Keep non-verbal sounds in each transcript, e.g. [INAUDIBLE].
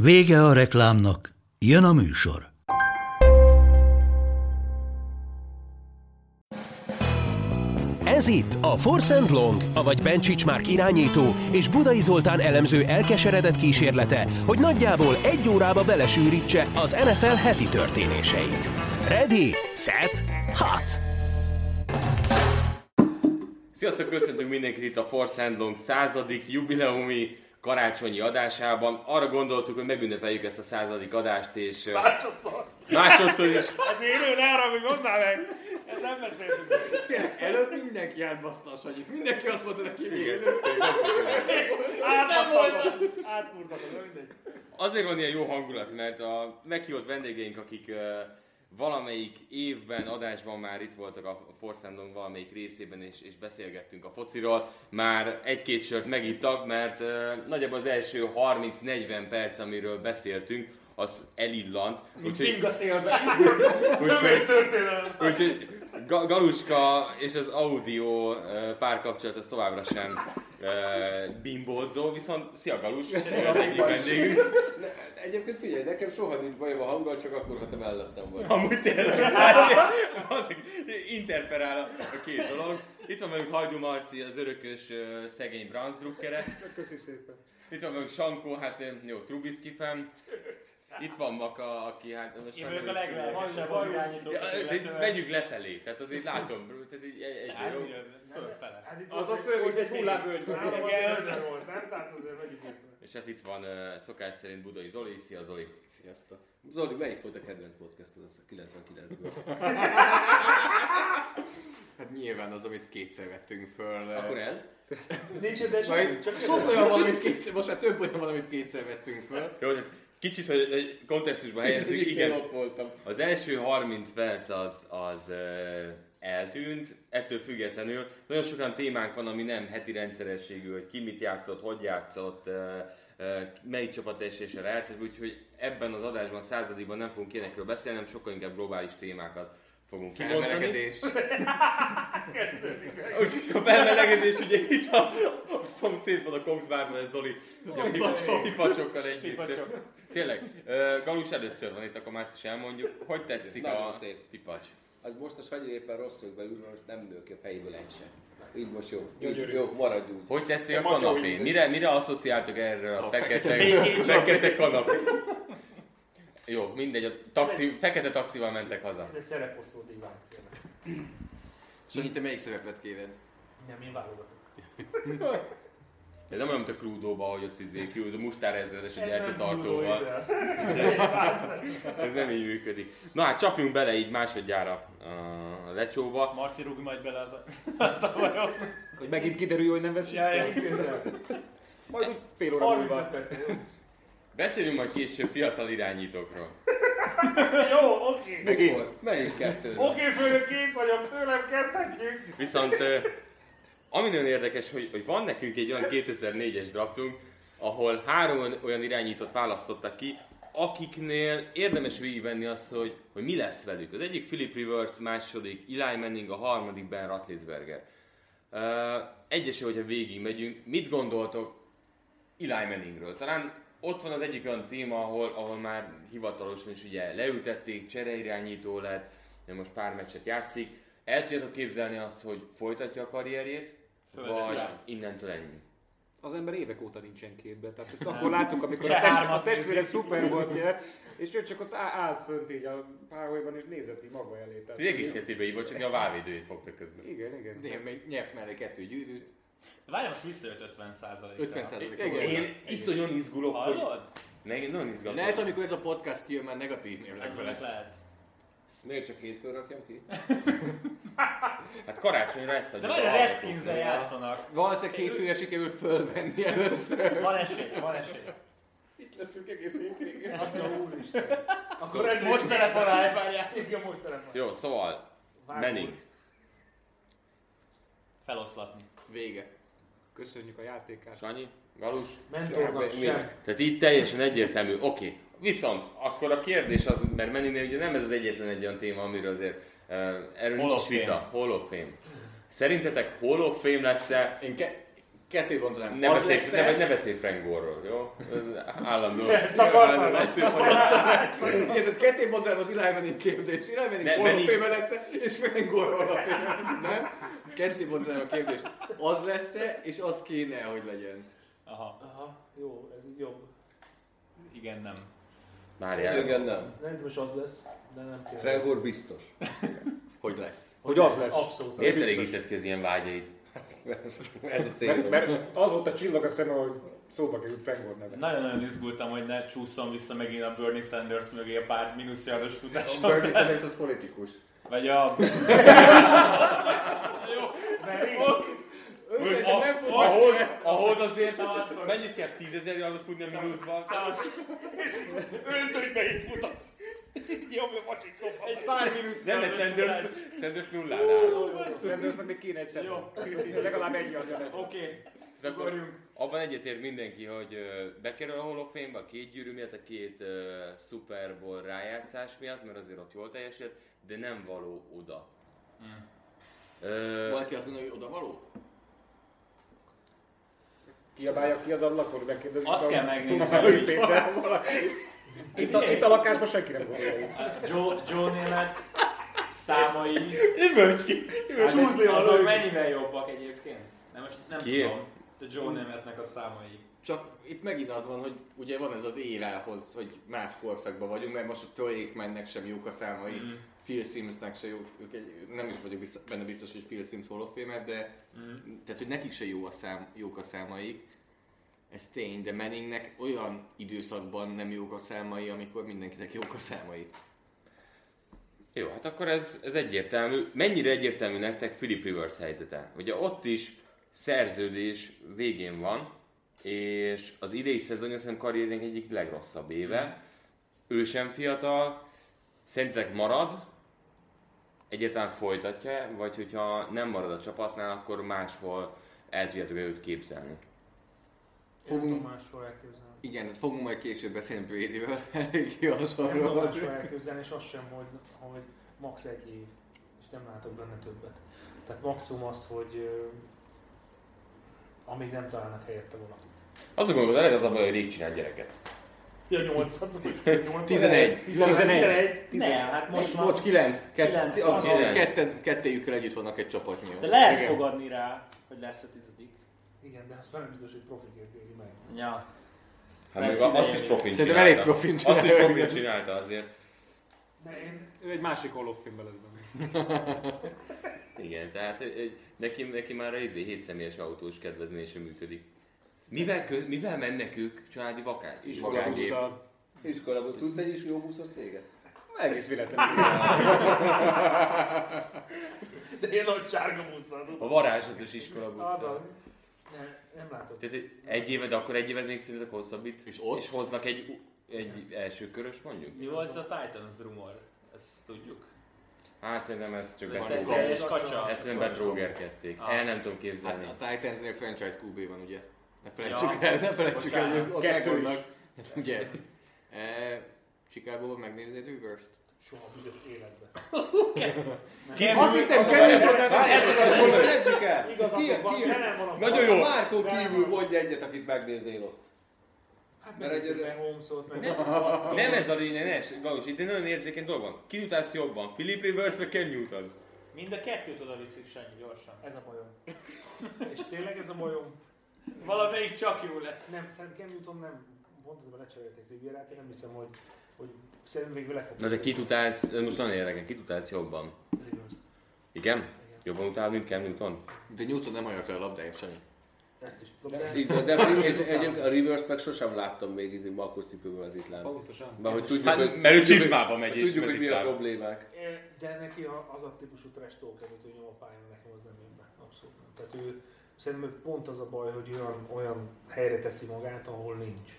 Vége a reklámnak, jön a műsor. Ez itt a Force and Long, avagy Bencsics Márk irányító és Budai Zoltán elemző elkeseredett kísérlete, hogy nagyjából egy órába belesűrítse az NFL heti történéseit. Ready, set, hot! Sziasztok, köszöntünk mindenkit itt a Force and Long századik jubileumi karácsonyi adásában. Arra gondoltuk, hogy megünnepeljük ezt a századik adást, és ö, Másodszor. másodszor is Az élő ne arra, hogy mondd már meg. Ezt nem beszéltünk. Előbb mindenki átbassza a Sanyit. Mindenki azt mondta neki, hogy Átbasztatom. Átmurtatom, de mindegy. azért van ilyen jó hangulat, mert a meghívott vendégeink, akik ö, valamelyik évben, adásban már itt voltak a Force and Long valamelyik részében, és, és beszélgettünk a fociról, már egy-két sört megittak, mert ö, nagyjából az első 30-40 perc, amiről beszéltünk, az elillant. Úgyhogy, Finga szélbe. úgyhogy, Történelem. Úgyhogy Ga- Galuska és az audio ö, párkapcsolat az továbbra sem ö, bimbózó, viszont szia Galus, az egyik vendégünk. Egyébként figyelj, nekem soha nincs bajom a hanggal, csak akkor, ha te mellettem vagy. Amúgy tényleg, baszik, interferál a, a két dolog. Itt van velünk Hajdú Marci, az örökös ö, szegény Browns-drukkere. Köszi szépen. Itt van velünk Sankó, hát ö, jó, Trubisky fem. Itt van Maka, aki hát most Én már- vagyok a leglelkesebb az irányító. Ja, ö, de Megyünk lefelé, tehát azért látom, tehát egy, egy, egy Hát, jó. Az a fő, mint egy hullámvölgy. Igen, volt, nem? Tehát azért vegyük észre. És hát itt van ö, szokás szerint Budai Zoli, szia Zoli. Sziasztok. Zoli, melyik volt a kedvenc podcastod az a 99-ből? Hát nyilván az, amit kétszer vettünk föl. Akkor ez? Nincs érdekes, Majd csak sok olyan van, amit kétszer, most már több olyan van, amit kétszer vettünk föl. Jó, tehát kicsit, hogy hogy kontextusba helyezzük, Igen, igen. ott voltam. Az első 30 perc az, az ö, eltűnt, ettől függetlenül nagyon sokan témánk van, ami nem heti rendszerességű, hogy ki mit játszott, hogy játszott, ö, ö, melyik csapat eséssel játszott, úgyhogy ebben az adásban, századikban nem fogunk ilyenekről beszélni, hanem sokkal inkább globális témákat fogunk kimondani. Elmelegedés. Úgyhogy a felmelegedés ugye itt a, a szomszédban a Kongsvárban, ez Zoli. Ugye, pipa- Pipacsokkal együtt. Pipacsok. Tényleg, ö, Galus először van itt, akkor már ezt is elmondjuk. Hogy tetszik Nagyon a szép. pipacs? Az most a Sanyi éppen rossz szögbe ül, mert most nem nő ki a fejéből egy sem. Így most jó. Így, jó, maradj úgy. Hogy tetszik a A matyó kanapé? íz. Mire, mire asszociáltok erre a, A fekete, fekete- fekete kanapé? Jó, mindegy, a taxi, fekete taxival mentek haza. Ez egy szereposztó divánk. tényleg. Sanyi, te melyik szerepet kéred? Nem, én válogatok. Ez nem olyan, mint a Cluedo-ba, hogy ott izé, kiúz a mustár ezredes egy Ez nem tartóval. tudó ide. Ez nem így működik. Na hát csapjunk bele így másodjára a lecsóba. Marci rúg majd bele az a, az a vajon. Hogy megint kiderül, hogy nem veszünk Ja, ja, fel. Majd úgy fél óra múlva. 35 perc. Beszélünk majd később fiatal irányítókról. Jó, oké. Mikor? Melyik kettő? Oké, főnök, kész vagyok, tőlem kezdhetjük. Viszont ö, ami nagyon érdekes, hogy, hogy van nekünk egy olyan 2004-es draftunk, ahol három olyan- olyan irányított választottak ki, akiknél érdemes végigvenni azt, hogy, hogy mi lesz velük. Az egyik Philip Rivers, második Eli Manning, a harmadik Ben Roethlisberger. Ö, Egyesé, hogyha végigmegyünk, mit gondoltok Eli Manningről? Talán ott van az egyik olyan téma, ahol, ahol már hivatalosan is ugye leültették, csereirányító lett, most pár meccset játszik. El tudjátok képzelni azt, hogy folytatja a karrierjét, vagy innentől ennyi? Az ember évek óta nincsen képbe. Tehát ezt akkor láttuk, amikor a, Csehármat test, a nézik. testvére szuper volt nyert, és ő csak ott á- állt fönt így a páholyban, és nézett így maga elé. Tehát, Az egész életében így volt, csak a válvédőjét fogta közben. Igen, igen. De még nyert mellé kettő gyűrűt. Várj, most visszajött 50 százalék. 50 százalék. Én iszonyan izgulok, hogy... Hallod? Meg nagyon izgatom. Lehet, Hát, amikor ez a podcast kijön, már negatív névleg Ez meg lesz. lehet. Ezt Miért csak hétfőn rakjam ki? Hát karácsonyra ezt adjuk. De várj, a a hallgatóknak. redskins játszanak. Valószínűleg hétfőre sikerült fölvenni először. Van esély, van esély. Itt leszünk egész hétvégén. Atya úristen. Akkor egy most telefonálj, várjál. Igen, most telefonál. Jó, szóval, menünk. Feloszlatni. Vége. Köszönjük a játékát. Sanyi, Galus. Hát, Mentornak Semmi. sem. Tehát így teljesen egyértelmű, oké. Viszont akkor a kérdés az, mert Meninél ugye nem ez az egyetlen egy olyan téma, amiről azért uh, erről nincs is Holofame. vita. Hall of Fame. Szerintetek Hall of Fame lesz-e? Én ke- ketté bontanám. Ne az beszélj, ne, lesz-e, ne beszélj Frank Gore-ról, jó? [LAUGHS] Ez Állandóan. Ezt akartam. Állandóan beszélünk róla. [LAUGHS] Érted, ketté bontanám az Eli kérdés. Eli Manning Ne, holoféme lesz és Frank Gore holoféme lesz, nem? Ketté bontanám a kérdés. Az lesz-e, és az kéne, hogy legyen. Aha. Aha, jó, ez így jobb. Igen, nem. Várjál. Igen, nem. Ez nem tudom, hogy az lesz, de nem kérdez. Frengor biztos. Hogy lesz. Hogy az lesz. Abszolút. Miért elégített ki az ilyen vágyaid? Ez a Mert, cél. mert az volt a csillag a szemem, hogy szóba került Fengor neve. Nagyon-nagyon izgultam, hogy ne csúszom vissza megint a Bernie Sanders mögé a pár mínuszjardos A futáson. Bernie Sanders az politikus. Vagy a... Ő szerintem nem fog Ahhoz, ahhoz azért mennyit kell 10 ezer eurót fújni a mínuszban? Egy pár mínusz. Nem, mert Sanders, Sanders nullánál. Szendersnek még kéne egy szemem. Legalább egy a neve. Oké. Tehát akkor abban egyetért mindenki, hogy ö, bekerül a Hall of Fame-be a két gyűrű miatt, a két uh, Super Bowl rájátszás miatt, mert azért ott jól teljesített, de nem való oda. Ö, Valaki azt gondolja, hogy oda való? Kiabálja ki az ablakon, megkérdezik. Azt a- kell megnézni, a hogy- Péter. Itt a, itt a lakásban senki nem gondolja. Joe, Joe Német számai Hát, Csúszni azok mennyivel jobbak egyébként? Nem, most nem Ki? tudom. A Joe Németnek a számai. Csak itt megint az van, hogy ugye van ez az érához, hogy más korszakban vagyunk, mert most a Troy mennek sem jók a számai, mm. Phil Simsnek se jók, ők egy, nem is vagyok biztos, benne biztos, hogy Phil Sims holofémer, de mm. tehát, hogy nekik se jó a szám, jók a számaik, ez tény, de Manningnek olyan időszakban nem jók a számai, amikor mindenkinek jók a számai. Jó, hát akkor ez, ez egyértelmű. Mennyire egyértelmű nektek Philip Rivers helyzete? Ugye ott is szerződés végén van, és az idei szezonja szerintem karrierjének egyik legrosszabb éve. Ő sem fiatal, szerintetek marad, egyáltalán folytatja, vagy hogyha nem marad a csapatnál, akkor máshol el tudjátok őt képzelni. Én nem tudom máshol elképzelni. Igen, tehát fogunk majd később beszélni Brady-ről, [LAUGHS] elég jó Nem tudom hasonló. máshol elképzelni, és az sem, hogy, hogy max. egy év, és nem látok benne többet. Tehát maximum az, hogy ö, amíg nem találnak helyette valakit. Azt gondolod, ez az a baj, hogy rég csinál gyereket. Ja, 8 [LAUGHS] Tizenegy. 11. Nem, hát most már... Most kilenc, Kilenc, kett, a, a, az- ketten, kettejükkel együtt vannak egy csapatnyió. De lehet fogadni rá, hogy lesz a tizedik. Igen, de azt nem biztos, hogy profiként éli meg. Ja. Hát Persze, még azt is idején. profin Szerintem elég csinálta. profin Azt is csinálja. profin csinálta azért. De én Ő egy másik holofilmben lesz benne. Igen, tehát egy, neki, neki már a izé, 7 személyes autós kedvezmény sem működik. Mivel, kö, mivel mennek ők családi vakációra? Magángép. Iskolabusszal. Iskolából tudsz egy is jó buszos céget? Egész véletlenül. Én ott sárga buszadó. A varázslatos iskola buszra. Nem, nem látok. Tehát egy- egy éve, de akkor egy évet még szerintetek hosszabbít, És ott? és hoznak egy, u- egy első körös mondjuk? Mi volt ez a Titans rumor? Ezt tudjuk. Hát szerintem ez csak Te- te- betróger. Teljes kacsa. Ezt nem betrógerkedték. Ah. El nem tudom képzelni. Hát a Titansnél franchise QB van, ugye? Ne Ja. felejtsük el, ne felejtsük el, hogy ott Kettő megvannak. Hát Ugye? E, Chicagóban megnéznéd Rivers-t? Soha büdös életben. Azt hittem, kemény Hát ezt akarom mondani, kezdjük el! Igazatok Ki, van, ki, tele van a nagyon jó. jó! Márkon kívül mondj egyet, akit megnéznél ott. Hát Mert mert egy egyre- meg Holmesot, meg Nem ez a lényeg, ne es- Galus, itt egy nagyon érzékeny dolog van. Ki utálsz jobban? Philip Rivers vagy Cam Newton? Mind a kettőt oda viszik, Sanyi, gyorsan. Ez a bajom. [LAUGHS] És tényleg ez a bajom. Valamelyik csak jó lesz. Nem, szerintem Cam Newton nem, pont ezzel lecserélték Rivierát, én nem hiszem, hogy, hogy szerintem végül le fog. Na de kit utálsz, most nagyon érdekel, kit utálsz jobban? Rivers. Igen? Jobban utál, mint Cam Newton? De Newton nem hajolta a labdáját, Sanyi. Ezt is De, tudom. de, de és egyébként a reverse meg sosem láttam még izé Markus cipőben az itlán. Pontosan. Mert hogy tudjuk, Hát, hogy, mert ő tudjuk, csizmába hogy- megy és Tudjuk, hogy mi a mezitlán. problémák. É, De neki a- az a típusú trash talk, amit ő nyom a pályán, nekem az nem jön be. Abszolút nem. Tehát ő, szerintem ő pont az a baj, hogy olyan, olyan helyre teszi magát, ahol nincs.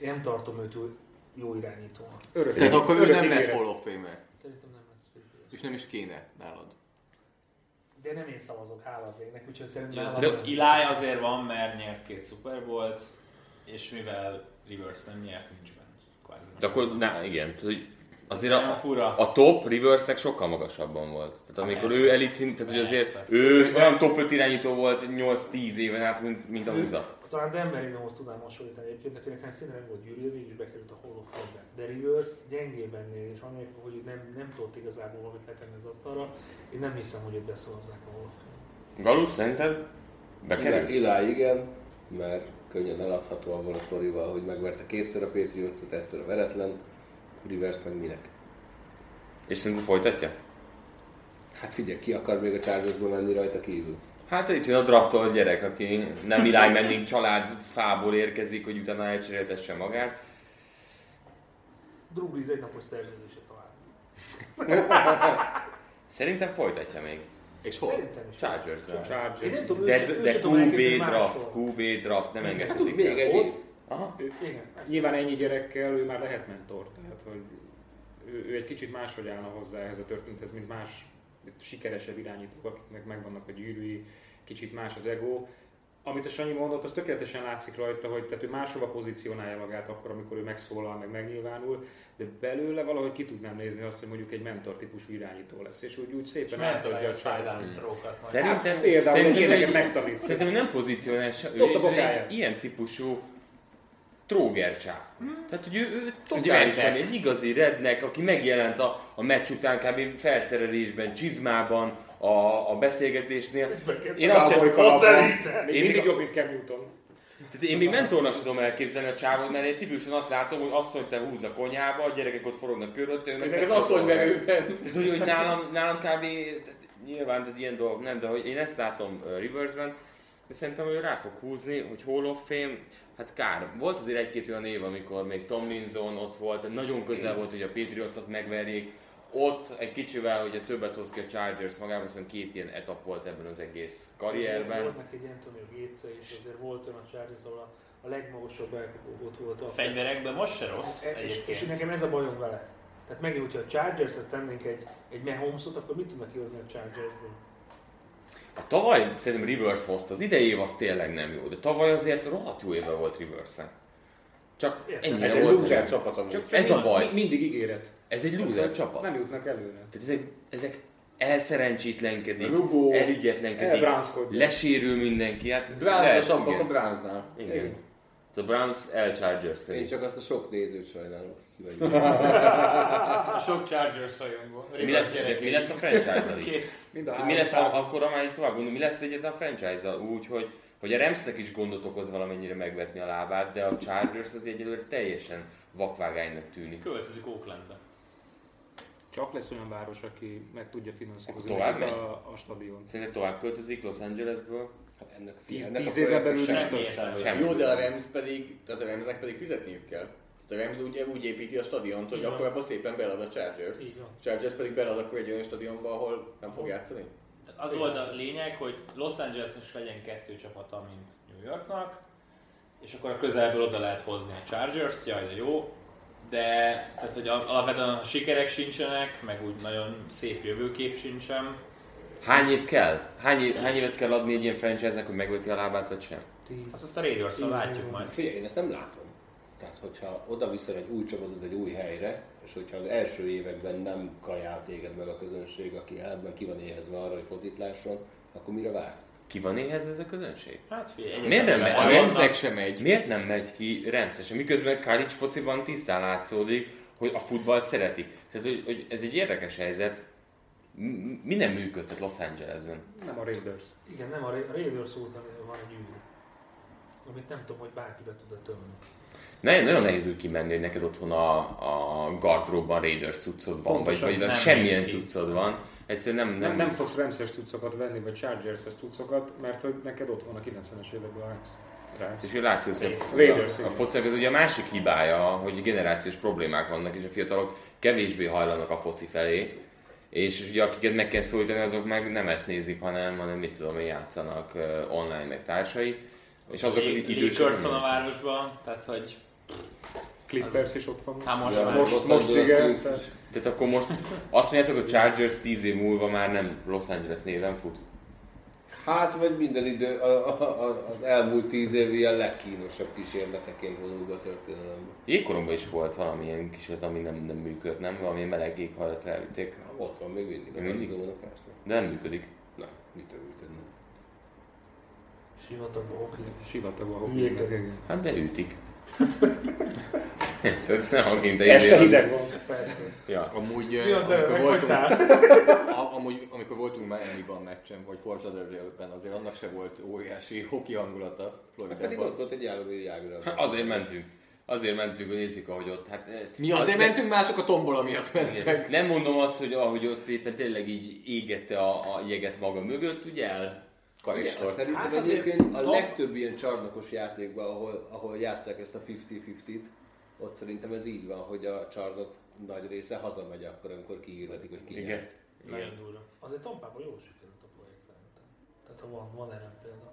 Én nem tartom őt jó- jó irányítónak. Örök. Tehát akkor ő nem lesz Hall of Famer. Szerintem nem lesz Hall of Famer. És nem is kéne nálad. De nem én szavazok, hála az égnek, úgyhogy szerintem... Ja, nálam de nem. Eli azért van, mert nyert két Super Bowl-t, és mivel Rivers nem nyert, nincs benne. Kvázi. De akkor, na, igen. Tehát, hogy azért Olyan a, fura. a top Riversnek sokkal magasabban volt. Tehát amikor persze. ő elit szint, tehát hogy azért Persze. ő olyan top 5 irányító volt 8-10 éven át, mint, mint a húzat. Talán Dan Marinohoz tudnám hasonlítani egyébként, akinek nem szinte nem volt gyűrű, mégis bekerült a Hall of Fame-be. De Rivers gyengében néz, és anélkül, hogy ő nem, nem tudott igazából valamit letenni az asztalra, én nem hiszem, hogy őt beszavazzák a Hall of Fame-be. Galus, szerinted? Bekerül? Ilá, igen, mert könnyen eladható abban a sztorival, hogy megverte kétszer a Patriots-ot, egyszer a veretlen, Rivers meg minek. És szerinted folytatja? Hát figyelj, ki akar még a Chargersból menni rajta kívül? Hát itt jön a draftolt gyerek, aki nem Eli Manning család fából érkezik, hogy utána elcseréltesse magát. Drew Brees egy napos szerződése talán. Szerintem folytatja még. És Szerintem is. Chargersben. Chargers. Én nem tudom, de, ő se- ő de se tudom elképzelni QB draft, máshol. QB draft, nem Hát úgy engedhetik még el. egy. Aha. Igen, ezt- Nyilván ennyi gyerekkel ő már lehet mentor, tehát hogy ő, ő egy kicsit máshogy állna hozzá ehhez a történethez, mint más sikeresebb irányítók, akiknek megvannak a gyűrűi, kicsit más az ego. Amit a Sanyi mondott, az tökéletesen látszik rajta, hogy tehát ő máshova pozícionálja magát akkor, amikor ő megszólal, meg megnyilvánul, de belőle valahogy ki tudnám nézni azt, hogy mondjuk egy mentor típusú irányító lesz, és úgy, úgy És szépen mentálja átadja a a sidearm saját. stroke-ot majd. Szerintem, Például szerintem, ilyeneket ő- megtanít. szerintem ő nem pozícionál se, ő, Dobd a ő bokáját. egy ilyen típusú trógercsák. Tehát, hogy ő, ő totálisan egy igazi rednek, aki megjelent a, a meccs után kb. felszerelésben, csizmában, a, a beszélgetésnél. Én azt sem, Még Én mindig még- jobb, mint Cam Newton. tehát én még mentornak sem tudom elképzelni a csávot, mert én tipikusan azt látom, hogy azt, hogy te húz a konyhába, a gyerekek ott forognak körülötte, ő meg Meg az lesz- asszony verőben. Tehát, hogy, hogy nálam, nálam kb. Tehát, nyilván tehát ilyen dolgok nem, de hogy én ezt látom uh, Riversben, de szerintem ő rá fog húzni, hogy Hall of Fame, hát kár. Volt azért egy-két olyan év, amikor még Tomlinson ott volt, nagyon közel volt, hogy a Patriotsot megverjék, ott egy kicsivel, hogy a többet hoz ki a Chargers magában, szerintem két ilyen etap volt ebben az egész karrierben. Volt neki egy Antonio Gates, és azért volt olyan a Chargers, ahol a, a legmagasabb elkapott volt a... Hát, A fegyverekben most se rossz És, és, egyébként. nekem ez a bajom vele. Tehát megint, hogyha a Chargers-hez tennénk egy, egy Mahomesot, akkor mit tudnak kihozni a Chargersből? A tavaly szerintem Rivers hozta, az idei év az tényleg nem jó, de tavaly azért rohadt jó éve volt Riversnek. Csak Értem. ennyire Ez egy volt. loser csapat amúgy. Csak ez a baj. Mi- Mindig ígéret. Ez egy loser csapat. Nem jutnak előre. Tehát ezek, ezek elszerencsétlenkedik, Rugó, elügyetlenkedik, elbránszkodik. lesérül mindenki. Hát Browns lehet, a akkor igen. Brownsnál. Igen. Szóval A Browns elchargers Én Csak... csak azt a sok nézőt sajnálom. Kivagyom. A sok Chargers rajongó. Mi lesz, de mi lesz a franchise Kész. Mind a Mi három lesz száz- a, akkor, amely tovább gondolom, mi lesz egyetlen a franchise Úgy, hogy, hogy a Ramsnek is gondot okoz valamennyire megvetni a lábát, de a Chargers az egyelőre teljesen vakvágánynak tűnik. Költözik Oaklandbe. Csak lesz olyan város, aki meg tudja finanszírozni Akkor tovább nekik megy? a, a stadiont. Szerinted tovább költözik Los Angelesből? Hát ennek a Tíz, ennek a tíz éven belül projektnek Semmi biztos. értelme. Semmi. Jó, de a Rams pedig, tehát a Ramsnek pedig fizetniük kell. Tehát a Rams ugye úgy építi a stadiont, hogy Így van. akkor abban szépen belad a Chargers. Így van. Chargers pedig belad akkor egy olyan stadionba, ahol nem fog játszani. Az volt a lényeg, hogy Los Angelesnek is legyen kettő csapata, mint New Yorknak, és akkor a közelből oda lehet hozni a Chargers-t, jaj, de jó. De tehát, hogy al- alapvetően a sikerek sincsenek, meg úgy nagyon szép jövőkép sincsen. Hány év kell? Hány, év, hány évet kell adni egy ilyen franchise-nek, hogy megveti a lábát, vagy sem? Hát Tíz. azt a raiders látjuk majd. Figyelj, én ezt nem látom. Tehát, hogyha oda viszel egy új csapatot egy új helyre, és hogyha az első években nem kajál téged meg a közönség, aki elben ki van éhezve arra, hogy focit lásson, akkor mire vársz? Ki van éhezve ez a közönség? Hát figyelj, Miért nem megy? egyetlen- A vannak- Ramsnek sem megy. Miért nem megy ki Remszesen? Miközben Kalics fociban tisztán látszódik, hogy a futballt szeretik. Tehát, hogy, hogy ez egy érdekes helyzet. M- Mi nem működtet Los Angelesben? Nem a Raiders. Igen, nem, a Ra- a Raiders óta van egy űr, amit nem tudom, hogy bárki be tud tömni. Nagyon, nagyon nehéz úgy kimenni, hogy neked otthon a, a gardróbban Raiders cuccod van, Pontosan, vagy, vagy nem semmilyen néz ki. cuccod van. Egyszerűen nem... Nem, nem fogsz Ramses cuccokat venni, vagy Chargers-es cuccokat, mert hogy neked ott van a 90-es években a Rams. És Rams. ő látszik, hogy Raiders, a, a igen. fociak az ugye a másik hibája, hogy generációs problémák vannak, és a fiatalok kevésbé hajlanak a foci felé, és ugye akiket meg kell szólítani, azok meg nem ezt nézik, hanem, hanem mit tudom én, játszanak ö, online meg társai, és azok az Lee- Lee idősek. Curson a városban, tehát hogy Clippers is ott van. Hát most Ja, már. most, Los most Angeles igen. Kings tehát- is. Tehát akkor most azt mondjátok, hogy Chargers 10 év múlva már nem Los Angeles néven fut. Hát, vagy minden idő, a, a, a, az elmúlt tíz év ilyen legkínosabb kísérleteként vonulva a történelembe. Jégkoromban is volt valamilyen kísérlet, ami nem, nem működött, nem? Valami meleg éghajlatra elvitték. Hát, ott van még mindig a Még mindig? Arizona, persze. De nem működik. Nem, mitől működne. Sivatagban hoki. Sivatagú a hockey. Hülyék az ezek. igen. Hát de [LAUGHS] ütik. Érted? Nem akint Este hideg van. izé- Ja. Amúgy, Mi eh, a te, amikor voltunk, meghagytál? a, amúgy, amikor voltunk Miami-ban meccsen, vagy Fort Lauderdale-ben, azért annak se volt óriási [LAUGHS] hoki hangulata Pedig ott Floridában. volt egy állami világra. Hát Azért mentünk. Azért mentünk, hogy nézzük, ahogy ott. Hát, eh, Mi azért mentünk, mások a tombola miatt Hát mentek. Nem mondom azt, hogy ahogy ott éppen tényleg így égette a, a jeget maga mögött, ugye el? Karistort. Szerintem Hát hát azért egyébként a top. legtöbb ilyen csarnokos játékban, ahol, ahol játszák ezt a 50-50-t, ott szerintem ez így van, hogy a csarnok nagy része hazamegy akkor, amikor kiírnetik, hogy ki nyert. Nagyon durva. Azért Tampában jól sikerült a projekt szerintem. Tehát ha van, van erre példa.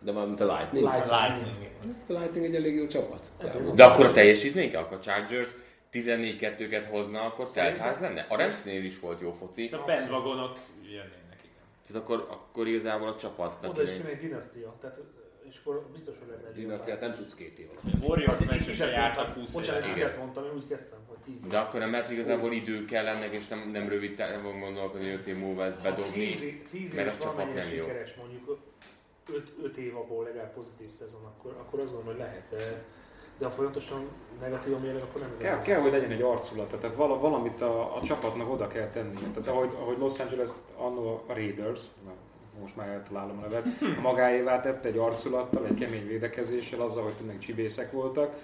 De már mint a Lightning. Light. Lightning. A Lightning egy elég jó csapat. De akkor a teljesítmény kell, akkor a Chargers 14-2-ket hozna, akkor teltház lenne. A Ramsnél is volt jó foci. A bandwagonok jönnének, igen. Tehát akkor, akkor igazából a csapatnak Oda is irány- kéne egy dinasztia, tehát és akkor biztos, hogy lenne egy Dinasztiát nem tudsz két év alatt. Warriors meccsre Tízet jártak mondtam. 20 Bocsánat, éve. tízet mondtam, én úgy kezdtem, hogy tíz. De akkor nem lehet, hogy igazából idő kell ennek, és nem, nem rövid távon gondolkodni, hogy 5 év múlva ezt bedobni. tíz mert a éves csapat valamennyire nem jó. sikeres, mondjuk 5 év abból legalább pozitív szezon, akkor, akkor azt gondolom, hogy lehet, de, de ha folyamatosan negatív a mérleg, akkor nem Kell, kell, hogy legyen egy arculata, tehát vala, valamit a, a csapatnak oda kell tenni. Tehát ahogy, ahogy Los Angeles annó a Raiders, na, most már eltalálom a nevet, a magáévá tette egy arculattal, egy kemény védekezéssel, azzal, hogy tényleg csibészek voltak.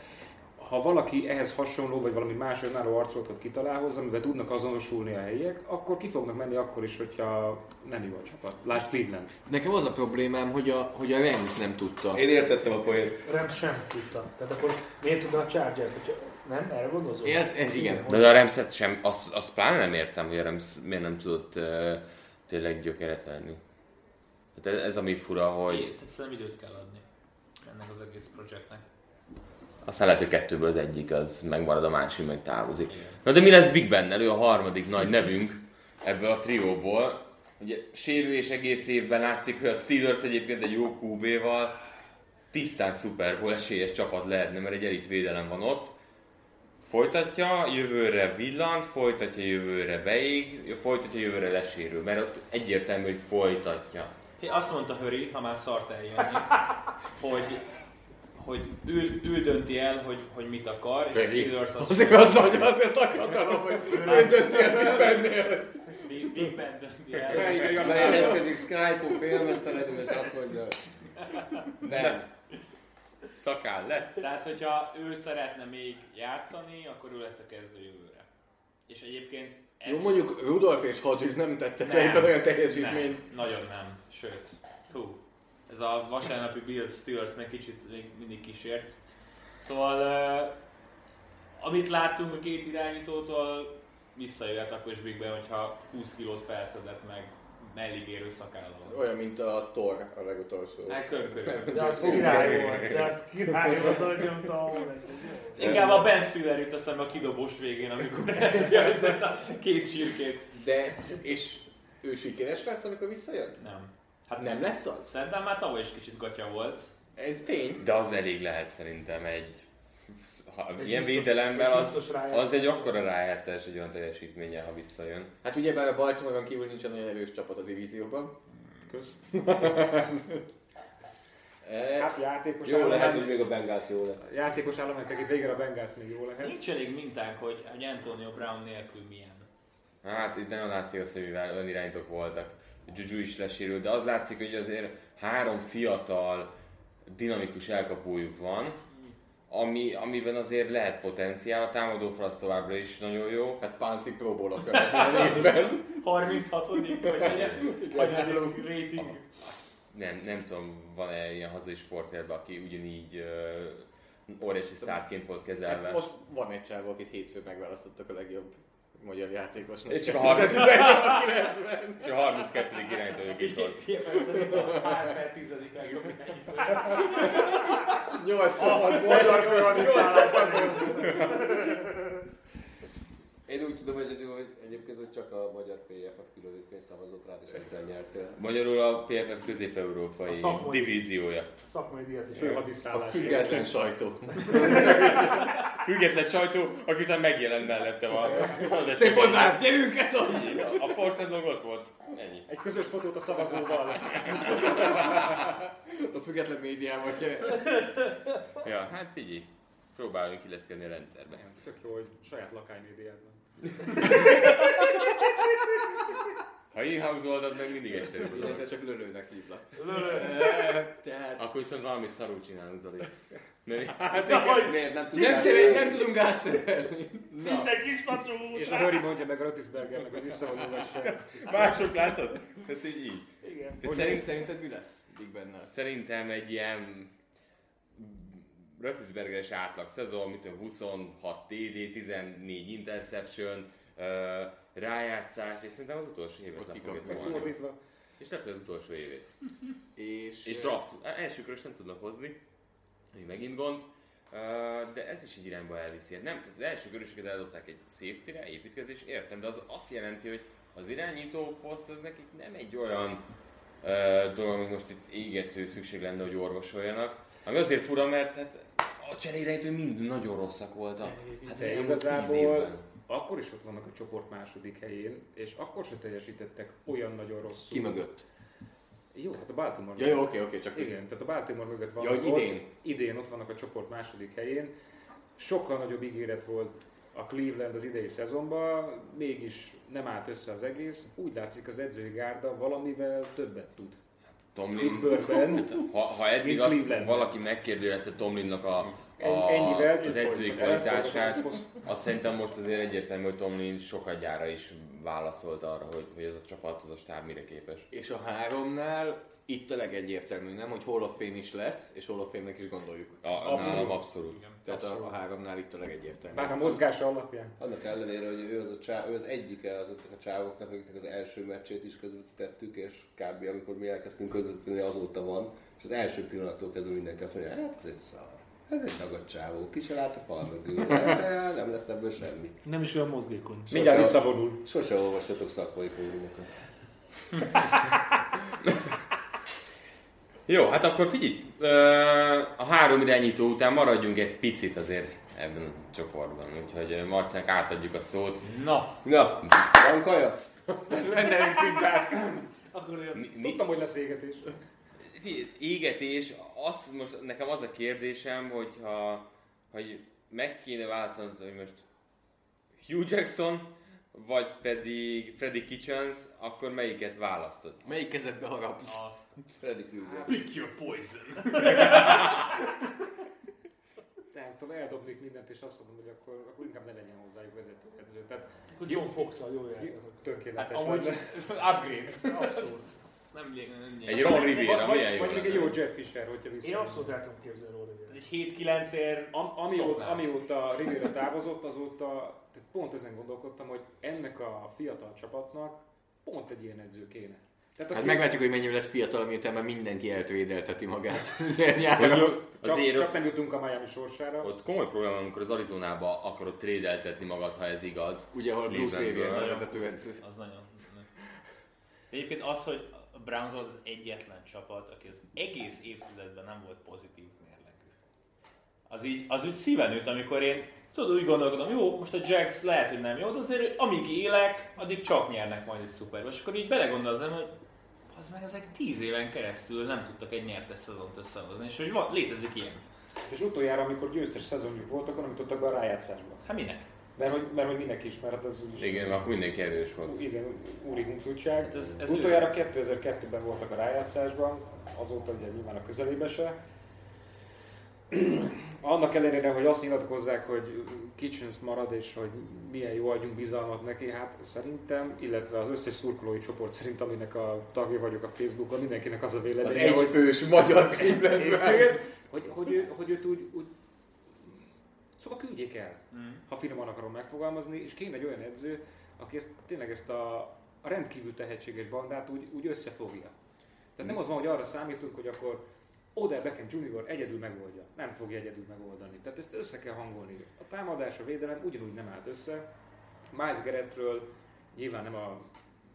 Ha valaki ehhez hasonló, vagy valami más önálló arculatot kitalál hozzá, amivel tudnak azonosulni a helyiek, akkor ki fognak menni akkor is, hogyha nem jó a csapat. Lásd Cleveland. Nekem az a problémám, hogy a, hogy a Rams nem tudta. Én értettem a poént. Nem sem tudta. Tehát akkor miért tudna a Chargers, hogyha nem? Erre gondolsz? Ez, ez igen. De a Remszet sem, azt, azt pláne nem értem, hogy a Remsz miért nem tudott uh, tényleg gyökeret venni. Hát ez, ez ami fura, Hogy- hogy Tehát szerintem időt kell adni ennek az egész projektnek. aztán lehet, hogy kettőből az egyik az megmarad, a másik meg távozik. Na de mi lesz Big Ben? Ő a harmadik nagy nevünk ebből a trióból. Ugye sérülés egész évben látszik, hogy a Steelers egyébként egy jó QB-val tisztán Super Bowl esélyes csapat lehetne, mert egy elit védelem van ott. Folytatja, jövőre villant, folytatja, jövőre beég, folytatja, jövőre lesérül, mert ott egyértelmű, hogy folytatja. Hé, Azt mondta Höri, ha már szart [LAUGHS] eljönni, hogy, hogy ő, ő dönti el, hogy, hogy mit akar, és a Steelers azt Azért az nagyon azért akartam, hogy ő dönti el, mit bennél. Big, Big Ben dönti el. Bejelentkezik Skype-on, félmeztelenül, és azt mondja, nem. Szakál le? Tehát, hogyha ő szeretne még játszani, akkor ő lesz a kezdő jövőre. És egyébként ez... Jó, mondjuk Rudolf és Hodges nem tettek Nem. egyben olyan teljesítményt. nem, nagyon nem, sőt, hú, ez a vasárnapi Bills Steelers meg kicsit még mindig kísért. Szóval, eh, amit láttunk a két irányítótól, visszajöhet akkor is Big Ben, hogyha 20 kilót felszedett meg mellig érő szakállal. Olyan, mint a Thor a legutolsó. Hát [LAUGHS] körülbelül. De az király volt, de az király volt, hogy nyomta a vonatot. Inkább a Ben Stiller jut eszembe a kidobós végén, amikor [LAUGHS] ezt jelzett a két csirkét. De, és ő sikeres lesz, amikor visszajön? Nem. Hát Nem lesz az? Szerintem már tavaly is kicsit gatya volt. Ez tény. De az elég lehet szerintem egy... Ha Egy ilyen biztos- védelemmel egy az, biztos rájátszás. az egy akkora rájátszás egy olyan teljesítménye, ha visszajön. Hát ugye bár a Baltimore-on kívül nincsen olyan erős csapat a divízióban. Kösz. E, Hát játékos jó lehet, hogy állomány, még a Bengals jó lesz. játékos állomány, pedig végre a Bengals még jó lehet. Nincs elég mintánk, hogy, hogy Antonio Brown nélkül milyen. Hát itt nagyon látszik az, hogy mivel önirányítók voltak, Juju is lesérült, de az látszik, hogy azért három fiatal, dinamikus elkapójuk van, ami, amiben azért lehet potenciál, a támadó fal az továbbra is nagyon jó. Hát Pansy próból akar minden évben. 36 vagy hanyadik rating. Nem, nem tudom, van-e ilyen hazai sportérben, aki ugyanígy uh, óriási sztárként volt kezelve. Hát most van egy csávó, akit hétfőn megválasztottak a legjobb magyar játékosnak. És És a a harmadik. 1890. És a 32. irányító végig volt. PFL szerint a PFL tizedik legjobb irányító. 8 csapat volt. Én úgy tudom egyedül, hogy egyébként hogy csak a magyar PFF küldözőként szavazott rád, és ezzel nyert el. Magyarul a PFF közép-európai A szakmai- divíziója. Szakmai díjat is Fő A hadiszállás. független sajtó. Független sajtó, aki után megjelent mellette van. Az esetben. Szép mondnám, gyerünk ez a... A Forszent log ott volt. Ennyi. Egy közös fotót a szavazóval. A független médiában, ugye? Ja, hát figyelj. Próbálunk illeszkedni a rendszerbe. Tök jó, hogy saját lakánymédiában. Ha így hangzolod, meg mindig egyszerűbb. Ugye, dolog. te csak lölőnek hívlak. Tehát... Akkor viszont valamit szarul csinálunk, Zoli. Mert Miért nem Nem, csinálsz? szerint, nem tudunk gázszerelni. Nincs egy kis patró És a Hori mondja meg a Rotisbergernek, hogy visszavonul vagy sem. mások látod? Tehát így így. Igen. Tehát Szerint, szerint, szerinted mi lesz Big Bennel? szerintem egy ilyen Rötlisbergeres átlag szezon, mint tudom, 26 TD, 14 interception, ö, rájátszás, és szerintem az utolsó évet Ott nem fogja kikapjuk. tolni. Fordítva. És lehet, hogy az utolsó évét. És, És draft, á, elsőkről is nem tudnak hozni, ami megint gond, Ö, de ez is egy irányba elviszi. Hát nem, tehát az első körösöket eldobták egy safety-re, építkezés, értem, de az azt jelenti, hogy az irányító poszt az nekik nem egy olyan ö, dolog, amit most itt égető szükség lenne, hogy orvosoljanak. Ami azért fura, mert hát a cserérejtő mind nagyon rosszak voltak. Hát De elmúlt tíz igazából évben. akkor is ott vannak a csoport második helyén, és akkor se teljesítettek olyan nagyon rosszul. Ki mögött? Jó, hát a Baltimore. Ja, jó, oké, oké, csak Igen, tehát a Baltimore mögött vannak hogy idén? Ott, idén ott vannak a csoport második helyén. Sokkal nagyobb ígéret volt a Cleveland az idei szezonban, mégis nem állt össze az egész. Úgy látszik az edzői gárda valamivel többet tud. Tomlin, [LAUGHS] Pittsburghben ha, ha eddig Mint azt Cleveland. valaki megkérdőjelezte Tomlinnak a, en- a, ennyivel az csúfoltak, edzői elfogadott kvalitását, az poszt. azt szerintem most azért egyértelmű, hogy Tomlin sokat gyára is válaszolt arra, hogy, hogy ez a csapat, az a stáb mire képes. És a háromnál itt a legegyértelmű, nem? Hogy Hall of Fame is lesz, és Hall of Fame-nek is gondoljuk. A, abszolút. Nálam abszolút. Tehát a, a háromnál itt a legegyértelmű. bár a mozgása alapján. Annak ellenére, hogy ő az, a csá, ő az egyike azoknak a csávoknak, akiknek az első meccsét is közvetítettük, és kb. amikor mi elkezdtünk közvetíteni, azóta van, és az első pillanattól kezdve mindenki azt mondja, hát ez egy szar. Ez egy dagadt csávó, ki se lát a fal mögül, ez- nem lesz ebből semmi. Nem is olyan mozgékony. Mindjárt visszavonul. Sose olvastatok szakmai fórumokat. Jó, hát akkor figyelj, ö, a három irányító után maradjunk egy picit azért ebben a csoportban, úgyhogy ö, Marcának átadjuk a szót. Na, Na, van kaja? Rendelünk pizzát! Akkor olyan. Mi, mi, Tudtam, hogy lesz égetés. Figyelj, égetés, az most nekem az a kérdésem, hogyha hogy meg kéne válaszolnod, hogy most Hugh Jackson, vagy pedig Freddy Kitchens, akkor melyiket választod? Melyik kezedbe Hát harapsz? azt. Freddy Krüger. Pick your poison. Nem tudom, eldobnék mindent, és azt mondom, hogy akkor, akkor inkább ne legyen hozzájuk vezetőedző. Tehát John fox jó játékot. tökéletes Hát hát, amúgy vagy. upgrade. Abszolút. Nem lényeg, nem lényeg. Egy Ron Rivera, vagy, milyen jó vagy még egy lenne? jó Jeff Fisher, hogyha vissza. Én abszolút el tudom képzelni róla. Egy 7-9 ér. Am, amióta, Szoknál. amióta Rivera távozott, azóta tehát pont ezen gondolkodtam, hogy ennek a fiatal csapatnak pont egy ilyen edző kéne. Tehát Hát aki- meglátjuk, hogy mennyire lesz fiatal, miután már mindenki eltvédelteti magát. [LAUGHS] Ugye nyáron. Az csak, érő, csak nem jutunk a Miami sorsára. ott komoly probléma, van, amikor az Arizonába akarod trédeltetni magad, ha ez igaz. Ugye, ahol Bruce Clevelandből. Arians a vezetőedző. Az nagyon. Egyébként az, hogy a Browns volt az egyetlen csapat, aki az egész évtizedben nem volt pozitív mérlegű. Az így, az úgy szíven üt, amikor én tudod, úgy gondolkodom, jó, most a Jags lehet, hogy nem jó, de azért amíg élek, addig csak nyernek majd egy szuperbe. És akkor így belegondol az ember, hogy az meg ezek tíz éven keresztül nem tudtak egy nyertes szezont összehozni, és hogy van, létezik ilyen. És utoljára, amikor győztes szezonjuk volt, akkor nem jutottak be a rájátszásba. Hát minek? Mert hogy, mert hogy mindenki ismerhet, az úgyis... Igen, mert akkor mindenki erős volt. Igen, úri huncutság. Hát Hát ez- ez, ez Utoljára ő. 2002-ben voltak a rájátszásban, azóta ugye nyilván a közelébe se. Annak ellenére, hogy azt nyilatkozzák, hogy Kitchens marad, és hogy milyen jó adjunk bizalmat neki, hát szerintem, illetve az összes szurkolói csoport szerint, aminek a tagja vagyok a Facebookon, mindenkinek az a Az véleménye, hogy egyfős magyar Cleveland. és téged, hogy, hogy, ő, hogy őt úgy, úgy Szóval küldjék el, mm. ha finoman akarom megfogalmazni, és kéne egy olyan edző, aki ezt, tényleg ezt a, a rendkívül tehetséges bandát úgy, úgy összefogja. Tehát nem az van, hogy arra számítunk, hogy akkor Odell Beckham Jr. egyedül megoldja. Nem fogja egyedül megoldani. Tehát ezt össze kell hangolni. A támadás, a védelem ugyanúgy nem állt össze. Miles Garrettről nyilván nem a,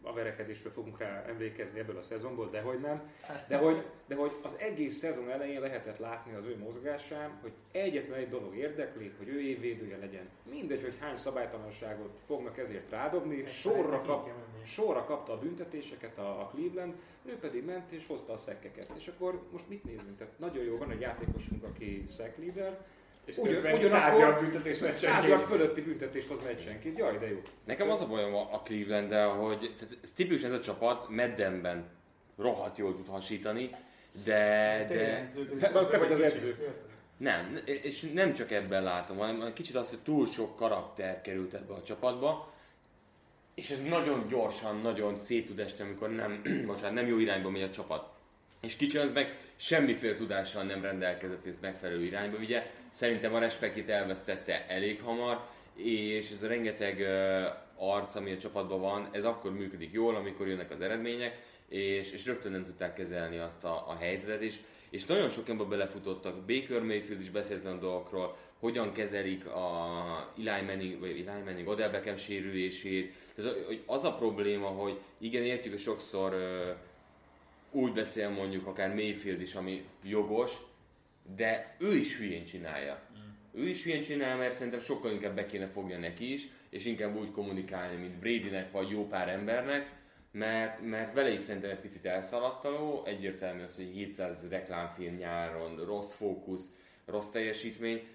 a verekedésről fogunk rá emlékezni ebből a szezonból, de hogy nem. De hogy, de hogy az egész szezon elején lehetett látni az ő mozgásán, hogy egyetlen egy dolog érdekli, hogy ő évvédője legyen. Mindegy, hogy hány szabálytalanságot fognak ezért rádobni, sorra, kap, sorra kapta a büntetéseket a, a Cleveland, ő pedig ment és hozta a szekkeket. És akkor most mit nézünk? Tehát nagyon jó van egy játékosunk, aki sack leader, És Ugyan- közben ugyanakkor- 100 yard büntetés száz meccsenként. yard fölötti büntetést hoz meccsenként, jaj de jó. Nekem az a bajom a, a Cleveland-del, hogy tehát ez tipikus ez a csapat meddenben rohadt jól tud hasítani, de, de Te vagy az edző. nem, és nem csak ebben látom, hanem kicsit az, hogy túl sok karakter került ebbe a csapatba, és ez nagyon gyorsan, nagyon szét tud esni, amikor nem, [CLEARS THROAT] bocsánat, nem jó irányba megy a csapat. És kicsi az meg semmiféle tudással nem rendelkezett, hogy ezt megfelelő irányba vigye. Szerintem a respektjét elvesztette elég hamar, és ez a rengeteg ö, arc, ami a csapatban van, ez akkor működik jól, amikor jönnek az eredmények, és, és rögtön nem tudták kezelni azt a, a helyzetet is. És nagyon sok ember belefutottak. Baker Mayfield is beszélt olyan dolgokról, hogyan kezelik a Eli Manning, vagy Eli Manning, Odell Beckham sérülését. Tehát, hogy az a probléma, hogy igen, értjük, hogy sokszor ö, úgy beszél mondjuk akár Mayfield is, ami jogos, de ő is hülyén csinálja. Mm. Ő is hülyén csinál, mert szerintem sokkal inkább be kéne fogja neki is, és inkább úgy kommunikálni, mint Bradynek vagy jó pár embernek, mert, mert vele is szerintem egy picit elszaladt a ló, egyértelmű az, hogy 700 reklámfilm nyáron, rossz fókusz, rossz teljesítmény.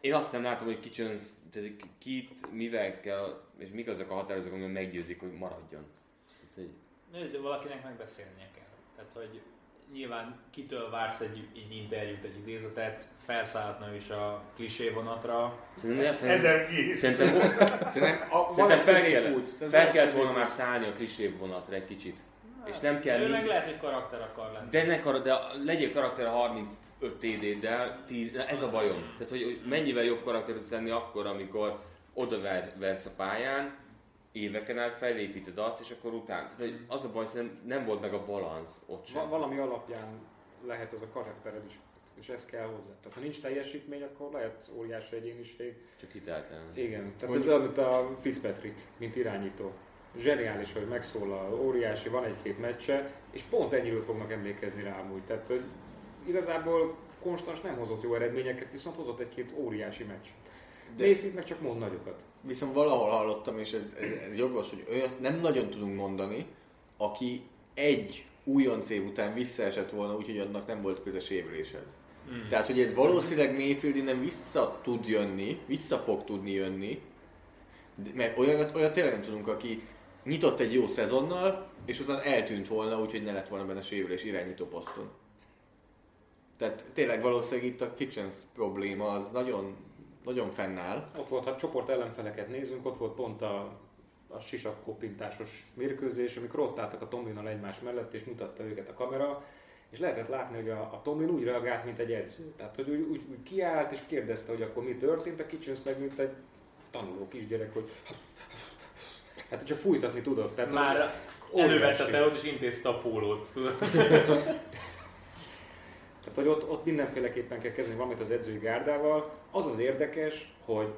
Én azt nem látom, hogy Kitchens, tehát kit, mivel kell, és mik azok a határozók, amivel meggyőzik, hogy maradjon. Tehát, hogy De valakinek megbeszélnie kell. Tehát, hogy nyilván kitől vársz egy, egy interjút, egy idézetet, felszállhatna is a klisé vonatra. Szerintem, Eden Gill. szerintem, Szerintem, a, szerintem van egy fel, kell, középút. Tehát van fel egy kellett volna középút. már szállni a klisébb vonatra egy kicsit. És nem kell Ő meg mind, lehet, hogy karakter akar lenni. de, ne kar, de legyél karakter a 35 TD-del, 10 na, ez a bajom. Tehát, hogy, hogy mennyivel jobb karakter tudsz lenni akkor, amikor oda ver- versz a pályán, éveken át felépíted azt, és akkor utána. Tehát, hogy az a baj, nem, nem volt meg a balansz ott sem. Va- valami alapján lehet az a karaktered is, és ez kell hozzá. Tehát ha nincs teljesítmény, akkor lehet óriási egyéniség. Csak hiteltelen. Igen, tehát ez olyan, mint a Fitzpatrick, mint irányító. Zseniális, hogy megszólal, óriási, van egy-két meccse, és pont ennyiről fognak emlékezni rá amúgy. Tehát hogy igazából Konstans nem hozott jó eredményeket, viszont hozott egy-két óriási meccs. De... Mayfield meg csak mond nagyokat. Viszont valahol hallottam, és ez, ez, ez jogos, hogy olyat nem nagyon tudunk mondani, aki egy újonc év után visszaesett volna, úgyhogy annak nem volt közös évüléshez. Hmm. Tehát, hogy ez valószínűleg Mayfield innen vissza tud jönni, vissza fog tudni jönni, de- mert olyat, olyat tényleg nem tudunk, aki nyitott egy jó szezonnal, és utána eltűnt volna, úgyhogy ne lett volna benne sérülés irányító poszton. Tehát tényleg valószínűleg itt a Kitchens probléma az nagyon, nagyon fennáll. Ott volt, ha csoport ellenfeleket nézünk, ott volt pont a, a sisakkopintásos mérkőzés, amikor ott álltak a Tomlinnal egymás mellett, és mutatta őket a kamera, és lehetett látni, hogy a, a Tomlin úgy reagált, mint egy edző. Tehát, hogy úgy, úgy, úgy kiállt, és kérdezte, hogy akkor mi történt, a Kitchens meg, mint egy tanuló kisgyerek, hogy hát, hogyha fújtatni tudod. Tehát Már Óriási. elővette a telót és intézte a pólót. tudod. Tehát, hogy ott, ott mindenféleképpen kell kezdeni valamit az edzői gárdával. Az az érdekes, hogy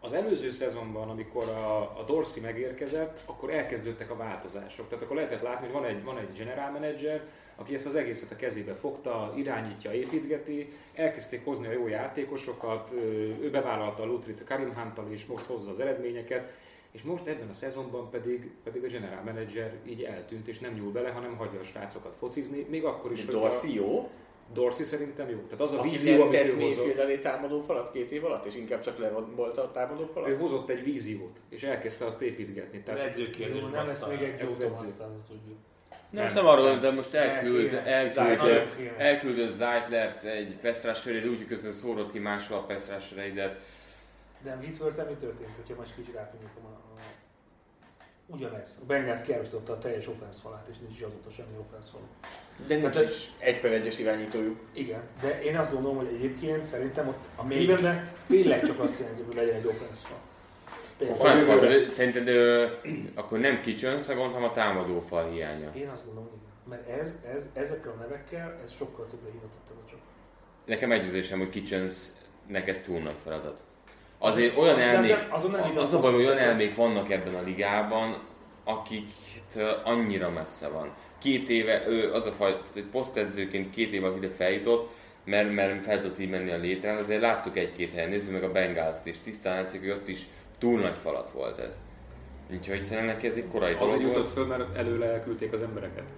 az előző szezonban, amikor a, a Dorsey megérkezett, akkor elkezdődtek a változások. Tehát akkor lehetett látni, hogy van egy, van egy general manager, aki ezt az egészet a kezébe fogta, irányítja, építgeti, elkezdték hozni a jó játékosokat, ö, ő bevállalta a Lutrit a Karim Hunt-tal, és most hozza az eredményeket, és most ebben a szezonban pedig, pedig a general manager így eltűnt, és nem nyúl bele, hanem hagyja a srácokat focizni, még akkor is, hogyha- Dorsey jó, Dorsey szerintem jó. Tehát az a Aki vízió, nem amit tett ő Mayfield hozott. elé támadó falat két év alatt, és inkább csak levolta a támadó Ő falat? hozott egy víziót, és elkezdte azt építgetni. Az Tehát edző kérdés Jó, nem lesz bassza. még egy Ez jó az Tom edző. aztán, azt tudjuk. Nem, most nem arról, de most elküld, Elküldte. elküldött, Zeitlert. elküldött Zeitlert egy pesztrásörére, úgy, hogy közben szórod ki máshol a pesztrásöreidet. De Whitworth mi történt, hogyha most kicsit átmondjuk a, a Ugyanez. A Bengals kiárosította a teljes offense falát, és nincs is azóta semmi offense falu. De nincs Hát- is egy per egyes irányítójuk. Igen, de én azt gondolom, hogy egyébként szerintem ott a Mavennek tényleg csak azt jelenti, hogy legyen egy offense fal. Tényleg. Franz Martin, szerinted ö, akkor nem kitchen second, hanem a támadó fal hiánya. Én azt gondolom, hogy igen. Mert ez, ez, ezekkel a nevekkel, ez sokkal többre hivatott ez a csapat. Nekem együzésem, hogy Kitchensnek ez túl nagy feladat. Azért olyan De az elmék, nem- azon nem a- az a vitatkozunk, baj, hogy olyan de ez- elmék vannak ebben a ligában, akik annyira messze van. Két éve, ő az a fajta, hogy posztedzőként két éve az ide feljutott, mert, mert fel tudott így menni a létrán, azért láttuk egy-két helyen, nézzük meg a bengals és tisztán látszik, hogy ott is túl nagy falat volt ez. Úgyhogy szerintem neki ez egy korai Azért dolog jutott volt. föl, mert előle elküldték az embereket.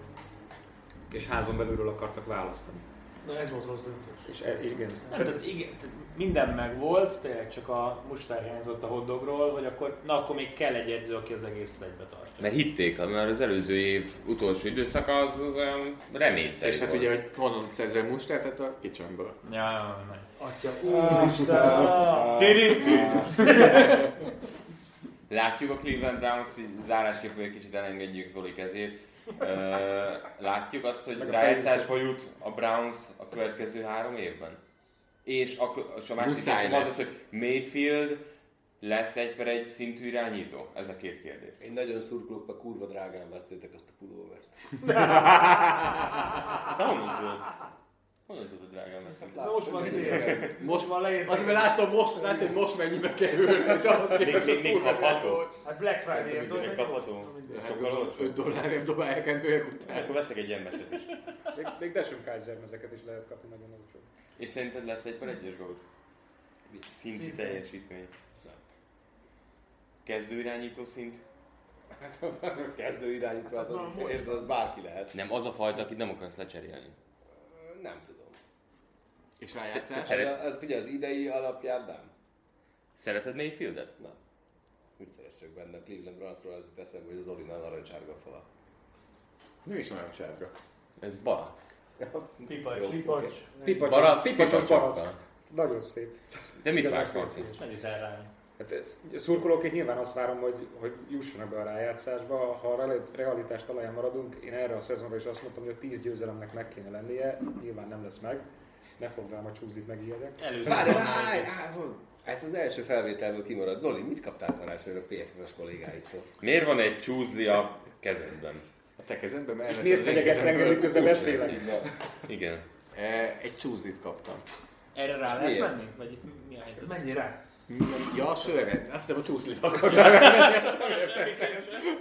És házon belülről akartak választani. Na ez volt rossz döntés. És e, igen. Nem, tehát, igen, tehát minden megvolt, tényleg csak a mustár hiányzott a hoddogról, hogy akkor, na akkor még kell egy edző, aki az egészet egybe tartja. Mert hitték, mert az előző év utolsó időszaka az, az olyan reményteli És hát volt. ugye, hogy honnan szerzel mustát, hát a kicsömből. Ja, nice. Atya, úristen! Látjuk a Cleveland Browns-t, így zárásképpen egy kicsit elengedjük Zoli kezét. Ö, Látjuk azt, hogy rájátszásba jut a Browns a következő három évben. És a, és a másik Muszáj kérdésem az, lesz. az, hogy Mayfield lesz egy per egy szintű irányító? Ez a két kérdés. Én nagyon szurkolok, mert kurva drágán vettétek azt a pulóvert. [LAUGHS] Hát honnan tudod? Honnan tudod, drágám? Na most van szél. Most van leírva. Azért, mert látom most, látom, hogy most mennyibe kerül, [LAUGHS] és ahhoz képest, még- még kurva kapható. drága volt. Hát Black Friday-ért Szerintem mindenki kapható. Sokkal Hát, 5 olcsóbb. dollárért dobálják emberek után. Akkor veszek egy ilyen meset is. Még, még Dashon Kaiser ezeket is lehet kapni nagyon olcsó. És szerinted lesz egy per egyes gólus? Szinti teljesítmény. Kezdő irányító szint? Hát az a kezdő irányító, az, az, az bárki lehet. Nem, az a fajta, akit nem akarsz lecserélni. Ö, Nem tudom. És Te rájátszás. Ez, szeret, a- ez figyelj, az idei alapján nem. szereted Mayfieldet? Na, mit szeressek benne? A Cleveland Brownsról az jut eszembe, hogy az Olinál narancssárga a fala. Nem is nagyon sárga. Ez barack. Pipacs. Jó, Pipacs. oké. Pipacs, Barack, pipacsos pipacsokra. barack. Nagyon szép. Te mit Igazán vársz, szép Marci? színes. Menjünk el rá. Hát eh, szurkolóként nyilván azt várom, hogy, hogy jussanak be a rájátszásba. Ha a reali- realitás talaján maradunk, én erre a szezonra is azt mondtam, hogy a 10 győzelemnek meg kéne lennie, nyilván nem lesz meg. Ne fogd rám a csúzdit, megijedek. Először. Várj, várj, á, hol- ezt az első felvételből kimarad. Zoli, mit kaptál karácsonyra a PFF-es kollégáitól? Miért van egy csúzli a kezedben? A te kezedben mert És miért fenyegetsz engem, miközben beszélek? Igen. E, Egy csúzdit kaptam. Erre rá lehet miért? menni? Vagy itt mi a helyzet? Menj rá. Mm, Ja, a söveget. Azt nem a [LAUGHS] csúszlit akartam.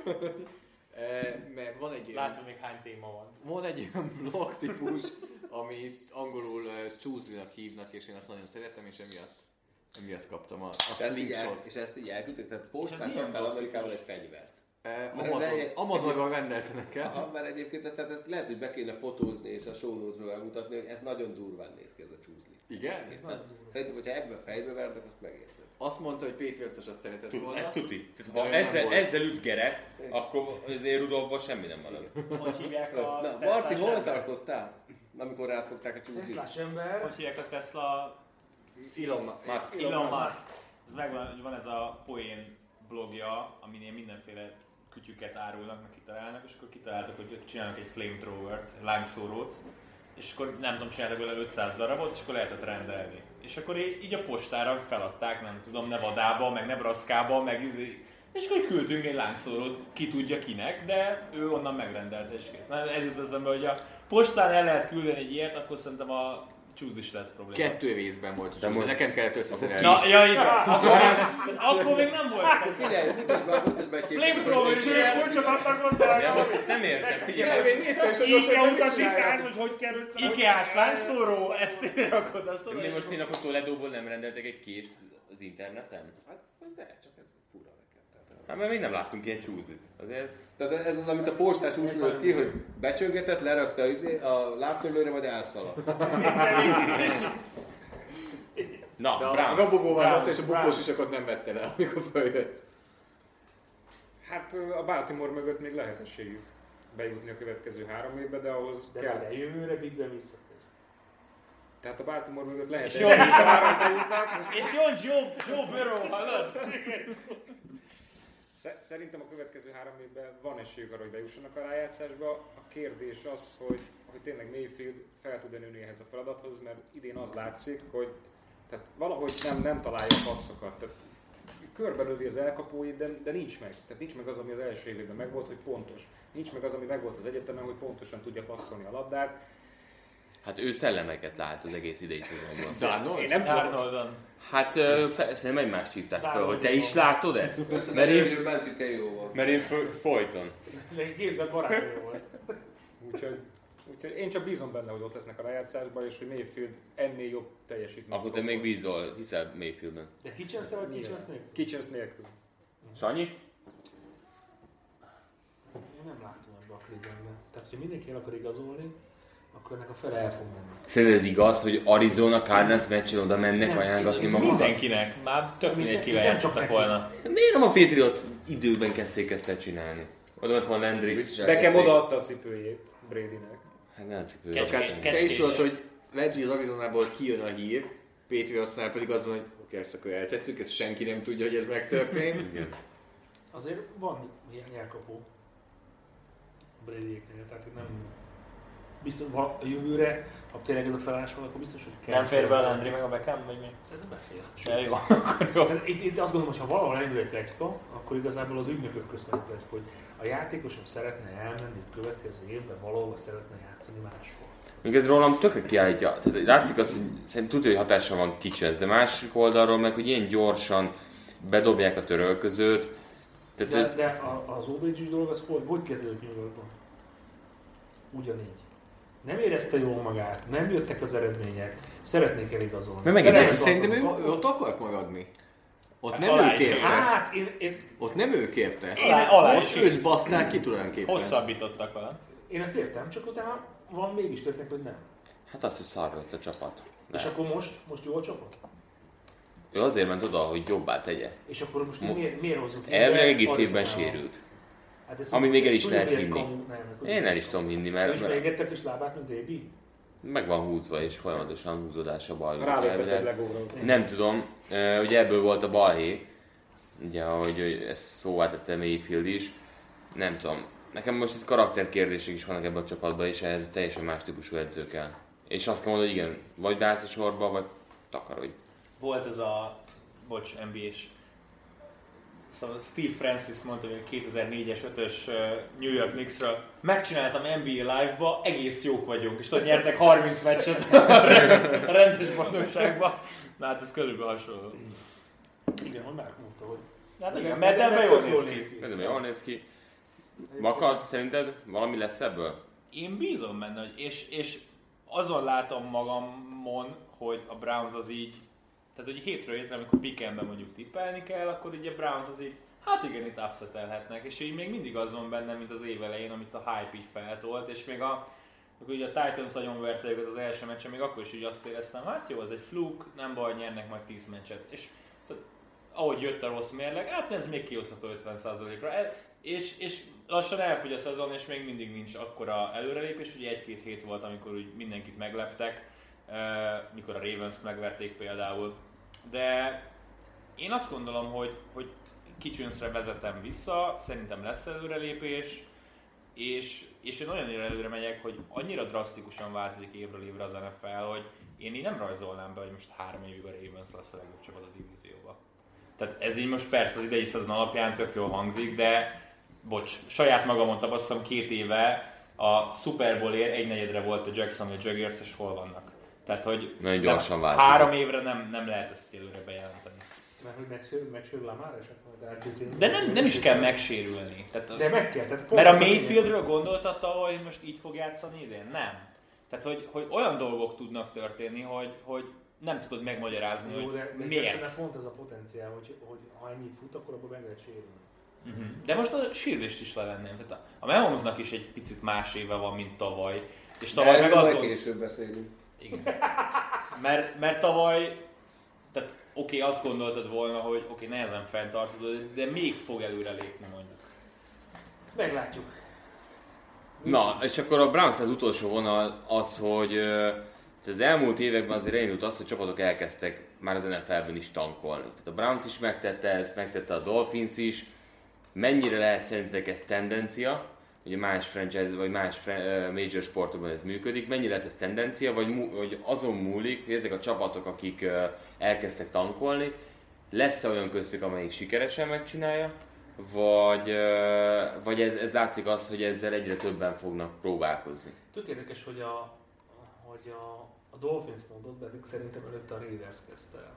E, Mert van egy, Látva még hány téma van. van egy olyan blog típus, amit angolul uh, csúszlinak hívnak, és én azt nagyon szeretem, és emiatt, emiatt kaptam a, a Ezt így el, slingshot. és ezt így elküldték, tehát És ez postán milyen kaptál blog Amerikában egy fegyvert. E, Mert Amazon, le- Amazonban rendelte nekem. Aha, mert egyébként ezt, tehát ezt lehet, hogy be kéne fotózni és a show notes-ról elmutatni, hogy ez nagyon durván néz ki ez a csúszli. Igen? Szerintem, hogyha ebben fejbe vernek, azt megérzed. Azt mondta, hogy Patriotsosat szeretett volna. Ez tuti. Tehát, Olyan ha nem ezzel, volt. ezzel ütgeret, akkor azért Rudolfból semmi nem marad. Hogy hívják a Na, Tesla Marti, hol embert? tartottál? Amikor átfogták a csúszlit. Teslás ember. Hogy hívják a Tesla Elon Musk. Elon Musk. Ez megvan, hogy van ez a poén blogja, aminél mindenféle kütyüket árulnak, meg kitalálnak, és akkor kitaláltak, hogy ők csinálnak egy flamethrower-t, lángszórót, és akkor nem tudom, csináltak vele 500 darabot, és akkor lehetett rendelni. És akkor í- így a postára feladták, nem tudom, Nevadába, meg Nebraska-ba, meg izé, és akkor küldtünk egy lángszórót, ki tudja kinek, de ő onnan megrendelte és kész. Na, ez jut eszembe, hogy a postán el lehet küldeni egy ilyet, akkor szerintem a csúszd is lesz probléma. Kettő részben volt. De most- nekem kellett összeszerelni. Na, ja, igen. Akkor, még- akkor még nem volt. Hát, Figyelj, miközben a múltesben Flamethrower is ilyen. Kulcsot adtak hozzá, Ja, most ezt nem értem. Figyelj, Elvén néztem, és hogy így kell ott utasítás, hogy hogy kell össze. Ikeás lányszóró, ezt ide rakod, azt de tudod, most és én akkor Toledóból nem rendeltek egy kést az interneten? Hát, de, csak ez fura nekem. Tehát, Hát mert még nem láttunk ilyen csúzlit. Azért ez... Tehát ez az, amit a postás úgy lőtt ki, hogy becsöngetett, lerakta az izé- a lábtörlőre, majd elszaladt. Na, De a Browns. robogó van Browns, azt, és a bukós isakat nem vette le, amikor följött. Hát ö, a Baltimore mögött még lehetőségük bejutni a következő három évbe, de ahhoz De kell. várjál, jövőre Big Ben visszatér. Tehát a Baltimore mögött lehet jó. egy- három bejutnak. és jön Joe, Joe Burrow, hallod? Sze- Szerintem a következő három évben van esélyük arra, hogy bejussanak a rájátszásba. A kérdés az, hogy, hogy tényleg Mayfield fel tud nőni ehhez a feladathoz, mert idén az látszik, hogy tehát valahogy nem, nem találja a passzokat. Tehát körbelövi az elkapóit, de, de, nincs meg. Tehát nincs meg az, ami az első évében megvolt, hogy pontos. Nincs meg az, ami megvolt az egyetemen, hogy pontosan tudja passzolni a labdát. Hát ő szellemeket lát az egész idei szezonban. Darnold? Én nem tudom, Arnoldon. Hát ö, fe- szerintem egymást hívták fel, hogy te is látod ezt? Mert én, Benti, te jó volt. mert én fo- folyton. Egy Hát, képzett barátja volt. Úgyhogy, úgyhogy én csak bízom benne, hogy ott lesznek a rájátszásban, és hogy Mayfield ennél jobb teljesítmény. Akkor te még bízol, hiszel Mayfieldben. De Kitchens vagy Kitchens nélkül? Kitchens nélkül. Sanyi? Én nem látom ebbe a Clevelandben. Tehát, hogyha mindenki el akar igazolni, akkor ennek a fele el fog menni. Szerinted ez igaz, hogy Arizona Cardinals meccsen oda mennek Nem, ajánlatni magukat? Mindenkinek. Már tök mindenkivel nem csak játszottak neki. volna. Miért nem a Patriots időben kezdték ezt elcsinálni? Oda ott van Landry. Nekem odaadta a cipőjét Bradynek. Hát ne látszik, hogy Kecske- oda- kecske- Te is Kecskés. tudod, hogy Leggy az Arizonából kijön a hír, Patriotsnál pedig az van, hogy oké, ezt akkor eltesszük, ezt senki nem tudja, hogy ez megtörtént. Azért van ilyen elkapó Bradyéknél, tehát itt nem biztos, ha a jövőre, ha tényleg ez a felállás van, akkor biztos, hogy kell. Nem fér be a Landry meg a Beckham, vagy mi? Szerintem befér. Ja, jó. Hát Itt, itt azt gondolom, hogy ha valahol elindul egy pletyka, akkor igazából az ügynökök közt van egy pletyka, hogy a játékosom szeretne elmenni a következő évben, valahol szeretne játszani máshol. Még ez rólam tökre kiállítja. Tehát látszik az, hogy szerintem tudja, hogy hatása van Kitchens, de másik oldalról meg, hogy ilyen gyorsan bedobják a törölközőt. Tehát, De, de... de a- az Obridge dolog az hogy, hogy kezdődött New Yorkban? Ugyanígy. Nem érezte jól magát, nem jöttek az eredmények, szeretnék eligazolni. Mert megint Szeretnék Szerintem ő tartani. ott akart maradni. Ott nem Alá ő is kérte. Hát, én, én, Ott nem ő kérte. Én alá Ott is őt baszták ki tulajdonképpen. Hosszabbítottak vele. én ezt értem, csak utána van mégis történik, hogy nem. Hát azt, hogy szarrott a csapat. És Le. akkor most, most jó a csapat? Ő azért ment oda, hogy jobbá tegye. És akkor most Mo- miért, miért hozott? Elvileg egész évben Arizonával? sérült. Hát ezt Ami tudjuk- még el is tudjuk, lehet hogy ez hinni. kamu- nem, ezt tudjuk, Én el hogy is ez tudom hinni, kamu. Ő is mert, mert leégettek és lábát, mint Débi? meg van húzva, és folyamatosan húzódás a baj. Rálépett egy elvileg. legóra. Nem tudom, ö, ugye ebből volt a balhé, ugye ahogy ö, ezt szóvá tette Mayfield is, nem tudom. Nekem most itt karakterkérdések is vannak ebben a csapatban, és ehhez teljesen más típusú edző kell. És azt kell mondani, hogy igen, vagy beállsz a sorba, vagy takarodj. Volt ez a, bocs, NBA-s, szóval Steve Francis mondta, hogy a 2004-es, 5-ös ö, New York Knicksről megcsináltam NBA Live-ba, egész jók vagyunk, és ott nyertek 30 meccset a [LAUGHS] rendes boldogságban. Na hát ez körülbelül hasonló. Igen, hogy megmondta, hogy... Hát igen, mert nem jól néz ki. Nem jól néz ki. Makad, szerinted valami lesz ebből? Én bízom benne, hogy és, és azon látom magamon, hogy a Browns az így, tehát hogy hétről hétre, amikor pikemben mondjuk tippelni kell, akkor ugye a Browns az így, hát igen, itt upsetelhetnek, és így még mindig az van bennem, mint az év elején, amit a hype így feltolt, és még a akkor ugye a Titans nagyon verte őket az első meccsen, még akkor is ugye azt éreztem, hát jó, ez egy fluk, nem baj, nyernek majd 10 meccset. És tehát, ahogy jött a rossz mérleg, hát ez még kihozható 50%-ra. E- És, és lassan elfogy a szezon, és még mindig nincs akkora előrelépés. Ugye egy-két hét volt, amikor úgy mindenkit megleptek, e, mikor a Ravens-t megverték például. De én azt gondolom, hogy, hogy Kitchensre vezetem vissza, szerintem lesz előrelépés, és, és én olyan előre megyek, hogy annyira drasztikusan változik évről évre az NFL, hogy én így nem rajzolnám be, hogy most három évig a Ravens lesz a legjobb csapat a divízióba. Tehát ez így most persze az idei szezon alapján tök jól hangzik, de bocs, saját magamon tapasztalom két éve a Super Bowl ér egy negyedre volt a Jacksonville Jaguars, és hol vannak. Tehát, hogy Nagyon nem- gyorsan változik. három évre nem, nem lehet ezt így előre bejelenteni. Mert hogy megsérül, megsérül Lamar, és akkor eltűnt. De nem, nem is kell megsérülni. Tehát, De meg kell, tehát pont mert a az Mayfieldről gondoltatta, hogy most így fog játszani idén? Nem. Tehát, hogy, hogy olyan dolgok tudnak történni, hogy, hogy nem tudod megmagyarázni, Jó, hogy de, de miért. miért? pont ez a potenciál, hogy, hogy ha ennyit fut, akkor abban meg lehet sérülni. Mhm. De most a sírlést is levenném. Tehát a, a Mahomesnak is egy picit más éve van, mint tavaly. És tavaly meg azt Erről gond... majd később beszélünk. Igen. Mert, mert tavaly, tehát oké, azt gondoltad volna, hogy oké, nehezen fenntartod, de még fog előrelépni mondjuk. Meglátjuk. Na, és akkor a Browns az utolsó vonal az, hogy ö, az elmúlt években azért elindult az, hogy csapatok elkezdtek már az NFL-ben is tankolni. Tehát a Browns is megtette ezt, megtette a Dolphins is, mennyire lehet szerintetek ez tendencia, hogy más franchise vagy más fran- ö, major sportokban ez működik, mennyire lehet ez tendencia, vagy, mu- vagy azon múlik, hogy ezek a csapatok, akik ö, elkezdtek tankolni, lesz olyan köztük, amelyik sikeresen megcsinálja, vagy, ö, vagy ez, ez látszik az, hogy ezzel egyre többen fognak próbálkozni. Tök érdekes, hogy a, hogy a, a Dolphins mondott, pedig szerintem előtte a Raiders kezdte el.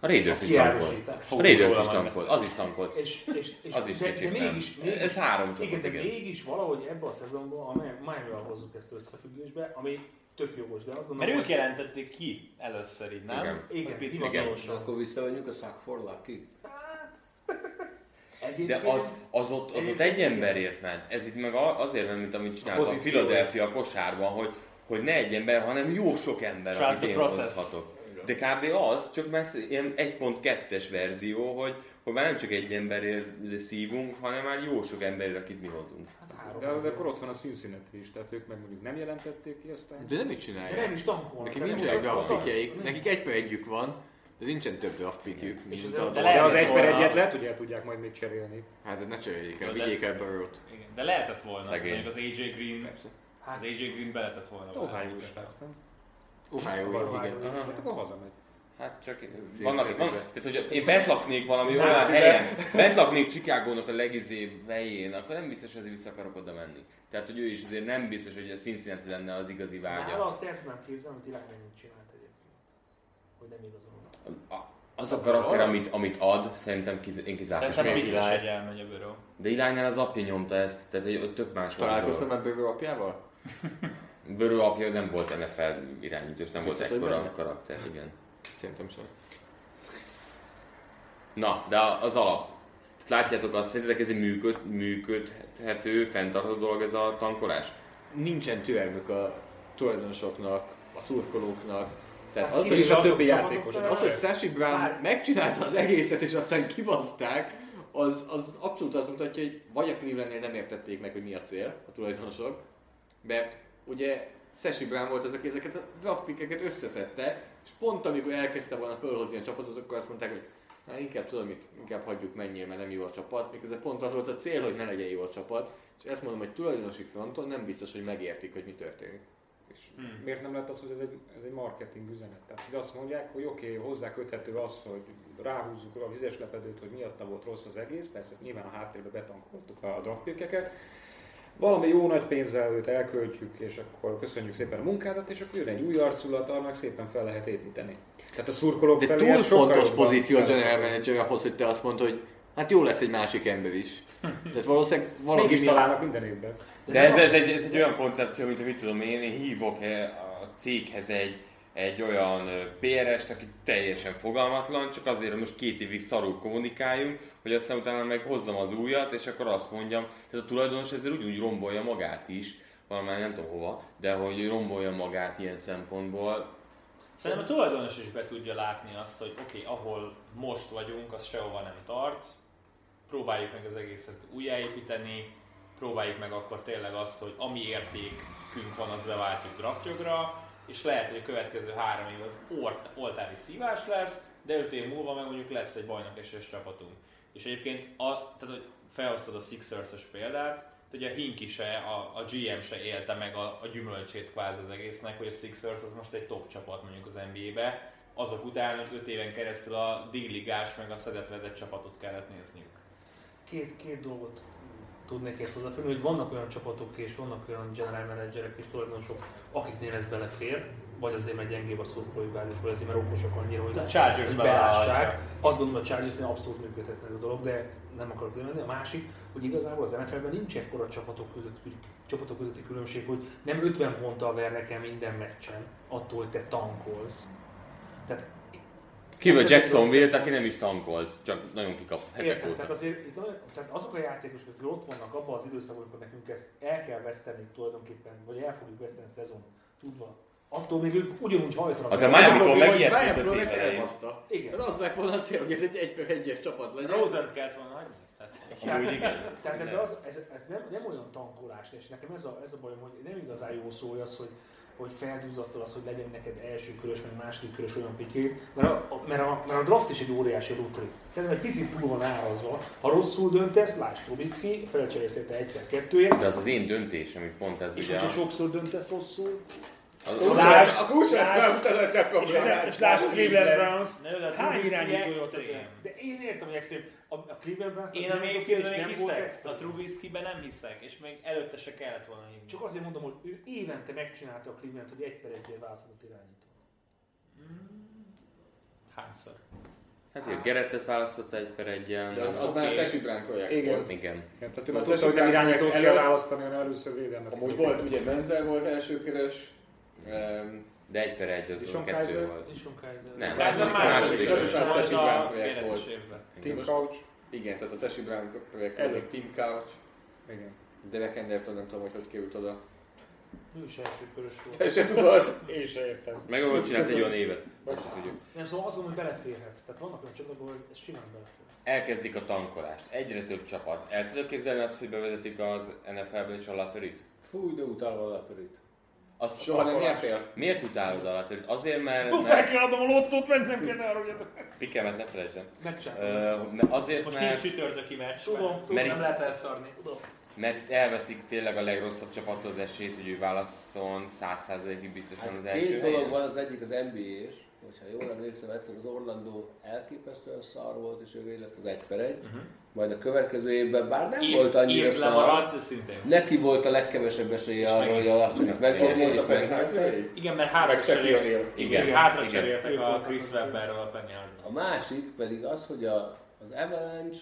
A Raiders is tankol. Kiárusítás. A Raiders is tankol. Az is tankol. És, és, és Az is de, de kicsit nem. mégis, mégis, Ez három csapat, igen, de igen. mégis valahogy ebbe a szezonban, a Miami-val hozzuk ezt összefüggésbe, ami tök jogos, de azt Mert gondolom, ők jelentették ki először így, nem? Igen. igen, Picit. És hivatalosan. Hát. akkor visszavonjuk a Suck for Lucky? De [LAUGHS] Egyébként az, az, ott, az ott egy emberért ment. Ez itt meg a- azért ment, mint amit csináltam a Philadelphia kosárban, hogy, hogy ne egy ember, hanem jó sok ember, Trust akit the én process. hozhatok. De kb. az, csak már ilyen 1.2-es verzió, hogy, hogy már nem csak egy emberért szívunk, hanem már jó sok emberért, akit mi hozunk. De, de akkor ott van a Cincinnati is, tehát ők meg mondjuk nem jelentették ki, aztán... De nem is de csinálják. nem is tankolnak. Nekik hanem nincsenek ott- ott draft tart- pickjeik, nekik egy per együk van, de nincsen több draft pickjük, És mint az- a de De lehet- Dolphins. az egy per volna- egyet lehet, hogy el tudják majd még cserélni. Hát ne cseréljék el, De- vigyék el Burrow-t. Igen. De lehetett volna, Szegény. mondjuk az AJ Green, Persze. az AJ Green beletett volna. Ohio is lesz, nem? Ohio, igen. Hát akkor hazamegy. Hát csak James vannak, van, Harden. tehát hogy én bent laknék valami olyan helyen, bent laknék Chicagónak a legizébb helyén, akkor nem biztos, hogy azért vissza akarok oda menni. Tehát, hogy ő is azért nem biztos, hogy a Cincinnati lenne az igazi Nála vágya. azt el tudnám képzelni, amit Ilák nem csinált egyébként. Hogy nem igazolnak. A- Az a karakter, amit, amit ad, szerintem kiz, én Szerintem kizárom. biztos, hogy elmegy a bőrő. De Ilánynál az apja nyomta ezt, tehát hogy ott tök más volt. a Találkoztam dolog. már Burrow apjával? Börő apja nem volt NFL irányítós, nem volt Biztos, hogy ekkora benne? karakter, igen. Szerintem sem. Na, de az alap. Tehát Látjátok azt, szerintetek ez egy működ, működhető, fenntartható dolog ez a tankolás? Nincsen türelmük a tulajdonosoknak, a szurkolóknak. Tehát Hát az, ki hogy is És a azok többi csapatok Hát- játékos. fel- az, hogy Sashi Brown Már- megcsinálta az egészet és aztán kibaszták, az, az abszolút azt mutatja, hogy vagy a Clevelandnél nem értették meg, hogy mi a cél a tulajdonosok, mert ugye Sashi Brown volt az, aki ezeket a draft pickeket összeszedte, és pont amikor elkezdte volna fölhozni a csapatot, akkor azt mondták, hogy na Hát inkább tudom, mit, inkább hagyjuk menjél, mert nem jó a csapat, miközben pont az volt a cél, hogy ne legyen jó a csapat, és ezt mondom, hogy tulajdonosi fronton nem biztos, hogy megértik, hogy mi történik. És Hmm. miért nem lett az, hogy ez egy, ez egy marketing üzenet? Tehát hogy azt mondják, hogy oké, okay, hozzá köthető az, hogy ráhúzzuk a vizes lepedőt, hogy miatta volt rossz az egész, persze ezt nyilván a háttérbe betankoltuk a draftpilkeket, valami jó nagy pénzzel őt elköltjük, és akkor köszönjük szépen a munkádat, és akkor jön egy új arculat, annak szépen fel lehet építeni. Tehát a szurkolók De felé túl ez sokkal fontos jobban pozíció a fel- general manager ahhoz, hogy te azt mondd, hogy hát jó lesz egy másik ember is. Tehát valószínűleg valaki Mégis miatt- találnak minden évben. De ez, ez, egy, ez egy olyan koncepció, mint hogy mit tudom én, én hívok eh, a céghez egy, egy olyan ö, PR-est, aki teljesen fogalmatlan, csak azért, hogy most két évig szarul kommunikáljunk, hogy aztán utána meg hozzam az újat, és akkor azt mondjam, hogy a tulajdonos ezzel úgy, úgy rombolja magát is, valamely nem tudom hova, de hogy rombolja magát ilyen szempontból. Szerintem a tulajdonos is be tudja látni azt, hogy oké, okay, ahol most vagyunk, az sehova nem tart. Próbáljuk meg az egészet újjáépíteni, próbáljuk meg akkor tényleg azt, hogy ami értékünk van, az beváltjuk draftjogra, és lehet, hogy a következő három év az ort, oltári szívás lesz, de öt év múlva meg mondjuk lesz egy bajnok esélyes csapatunk. És egyébként, a, tehát hogy felhoztad a Sixers-ös példát, tehát ugye a Hinki se, a, a GM se élte meg a, a gyümölcsét kvázi az egésznek, hogy a Sixers az most egy top csapat mondjuk az NBA-be, azok után, hogy öt éven keresztül a D-ligás meg a szedetvedett csapatot kellett nézniük. két, két dolgot tudnék ezt hozzáfűzni, hogy vannak olyan csapatok és vannak olyan general managerek és tulajdonosok, akiknél ez belefér, vagy azért mert gyengébb a szurkolói bázis, vagy azért mert okosak annyira, hogy A Chargers hogy bevállalja. belássák. Azt gondolom, a Chargersnél abszolút működhetne ez a dolog, de nem akarok menni. A másik, hogy igazából az NFL-ben nincs ekkora csapatok között, csapatok közötti különbség, hogy nem 50 ponttal vernek el minden meccsen, attól, hogy te tankolsz. Tehát Kívül Ez Jacksonville, aki nem is tankolt, csak nagyon kikap hetek Értem, óta. tehát azért itt nagyon- tehát azok a játékosok, akik ott vannak abban az időszakban, amikor nekünk ezt el kell veszteni tulajdonképpen, vagy el fogjuk veszteni a szezon, tudva, attól még ők ugyanúgy hajtanak. Azért el. Miami-tól Brian megijedtünk Flores- Brian az Flores év elején. elbaszta. Igen. Tehát az lett volna a cél, hogy ez egy egy per egyes csapat legyen. Rosen-t kellett volna hagyni? Tehát, Amúgy igen. Tehát ebbe az, ez, ez nem, nem olyan tankolás, és nekem ez a, ez a bajom, hogy nem igazán jó szó hogy az, hogy hogy felduzzasztod azt, hogy legyen neked első körös, meg második körös olyan piké, mert a, a- mert a, mert a draft is egy óriási lutri. Szerintem egy picit túl van árazva. Ha rosszul döntesz, lásd Trubisky, felcserélszette egyre kettőért, De az az én döntésem, hogy pont ez és ugye... hogyha a- sokszor döntesz rosszul, Az, lásd, Akkor úgy sem lásd, nem területek problémát. és lásd Cleveland Browns, Na jó, de a hány Trubisky irányítója extrém. teszel? De én értem, hogy extrém. A, a Cleveland Browns Én Hát az a irányítója Mayfieldben is még nem volt hiszek, extrém. a Trubiskyben nem hiszek, és még előtte se kellett volna hívni. Csak azért mondom, hogy ő évente megcsinálta a Cleveland, hogy egy per egyért választott irányító. Hányszor? hát ugye Gerettet választotta egy per egyen. De az, az már Sessi Brand projekt Igen. volt. Igen. Igen, tehát ő Az már tudta, hogy esetleg nem irányítót elő- kell választani, hanem először védelmet. Amúgy kell. volt ugye Menzel volt elsőkörös, em, De egy per egy az Dishon a kettő Kaiser? volt. Dishon Kaiser. Nem. Tehát ez a második, Második. közös volt Második a projekt volt. véletes évben. Team Couch. igen, tehát az Sessi Brand projekt Elő. volt, még Tim Couch, Igen. Derek Anderson, nem tudom, hogy hogy került oda. Ő is első körös volt. Te se tudod? Én se értem. Meg ahol csinált egy olyan évet. Nem, szóval azt mondom, hogy beleférhet. Tehát vannak olyan csapatokban, hogy ez simán belefér. Elkezdik a tankolást. Egyre több csapat. El tudod képzelni azt, hogy bevezetik az NFL-ben is a latörit? Hú, de utálva a latorit. Azt Soha nem nyertél? Miért utálod a latörit? Azért, mert... Hú, fel mert kell adnom a lottót, mennem kell, ne aruljatok. pikemet ne felejtsd el. Megcsinálta. Ö, ne- Azért, Most nincs mert, csütörtöki meccs, Tudom, mert tudom. Mert nem itt- lehet elszarni. mert itt elveszik tényleg a legrosszabb csapattól az esélyt, hogy ő válasszon 100%-ig biztosan Hát az két első dolog helyen. van, az egyik az NBA-s, hogyha jól emlékszem, egyszer az Orlando elképesztően szar volt, és ő lett az egy per egy, Mhm. majd a következő évben bár nem Év- volt annyira Év szar, lemaradt, de szintén. neki volt a legkevesebb esélye arra, hogy a lapcsinak Ott megnyerje, volt és a Penny megnyerte. Hardaway, Igen, mert meg hátra Shaquille cserél- O'Neal. Igen, Igen, hátra igen. cseréltek Ők a voltak Chris azok. Webberrel a Penny Hardaway. A másik pedig az, hogy a, az Avalanche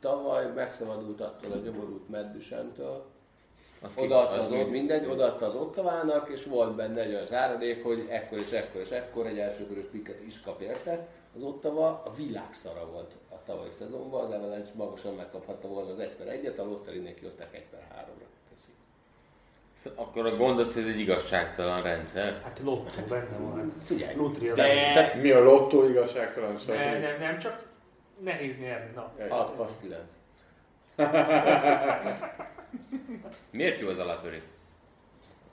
tavaly megszabadult attól a gyomorult meddüsentől, Az ki- odaadta az az, mi? ott, mindegy, odaadta az ottavának, és volt benne egy olyan záradék, hogy ekkor és ekkor és ekkor egy elsőkörös pikket is kap érte. Az ottava a világ szara volt a tavalyi szezonban, az Avalanche magasan megkaphatta volna az 1 per 1-et, a Lotteri kihozták 1 per 3-ra. Köszi. Akkor a gond az, hogy ez egy igazságtalan rendszer. Hát lottó, benne van. Hát Figyelj, Lutri az ember. De hát, Mi a lottó igazságtalan Ne, stadion? nem, nem, csak nehéz nyerni. Na, 6 vagy 9. Miért jó az a latöri?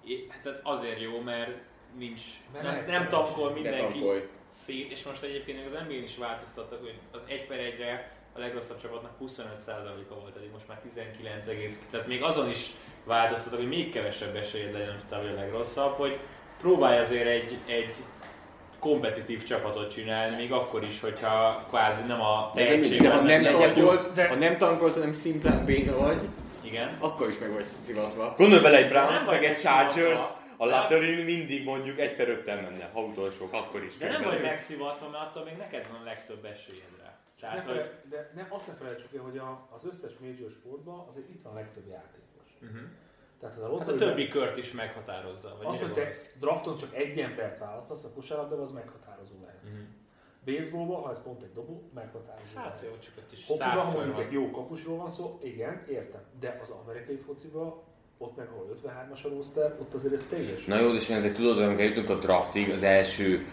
É, Hát ez azért jó, mert nincs, Mert nem, nem nem tankol Ne mindenki tankolj. szét, és most egyébként még az NBA-n is változtattak, hogy az 1 per 1-re a legrosszabb csapatnak 25%-a volt eddig, most már 19, egész. tehát még azon is változtattak, hogy még kevesebb esélyed legyen, hogy te vagy a legrosszabb, hogy próbálj azért egy, egy kompetitív csapatot csinálni, még akkor is, hogyha kvázi nem a tehetség, De ha nem legyen. tankolsz, ha nem tankolsz, hanem szimplán béna vagy, Igen. akkor is meg vagy szivatva. Gondolj bele egy Nem Browns, vagy meg egy megszivatva. Chargers, a Nem. latörin mindig mondjuk egy per ötten menne, ha utolsók, akkor is. De nem körülbelül. vagy megszivatva, mert attól még neked van a legtöbb esélyed rá. ne Tehát, hogy fele, de ne, azt ne felejtsük el, hogy a, az összes major sportban azért itt van a legtöbb játékos. Mhm. Tehát az a Hát a lottery többi kört is meghatározza. Vagy Azt, mire hogy te gondolsz? drafton csak egy embert választasz, a kosárlabdában az meghatározó lehet. Mhm. Baseballban, ha ez pont egy dobó, meghatározó Hát lehet. jó, csak ott is Hokiban, száz ha kör mondjuk egy van. jó kapusról van szó, igen, értem. De az amerikai fociban, ott meg ahol 53-as a roster, ott azért ez teljes. Na jó, de sem ezek tudod, hogy amikor jutunk a draftig, az első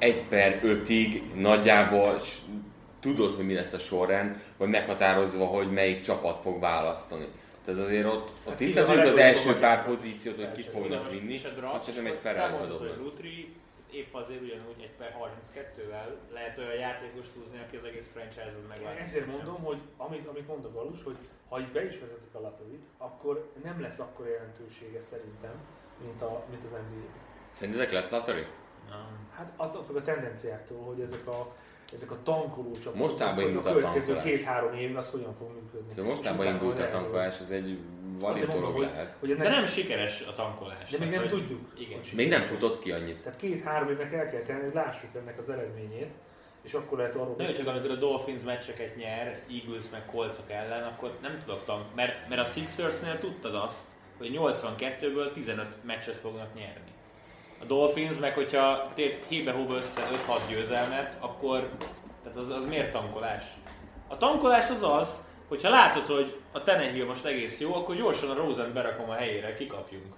1 per 5-ig nagyjából s- tudod, hogy mi lesz a sorrend, vagy meghatározva, hogy melyik csapat fog választani. Tehát azért ott, ott tisztán igen, tudjuk a az legjobb első csapat. pár pozíciót, hogy kit Persze, Na fognak most vinni, is a draft, hát csak nem egy és felállítod. elmondod, hogy Lutri épp azért ugyanúgy egy per 32-vel lehet olyan játékost húzni, aki az egész franchise-ot Én megváltoztatja. ezért mondom, hogy amit, amit mond a Galus, hogy ha így be is vezetik a latorit, akkor nem lesz akkor jelentősége szerintem, mint, a, mint az NBA. Szerintetek lesz lottery? Nem. Hát attól függ a tendenciáktól, hogy ezek a, ezek a tankoló csapatok, Mostában hogy indult a következő tankolás. két-három év az hogyan fog működni. De És mostában utána indult a lehet, tankolás, ez egy hogy- valid Azért mondom, dolog hogy, lehet. hogy De nem sikeres a tankolás. de még nem tehát, hogy- tudjuk. igen. hogy Még nem sikerül. futott ki annyit. Tehát két-három évnek el kell tenni, hogy lássuk ennek az eredményét, és akkor lehet arról Na jó, csak beszélni. amikor a Dolphins meccseket nyer, Eagles meg Colcok ellen, akkor nem tudok tank, mert, mert a Sixersnél tudtad azt, hogy 82-ből 15 meccset fognak nyerni. A Dolphins meg, hogyha tét hébe hóba össze 5-6 győzelmet, akkor tehát az, az miért tankolás? A tankolás az az, hogyha látod, hogy a Tenehill most egész jó, akkor gyorsan a Rosen berakom a helyére, kikapjunk.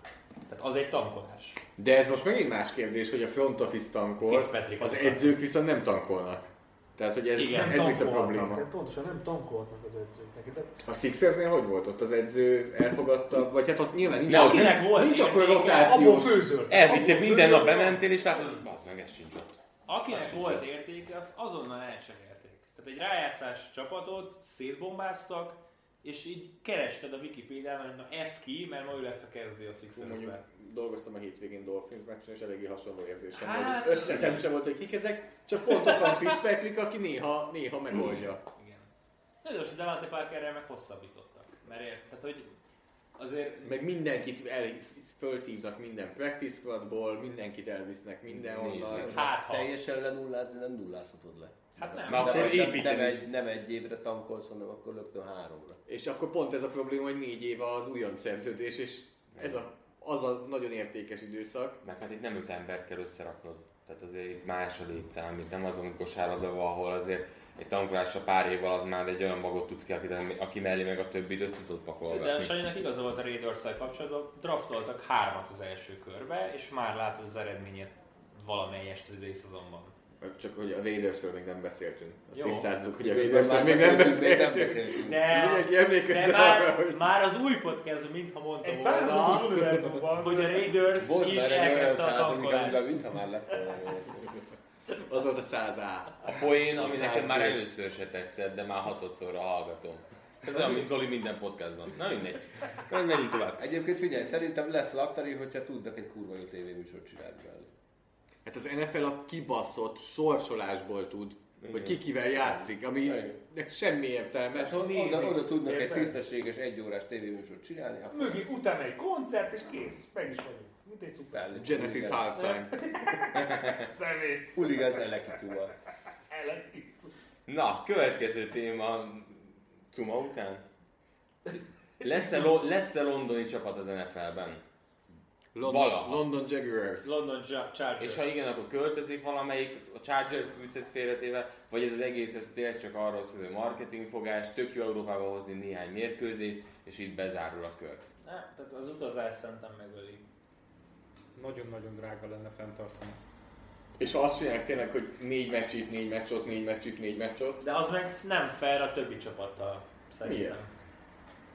Tehát az egy tankolás. De ez most megint más kérdés, hogy a front office tankol, Fitzpatrick az az edzők viszont nem tankolnak. Tehát, hogy ez, Igen, ez itt a tankolhatnak, probléma. tehát Pontosan nem tankolhatnak az edzőknek. De A Sixersnél hogy volt ott az edző? Elfogadta? Vagy hát ott nyilván nincs, Ne, ott Akinek volt nincs akkor értéke, abból rotációs. főzöl. Elvitték minden nap, bementél, és látod, hogy bazd meg, ez sincs ott. Akinek volt értéke, azt azonnal elcserélték. Tehát egy rájátszás csapatot szétbombáztak, és így kerested a Wikipédián, hogy na ez ki, mert ma ő lesz a kezdő a Mondjuk Sixersbe. dolgoztam a hétvégén Dolphins meccsen, és eléggé hasonló érzésem Hát, hát, volt. Ötletem sem volt, hogy kik ezek, csak pont ott van Fitzpatrick, aki néha, néha megoldja. Igen. Na jó, és a Devante Parkerrel meg hosszabbítottak. Mert ér, tehát, hogy azért Meg mindenkit el, felszívnak minden practice squadból, mindenkit elvisznek mindenhonnan. Nézzük. hát ha. Teljesen lenullázni nem nullázhatod le. Hát nem. Nem, Na, akkor nem, nem, építeni. nem, egy, nem egy évre tankolsz, hanem akkor rögtön háromra. És akkor pont ez a probléma, hogy négy éve az újon szerződés, és ez a, az a nagyon értékes időszak. Meg hát itt nem öt embert kell összeraknod. Tehát azért egy második számít, nem azon kosárlabda, ahol azért egy tankolásra pár év alatt már egy olyan magot tudsz kialakítani, aki mellé meg a többit össze tud pakolni. De a Sanyinak igaza volt a raiders kapcsolatban, draftoltak hármat az első körbe, és már látod az eredményét valamelyest az idei szezonban. Csak hogy a Raidersről még nem beszéltünk. Azt Jó. tisztázzuk, hogy a Erről Raidersről már még nem beszéltünk, még nem beszéltünk. beszéltünk. De, Mindenki emlékezzen de már, arra, hogy- már az új podcastban, mintha mondta Egy volna, párhuzamos univerzumban. hogy a Raiders Volt is már egy olyan elkezdte a száz, amiben tankolást. mintha már lett volna. egy olyan szó. Az volt a 100 A. A poén, ami Száz nekem már év. először se tetszett, de már hatodszorra hallgatom. Ez olyan, mint Zoli minden podcastban. Na mindegy. Na, menjünk tovább. Egyébként figyelj, szerintem lesz laktari, hogyha tudnak egy kurva jó tévéműsort csinálni belőle. Hát az NFL a kibaszott sorsolásból tud, hogy ki kivel játszik, ami Igen. semmi értelme. Hát oda, oda, oda tudnak egy tisztességes, egyórás tévéműsort csinálni, akkor Mögé utána egy koncert, és kész. Meg is vagyunk. Mint egy szuper. Genesis Halftime. Szemét. huligáz elekicúval. Ellen. Na, következő téma. Cuma után? Lesz-e, lo- lesz-e londoni csapat az NFL-ben? London, Valaha. London Jaguars. London Ja- Chargers. És ha igen, akkor költözik valamelyik a Chargers viccet félretéve, vagy ez az egész, ez tényleg csak arról szól, hogy marketingfogás, tök jó Európába hozni néhány mérkőzést, és itt bezárul a kör. Nem, tehát az utazás szerintem megöli. Nagyon-nagyon drága lenne fenntartani. És ha azt csinálják tényleg, hogy négy meccs itt, négy meccs ott, négy meccs itt, négy meccs ott. De az meg nem fair a többi csapattal, szerintem. Miért?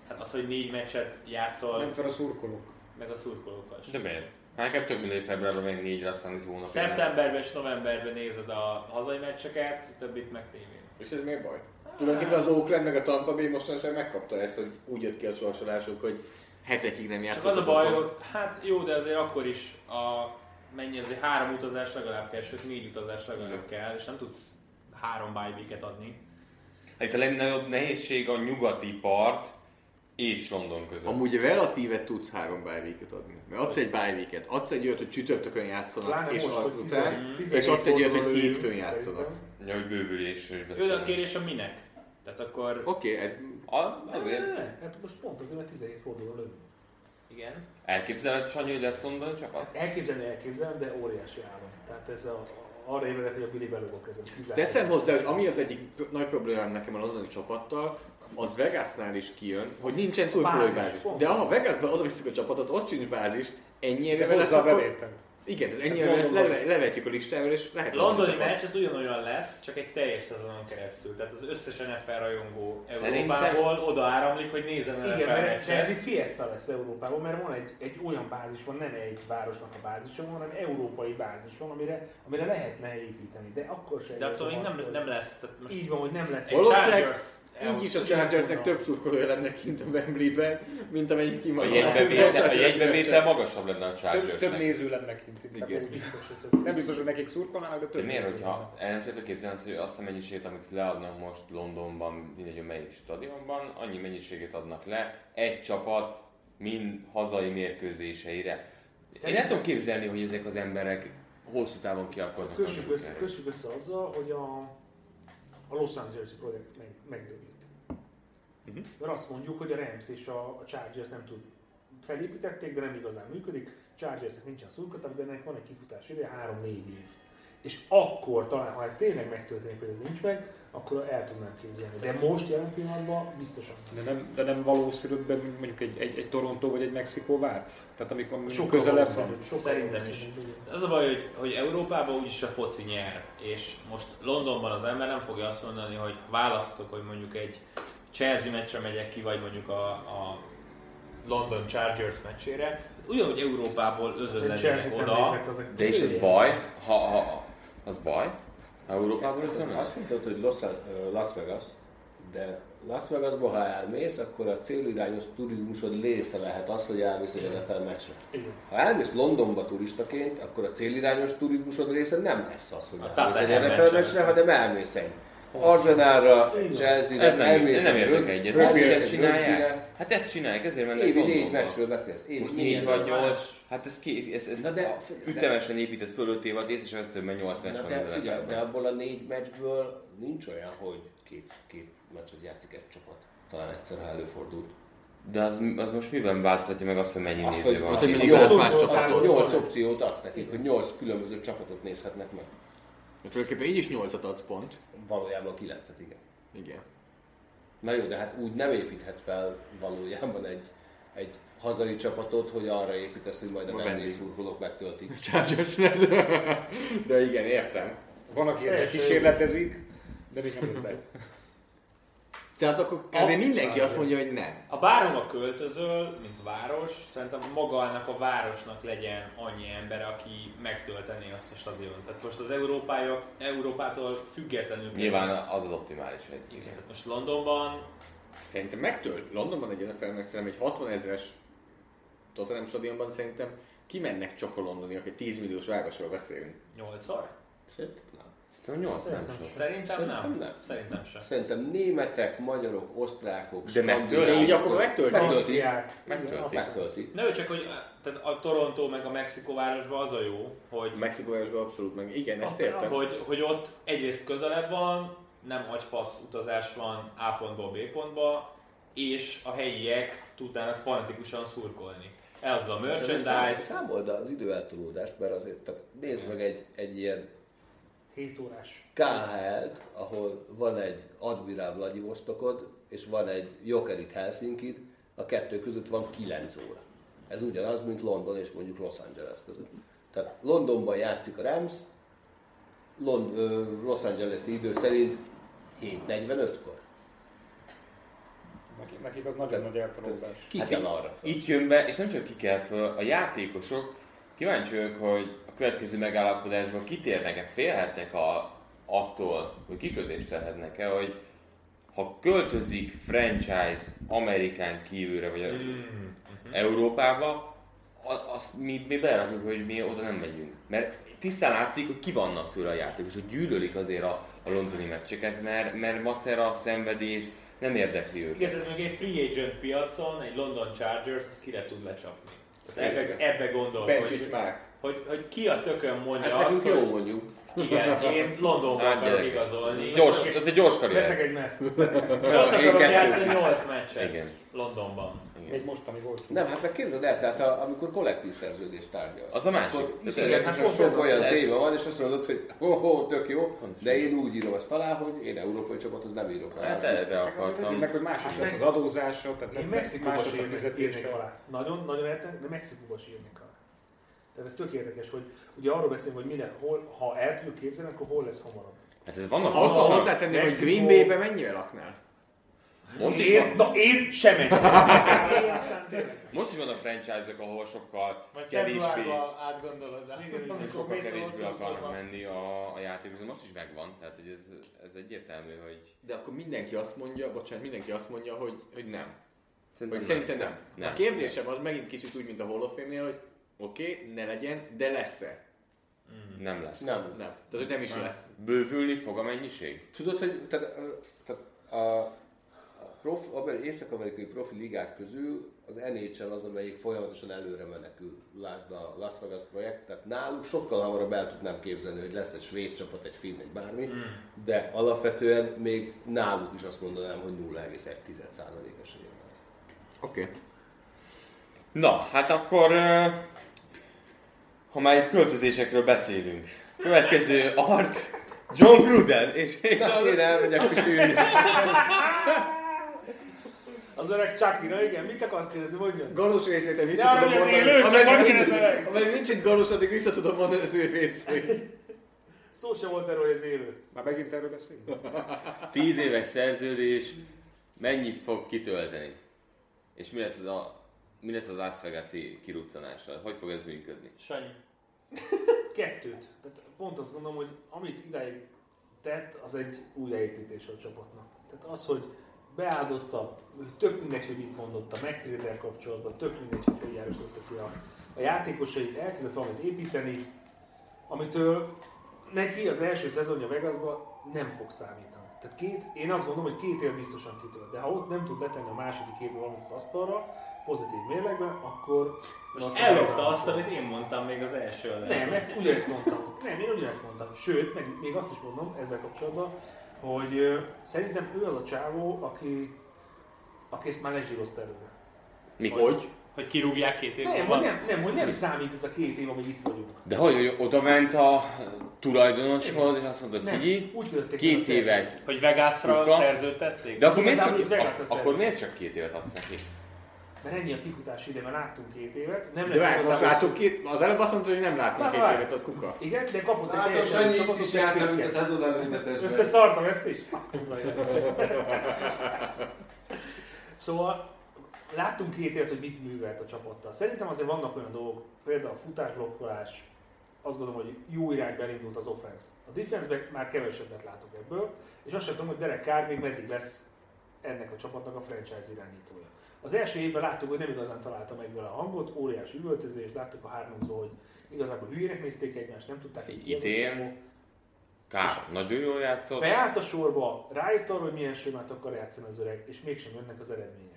Hát az, hogy négy meccset játszol, Nem fel a szurkolók. meg a szurkolókkal sem. De miért? Hát inkább több mint egy februárban meg négyre, aztán egy hónapig. Szeptemberben és novemberben nézed a hazai meccseket, a többit meg tévén. És ez miért baj? Tulajdonképpen az Oakland meg a Tampa Bay mostanság megkapta ezt, hogy úgy jött ki a sorsolásuk, hogy hetekig nem játszott. Csak az a baj, hogy hát jó, de azért akkor is a mennyi azért három utazás legalább kell, sőt négy utazás legalább kell, és nem tudsz három bye adni. Itt a legnagyobb nehézség a nyugati part és London között. Amúgy relatíve tudsz három bájvéket adni. Mert adsz egy bájvéket, adsz egy olyat, hogy csütörtökön játszanak, Pláne és most, hogy azután, 11 és adsz egy olyat, hogy forduló hétfőn lövünk, játszanak. szerintem. Ja, hogy bővülésről is Jó, de a beszélünk. kérdés a minek? Tehát akkor... Oké, ez A, azért Ne, Hát most pont azért, mert 17 forduló lövünk. Igen. elképzelhető, Sanyi, hogy lesz London csapat? Elképzelni elképzelem, de óriási álom. Tehát ez a, arra évedek, hogy a Billy belugok ezen. Kizárt. Teszem hozzá, hogy ami az egyik p- nagy problémám nekem a londoni csapattal, az Vegasnál is kijön, hogy nincsen szurkolói bázis, bázis. pont. De ha Vegasba oda visszük a csapatot, ott sincs bázis, ennyi De erővel lesz, hozzá a Hát akkor... bevételt. Igen, tehát ennyi erővel lesz, leve, levetjük a listáról, és lehet A londoni hogy a csapat- meccs az ugyanolyan lesz, csak egy teljes szezonon keresztül. Tehát az összes NFL rajongó Szerintem- Európából odaáramlik, hogy nézzen NFL Igen, mert meccset. ez itt fiesta lesz Európában, mert van egy, egy olyan bázis, van nem egy városnak a bázisa, van, hanem európai bázis van, amire, amire lehetne építeni, de akkor sem. De attól még nem, nem lesz. Tehát most Így van, hogy nem lesz. Egy Valószínűleg Chargers. így is a Chargersnek több szurkolója lenne kint a Wembley-ben, mint amelyik kimaradt. A jegybevétel, a jegybevétel magasabb lenne a Több, több Chargersnek. néző lenne kint. Igen. Ez biztos, hogy több. Nem biztos, hogy nekik szurkolnának, de több De miért, néző hogyha lenne. el nem tudod képzelni, hogy azt a mennyiséget, amit leadnak most Londonban, mindegy, hogy melyik stadionban, annyi mennyiséget adnak le egy csapat mind hazai mérkőzéseire. Én Szerintem- nem tudom képzelni, hogy ezek az emberek hosszú távon kialkodnak. Kössük maguk össze, erre. kössük össze azzal, hogy a, a Los Angeles-i projekt meg, megdőlik. Mert azt mondjuk, hogy a Rams és a, a Chargers nem tud felépítették, de nem igazán működik. Chargersnek nincsen szurkata, de ennek van egy kifutás ideje, 3-4 év. És akkor talán, ha ez tényleg megtörténik, hogy ez nincs meg, akkor el tudnám képzelni. De most jelen pillanatban biztosan. De nem, de nem valószínűbb de mondjuk egy, egy, egy Toronto vagy egy Mexikó város? Tehát amikor Sokkal amikor közelebb van. valószínűbb, sokkal Szerintem is. valószínűbb, igen. Az a baj, hogy, hogy Európában úgyis a foci nyer, és most Londonban az ember nem fogja azt mondani, hogy választok, hogy mondjuk egy Chelsea meccsre megyek ki, vagy mondjuk a, a London Chargers meccsére. Ugyanúgy Európából Chelsea-t özönlenének nem oda. nézek, azok- De és ez baj? Ha, ha, az baj? Ha Európában Azt üzemelsz? azt mondtad, hogy Los, ö, Las Vegas, de Las Vegasba, ha elmész, akkor a célirányos turizmusod része lehet az, hogy elmész egy NFL meccsre. Igen. Ha elmész Londonba turistaként, akkor a célirányos turizmusod része nem lesz az, hogy A elmész Tottenham egy NFL meccsre. meccsre, hanem elmész egy Arsenalra, Ez Chelsea-re, nem, elmész ez nem egy értek rög- egyet. rögbi- Hát is ezt egy csinálják? rögbire. Hát ezt csinálják, ezért mennek Évi négy Londonba. meccsről beszélsz. Évi Most négy négy vagy meccsről. nyolc, hát ez, két, ez, ez Na de- a- ütemesen épített föl öt évad, és ez többen nyolc meccs Na van de, az figyelj, de NFL-ben. abból a négy meccsből nincs olyan, hogy két, két meccset játszik egy csapat. Talán egyszer, ha előfordult. De az, az most miben változtatja meg azt, hogy mennyi Azt, néző hogy, van? azt, hogy Jó, nyolc, más azt, hát csapat. hogy nyolc opciót adsz nekik, hogy nyolc különböző csapatot nézhetnek meg. De tulajdonképpen így is 8-at adsz pont. Valójában kilencet, igen. Igen. Na jó, de hát úgy nem építhetsz fel valójában egy, egy hazai csapatot, hogy arra építesz, hogy majd a Ma vendég vendég. szurkolók megtöltik. Chargers [LAUGHS] De igen, értem. Van, aki ezzel kísérletezik, de még nem jött be. Tehát akkor kb. mindenki azt mondja, hogy nem. Ha bárhova költözöl, mint város, szerintem magának a városnak legyen annyi ember, aki megtöltené azt a stadiont. Tehát most az Európája, Európától függetlenül kell- Nyilván az az optimális helyzet. Igen. Tehát most Londonban Szerintem megtölt. Londonban egy NFL szerintem egy 60 ezeres Tottenham stadionban szerintem kimennek csak a londoniak, egy 10 milliós városról beszélünk. nyolszor? Sőt, nem. Szerintem nyolc nem sok. Szerintem, Szerintem nem. nem. Szerintem sem. Szerintem németek, magyarok, osztrákok, De skandinávok- megtöltik? De így akkor megtölt. Megtöltik. Franciák. Megtöltik. Megtöltik. Ne, csak hogy eh, tehát a Toronto meg a Mexikó városban az a jó, hogy, Mexikóvárosban abszolút meg. Igen, ezt a, értem. Hát, hogy, hogy ott egyrészt közelebb van, nem agyfasz utazás van A pontból B pontba, és a helyiek tudnának fanatikusan szurkolni. Eladod a Szám- merchandise, Számold az időeltolódást, mert azért tehát nézd meg egy, egy ilyen 7 órás. KHL-t, ahol van egy Admirál Vladivostokod, és van egy Jokerit Helsinkid, a kettő között van 9 óra. Ez ugyanaz, mint London és mondjuk Los Angeles között. Tehát Londonban játszik a Rams, Lond- ö, Los Angeles idő szerint 7.45-kor. Nekik, nekik az nagyon nagy eltolódás. Ki Hát kell így- arra fel? Így jön be, és nem csak ki kell föl, a játékosok kíváncsi vagyok, hogy a következő megállapodásban kitérnek-e, félhetnek a, attól, hogy kikötést tehetnek-e, hogy ha költözik franchise Amerikán kívülre, vagy Hmm, az uh-huh. mhm. Európába, a- azt mi, mi berakjuk, hogy mi oda nem megyünk. Mert tisztán látszik, hogy ki vannak tőle a játékosok, gyűlölik azért a, a londoni meccseket, mert, mert macera, szenvedés, nem érdekli őket. igen, ez még egy free agent piacon, egy London Chargers, ezt kire tud lecsapni. Tehát Igen. Ebbe, ebbe Bencsics gondolkodj, már. hogy, hogy ki a tökön Ezt mondja azt, nekünk jó hogy mondjuk. Igen, én Londonba Hát, akarok gyerekek. igazolni. Gyors, ez egy gyors karrier. Veszek egy meszt. Ott akarok Igen. játszani 8 meccset Igen. Londonban. Még mostani volt. Nem, hát meg képzeld el, tehát a, amikor kollektív szerződést tárgyalsz. Az a másik. Akkor Ez- hát iszonyatosan pont ez sok az olyan lesz. téma van, és azt mondod, hogy [LAUGHS] ho, ho tök jó, de én úgy írom ezt alá, hogy én európai csapathoz nem írok alá. Hát erre Nézzük akartam. meg, hogy más is lesz az adózása, tehát Én nem más Mexikóba lesz a sírnék, írnék fizetése. alá. Nagyon, nagyon értem, de Mexikóba sírnék alá. Tehát ez tök érdekes, hogy ugye arról beszélünk, hogy minden, hol, ha el tudjuk képzelni, akkor hol lesz hamarabb. Hát ez Ah, vannak Ha pontosan. hozzátenném, hogy Mexikó- Green Bay-be mennyire laknál? Most is, Én, van, na én sem megyek. Én aztán tényleg. most is van a franchise-ok, ahol sokkal Majd kevésbé, februárban átgondolod. de- sokkal kevésbé akarnak menni a, a játékhoz. Most is megvan, tehát hogy ez, ez egyértelmű, hogy... De akkor mindenki azt mondja, bocsánat, mindenki azt mondja, hogy, hogy nem. Vagy nem. szerintem nem. Nem. A kérdésem az megint kicsit úgy, mint a Hall of Fame-nél, hogy oké, ne legyen, de lesz-e? Nem lesz. Nem. Nem. Tehát, hogy nem is lesz. Bővülni fog a mennyiség? Tudod, hogy tehát, ö, tehát a, a prof, a- észak-amerikai profi ligák közül az NHL az, amelyik folyamatosan előre menekül. Lásd a Las Vegas projekt, tehát náluk sokkal hamarabb el tudnám képzelni, hogy lesz egy svéd csapat, egy finn, egy bármi, Hmm. de alapvetően még náluk is azt mondanám, hogy 0,1%-os jövő. Oké. Na, hát akkor... ö, ha már itt költözésekről beszélünk. Következő arc, John Gruden, és, és az, Én elmegyek pisilni. Az öreg Chucky, igen, mit akarsz kérdezni, mondjon? Galus részét én Ne vissza arra, tudom hogy ez mondani. élő, csak Ameddig hagyj nincs, meg! ameddig nincs itt Galus, addig vissza tudom mondani az ő részét. Szó sem volt erről, hogy ez élő. Már megint erről beszélünk? 10 éves szerződés mennyit fog kitölteni? És mi lesz az a, mi lesz az Las Vegas-i kiruccanással? Hogy fog ez működni? Sanyi. Kettőt. Tehát pont azt gondolom, hogy amit idáig tett, az egy újjáépítés a csapatnak. Tehát az, hogy beáldozta, hogy tök mindegy, hogy mit mondott a megtérdel kapcsolatban, tök mindegy, hogy hogy járosította ki a, a játékosait, elkezdett valamit építeni, amitől neki az első szezonja Vegasban nem fog számítani. Tehát két, én azt gondolom, hogy két év biztosan kitölt, de ha ott nem tud letenni a második évben valamit az asztalra, pozitív mérlegben, akkor... Most valószínűleg ellopta nem azt, amit én mondtam még az első adásban. nem, ezt ugyanezt mondtam. Nem, én ugyanezt mondtam. Sőt, meg még azt is mondom ezzel kapcsolatban, hogy ö, szerintem ő az a csávó, aki, aki ezt már lezsírozta előre. Mikor? Hogy? Hogy kirúgják két év Nem, múlva? hogy nem, nem, hogy nem számít ez a két év, amíg itt vagyunk. De hogy, hogy oda ment a tulajdonoshoz, és azt mondta, hogy Nem, figyelj, úgy vették el a két szerződést. évet. Hogy Vegasra Luka. szerződtették? De akkor miért, Igazából csak, itt Vegas a ak- akkor szerződés. miért csak két évet adsz neki? Mert ennyi a kifutási ide, mert láttunk két évet. Nem De várj, most igazából- látunk két, az előbb azt mondtad, hogy nem látunk két Várj. évet, az kuka. Igen, de kapott egy Látom, teljesen új Sanyi itt csapatot, Hát is egy jártam, mint a kritket. szezon előzetesben. Összeszartam ezt is? szóval láttunk két évet, hogy mit művelt a csapattal. Szerintem azért vannak olyan dolgok, például a futásblokkolás, azt gondolom, hogy jó irányba elindult az offense. A defense már kevesebbet látok ebből, és azt sem tudom, hogy Derek Carr még meddig lesz ennek a csapatnak a franchise irányítója. Az első évben láttuk, hogy nem igazán találta meg vele a hangot, óriási üvöltözés, láttuk a háromzó, hogy igazából hülyének nézték egymást, nem tudták, hogy ki az a Idén csomó. Kár, nagyon jól játszott. Beállt a sorba, rájött arra, hogy milyen sémát akar játszani az öreg, és mégsem jönnek az eredmények.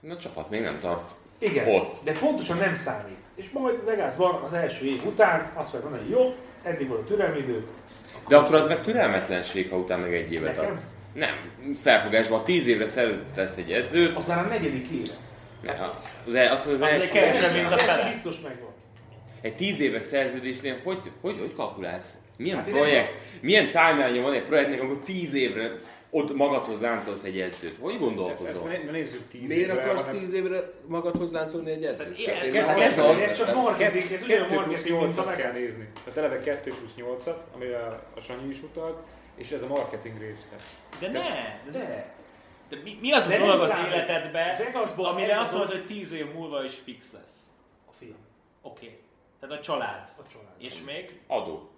Na, a csapat még nem tart. Igen, Ott. de pontosan nem számít. És majd Vegasban az első év után azt fogja mondani, hogy jó, eddig volt a türelmidő, De akkor az meg türelmetlenség, ha utána meg egy évet Nekem? adsz. Nem, felfogásban tíz évre szerződtetsz egy edzőt, az már a negyedik éve. ne, az, el- azt mondod, az, Az első- egy kevesebb, mint a Az első fele. biztos megvan. Egy tíz éves szerződésnél hogy, hogy, hogy kalkulálsz? Milyen hát projekt, milyen timeline van egy projektnek, amikor tíz évre ott magadhoz láncolsz egy edzőt? Hogy Ezt, ezt gondolkozol? ne, ne nézzük tíz Miért évvel, akarsz hanem- tíz évre magadhoz láncolni egy edzőt? ilyen- Csak én Ez, már Hát ez, hallottam. ez csak marketing, ez ugyanolyan 2 plusz marketing, mint a 8-at kell Vegas. nézni. Tehát eleve 2 plusz 8-at, amire a Sanyi is utalt, és ez a marketing része. De ne! De, De, de mi, mi az a De nem dolog az számít. életedbe, Vegasban ez amire a azt dolog- mondod, hogy tíz év múlva is fix lesz? a film, Oké. Okay. Tehát a család. a család. És még? Adó.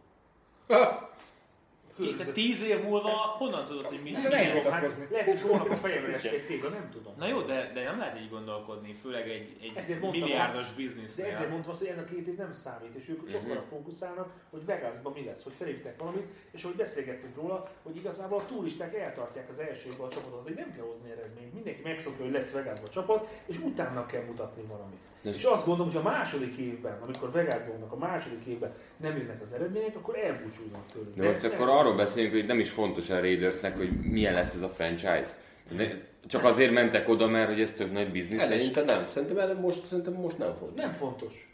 Körülbelül. Tehát tíz év múlva honnan tudod, hogy mi mi Nehéz lesz? fogadkozni. Lehet, hogy holnap a fejemre esik tégla, nem tudom. Na jó, de, de nem lehet így gondolkodni, főleg egy, egy Ezért mondtam milliárdos De ezért biznisznél. mondtam azt, hogy ez a két év nem számít, és ők Mhm. sokkal uh-huh. fókuszálnak, hogy Vegasban mi lesz, hogy felépítek valamit, és hogy beszélgettünk róla, hogy igazából a turisták eltartják az első évben a csapatot, hogy nem kell hozni eredményt, mindenki megszokja, hogy lesz Vegasban csapat, és utána kell mutatni valamit. Ez- És azt gondolom, hogy a második évben, amikor Vegasban vannak, a második évben nem jönnek az eredmények, akkor elbúcsúznak tőlük. De most Nem- akkor nem- arról beszélünk, hogy nem is fontos a Raidersnek, hogy milyen lesz ez a franchise. De csak azért mentek oda, mert hogy ez tök nagy biznisz, és Szerintem nem. Szerintem erre most, szerintem most nem fontos. Nem fontos.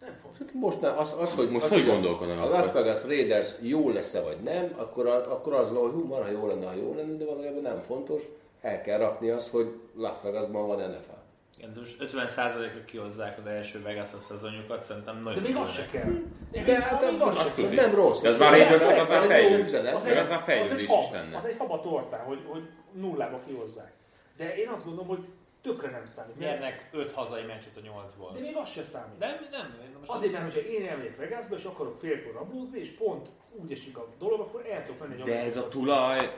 Nem fontos. Szerintem Most nem, az, az, hogy Most az, hogy gondolkodnak A akkor? Las Vegas Raiders jó lesz-e vagy nem, akkor, a, akkor az van, hogy hú, van, ha jó lenne, ha jó lenne, de valójában nem fontos. El kell rakni azt, hogy Las Vegasban van NFL. Igen, de most 50%-ra kihozzák az első Vegas-a szezonjukat, szerintem De nagyon még jó az se lenne. kell. De hát még az se az, kell. az nem rossz. De az már Raiders, jó az már üzlet, jó fejlődés. üzlet. Az egy- ez már fejlődés az egy is hab, lenne. Az egy haba tortán, hogy, hogy nullába kihozzák. De én azt gondolom, hogy tökre nem számít. Nyernek 5 hazai meccset a 8-ból. De még az se számít. De Nem, nem. én Most Azért, mert hogyha én elmegyek Vegasba, és akarok félkor rablózni, és pont úgy esik a dolog, akkor el tudok menni egy De ez a tulaj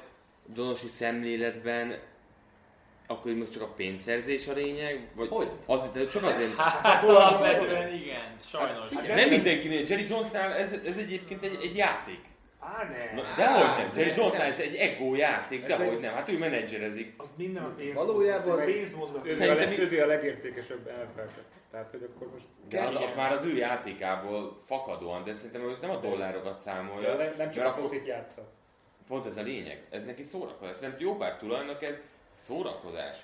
donosi szemléletben akkor hogy most csak a pénzszerzés a lényeg? Vagy Hogy? Azért, de csak azért. Hát alapvetően igen, sajnos. nem mindenkinél. Jerry Jonesnál ez, ez egyébként egy, egy játék. Á, ne. Na, dehogy Hát, nem. nem, Jerry Jonesnál nem. ez egy ego játék. Ez Dehogy egy- nem. Hát ő menedzserezik. Az minden a pénz. Valójában- A pénz mozgat. Ővé a, Szerintem leg, mi- ővé a legértékesebb elfeltek. Tehát, hogy akkor most... De az, az, már az ő játékából fakadóan, de szerintem ő nem a dollárokat számolja. Nem, nem csak mert a focit játsza. Pont ez a lényeg. Ez neki szórakozás. Nem jó bár tulajnak ez szórakozás.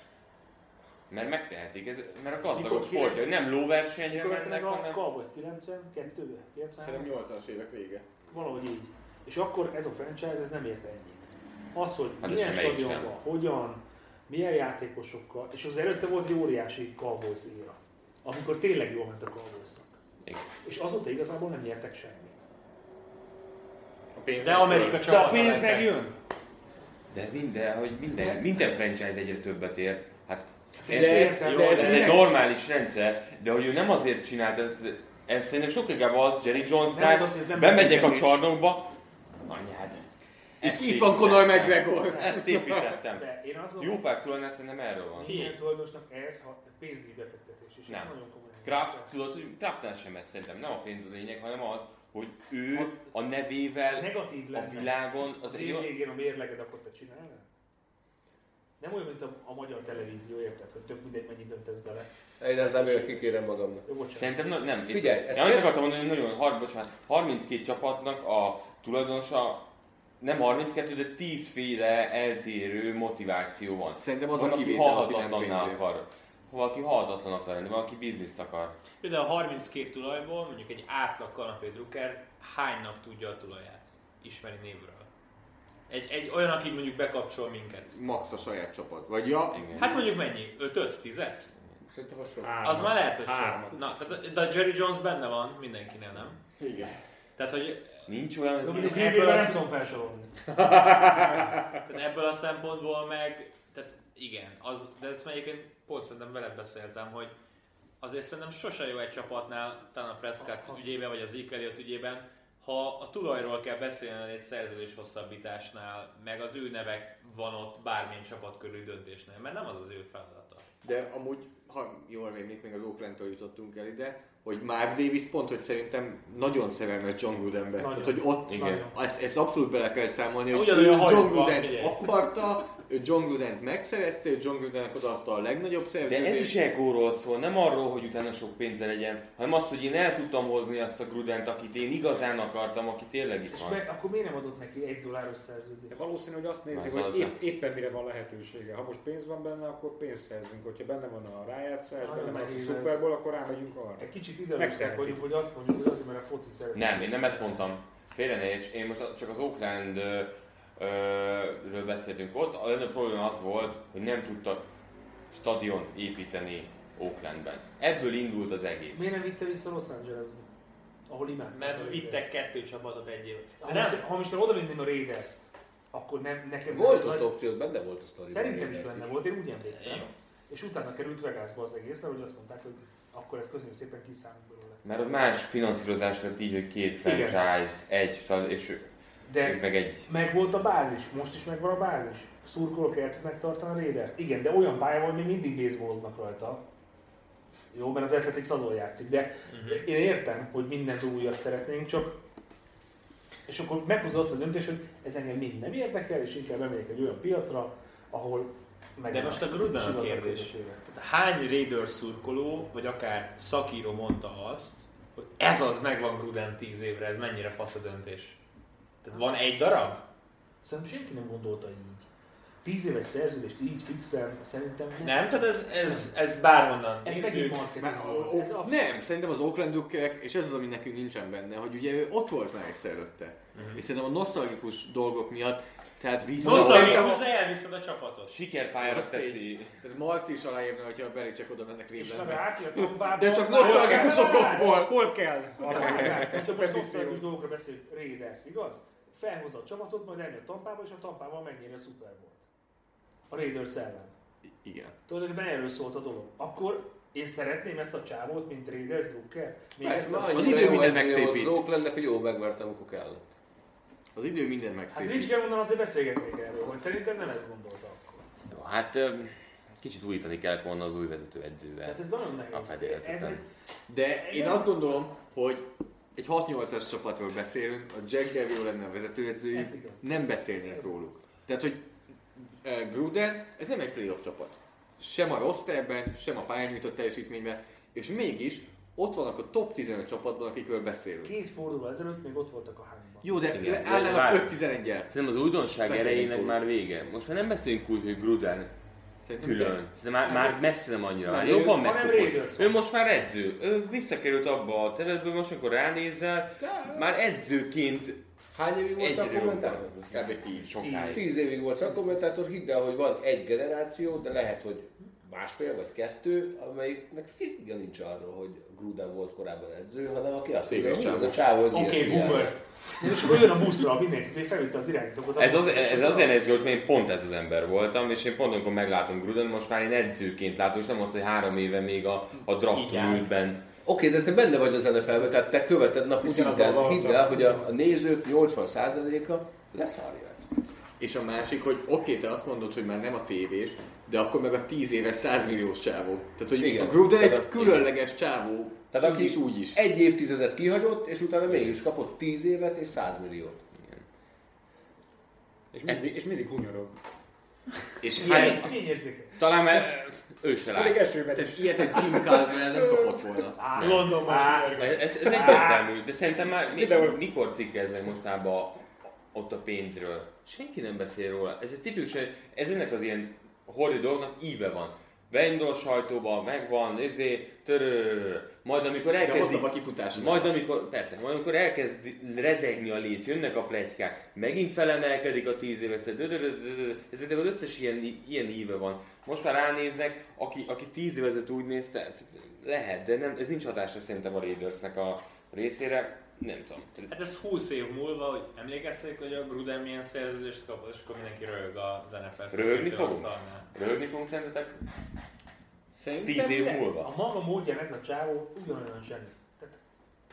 Mert megtehetik, ez, mert a gazdagok sportja, hogy nem lóversenyre mennek, Követően a hanem... Cowboys 92 93 Szerintem 80-as évek vége. valahogy így. És akkor ez a franchise ez nem ért ennyit. Az, hogy Hát hát ez milyen semmelyik sem. stadionban, hogyan, milyen játékosokkal, és az előtte volt egy óriási Cowboys éra, amikor tényleg jól ment a Cowboysnak. Igen. És azóta igazából nem nyertek semmit. A pénz De Amerika De a csapata pénz lettek. megjön. De minden, hogy minden, minden franchise egyre többet ér. Hát ez, De ez, ez- ez, de ez egy mindenki- normális rendszer, de hogy ő nem azért csinálta, ez szerintem sokkal inkább az Jerry Nem, Jonesnál, az, ez nem bemegyek a működés. csarnokba, anyád. Itt, ezt itt van építettem. Conor McGregor. Ezt [LAUGHS] építettem. De én azt Jó gondolom, pár tulajdonában szerintem erről van hogy szó. ilyen tulajdonosnak ez ha pénzügyi befektetés, és Nem. ez nagyon komoly. Kraft, tudod, hogy Kraftnál sem ez szerintem, nem a pénz a lényeg, hanem az, hogy ő a nevével Negatív a lenne. világon az Az egy év olyan... végén a mérleged, akkor te csinálnál? Nem olyan, mint a, a magyar televízió, érted, hogy tök mindegy, mennyit döntesz bele. Egy az ebből kikérem magamnak. Jó, bocsánat. Szerintem na- nem. Figyelj, Én ez azt kér- akartam mondani, hogy nagyon, har, bocsánat, 32 csapatnak a tulajdonosa nem 32, de 10 féle eltérő motiváció van. Szerintem az van, a aki kivétel, aki nem halhatatlanná pénzért. akar. Valaki halhatatlan akar lenni, valaki bizniszt akar. Például a 32 tulajból mondjuk egy átlag kanapé drukker hánynak tudja a tulaját? Ismeri névről. Egy, egy olyan, aki mondjuk bekapcsol minket. Max a saját csapat. Vagy ja, Igen. Hát mondjuk mennyi? 5 10 Az Szerintem a sok. Hárman. már lehet, hogy Hárman. sok. Na, tehát, de a Jerry Jones benne van mindenkinél, nem? igen. Tehát, hogy Nincs olyan, ez Jó, mondjuk Ebből ebből lesz- nem tudom felsorolni. tehát ebből a szempontból meg, tehát igen, az, de ezt már egyébként pont szerintem veled beszéltem, hogy azért szerintem sose jó egy csapatnál, talán a Prescott ügyében, vagy az Ikeliot ügyében, ha a tulajról kell beszélni egy szerződés hosszabbításnál, meg az ő nevek van ott bármilyen csapat körül döntésnél, mert nem az az ő feladata. De amúgy, ha jól rémlik, még az Oaklandtől jutottunk el ide, hogy Mark Davis pont, hogy szerintem nagyon szerelmes John Grudenbe. Tehát, hogy ott Igen. ezt, ezt abszolút bele kell számolni, hogy Ugyanolyan ő hajlok John van, Grudent figyelj. akarta, ő John Grudent megszerezte, ő John Grudennek odaadta a legnagyobb De szerződést. ez is egóról szól, nem arról, hogy utána sok pénze legyen, hanem az, hogy én el tudtam hozni azt a Grudent, akit én igazán akartam, aki tényleg itt És van. meg, akkor miért nem adott neki egy dolláros szerződést? De valószínű, hogy azt nézik, Ez hogy az nem. épp, éppen mire van lehetősége. Ha most pénz van benne, akkor pénzt szerzünk. Hogyha benne van a rájátszás, Nagyon benne van a nehéz Super Bowl, akkor rámegyünk arra. Egy kicsit idealisták Megtehetik. vagyunk, hogy azt mondjuk, hogy azért, mert a foci szeret. Nem, én nem ezt mondtam. Félre ne érts, én most csak az Oakland ö, ö, ről beszéltünk ott. A legnagyobb probléma az volt, hogy nem tudtak stadiont építeni Oaklandben. Ebből indult az egész. Miért nem vitte vissza Los Angelesbe? Ahol imád. Mert vittek kettő csapatot egy év. Ha De most, nem, ha most nem oda vinném a raiders akkor nem, nekem Volt nem, ott opciót, benne volt a sztori. Szerintem is benne volt, én úgy emlékszem. Jó. És utána került Vegasba az egész, mert hogy azt mondták, hogy akkor ezt köszönjük szépen kiszámít belőle. Mert ott más finanszírozás lett így, hogy két franchise, egy stadion, és ő- De ők meg egy... Megvolt a bázis, most is megvan a bázis. Szurkolók el tudnak tartani a raiders Igen, de olyan pálya van, hogy még mindig baseballoznak rajta. Jó, mert az Athletics azon játszik, de uh-huh. én értem, hogy mindent újat szeretnénk, csak és akkor meghozod azt a döntést, hogy ez engem mind nem érdekel, és inkább elmegyek egy olyan piacra, ahol meg de most a Gruden a sivatag kérdés. közössége. Tehát hány Raiders szurkoló, vagy akár szakíró mondta azt, hogy ez az megvan Gruden 10 évre, ez mennyire fasz a döntés? Tehát van egy darab? Szerintem senki nem gondolta így. Tíz éves szerződést így fixen, szerintem nem. Nem, tehát ez, ez, ez bárhonnan Ez nézzük. megint marketing. Már, volt. o, Ez o, abszolút- nem, szerintem az Oakland Duckerek, és ez az, ami nekünk nincsen benne, hogy ugye ő ott volt már egyszer előtte. És szerintem a nosztalgikus dolgok miatt, tehát vissza... Nosztalgia, Szóval most ne elviszed a csapatot. Sikerpályára Azt teszi. Tehát Marci is aláírna, hogyha a Bericek oda mennek És nem Clevelandbe. átjött tovább. De csak nosztalgikus okokból! Hol kell? Most a nosztalgikus dolgokra beszélünk. Raiders, igaz? Felhozza a csapatot, majd elmegy a Tampába, és a Tampában megnyeri a Super Bowl-t. A Raiders ellen. Igen. Tulajdonképpen erről szólt a dolog. Akkor én szeretném ezt a csávót, mint Raiders Drucker. Még Persze, egyszer- már Az annyira idő jó mindent edző volt megszépít. Az Oaklandnek, hogy jó megvertem, amikor kellett. Az idő minden Hát megszépít. Rich Germondon azért beszélgetnék erről, hogy szerintem nem ezt gondolta akkor. Jó, Hát öm, kicsit újítani kellett volna az új vezető edzővel. Tehát Hát ez nagyon A nehéz. fedél Ez egy, De én Igen. azt gondolom, hogy egy 6-8-as csapatról beszélünk, a Jack Devio lenne a vezetőedzőjük, Ez igaz. nem beszélnénk Ez róluk. Tehát, hogy eh, Gruden, ez nem egy playoff csapat. Sem a rosterben, sem a pályán nyújtott teljesítményben, és mégis ott vannak a top 15 csapatban, akikről beszélünk. két forduló ezelőtt még ott voltak a hányban. Jó, de Igen, Igen, de állnának várj. 5-11-el. Szerintem az újdonság Beszéljünk erejének róla. már vége. Most már nem beszélünk úgy, hogy Gruden Szerintem Külön. De már, már messze nem annyira. Már Nem, ő- jobban hanem megkopott. Raiders Ő most már edző. Ő visszakerült abba a területbe, most amikor ránézel, már edzőként Hány évig volt a egyre kommentátor? jobban. Kb. tíz, sokáig. Tíz évig volt szakkommentátor, hidd el, hogy van egy generáció, de lehet, hogy másfél vagy kettő, amelyiknek figyelme nincs arról, hogy Gruden volt korábban edző, hanem aki azt mondja, hogy ez a csávó, ez Oké, ilyesmi jár. boomer. És akkor jön a buszra mindenkit, hogy felülte az irányítókat. Ez, az, ez azért néz ki, hogy én pont ez az ember voltam, és én pont amikor meglátom Gruden, most már én edzőként látom, és nem az, hogy három éve még a, a drafton Igen. ült bent. Oké, de te benne vagy az NFL-be, tehát te követed napi Ugyanaz szinten. az Hidd arca. el, hogy a, a nézők 80%-a leszárja ezt. És a másik, hogy oké, te azt mondod, hogy már nem a tévés, de akkor meg a 10 éves 100 milliós csávó. Tehát, hogy Igen. a Gruden egy Tehát a- különleges csávó. Tehát így aki is, úgy is. egy évtizedet kihagyott, és utána mégis kapott 10 évet és 100 milliót. És mindig, és mindig hunyorog. És Hát, ilyet, Fényérzékeny. talán már ő se Pedig látja. esőben is. ilyet egy Jim Caldwell nem kapott volna. Á, Londonban is Ez, ez egyértelmű, de szerintem már mikor, mikor cikkeznek mostában a- ott a pénzről? Senki nem beszél róla. Ez egy tipikus, ez ennek az ilyen horrid dolognak íve van. Beindul a sajtóba, megvan, izé, törörörör. Majd amikor De elkezdik, hosszabb a kifutás. Majd amikor, persze, majd amikor elkezd rezegni a léc, jönnek a pletykák, megint felemelkedik a tíz éves, ez- dödödödödödö. ez az összes ilyen, ilyen híve van. Most már ránéznek, aki, aki tíz évezet úgy nézte, t- t- lehet, de nem, ez nincs hatásra szerintem a Raidersnek a részére, nem tudom. Hát ez 20 év múlva, hogy emlékeztek, hogy a Gruden milyen szerződést kapott, és akkor mindenki röhög a NFL Röhögni fogunk? szakasztalnál. Röhögni fogunk szerintetek Szerintem tíz év nem. A múlva? maga módján ez a csávó ugyanolyan zseni. Tehát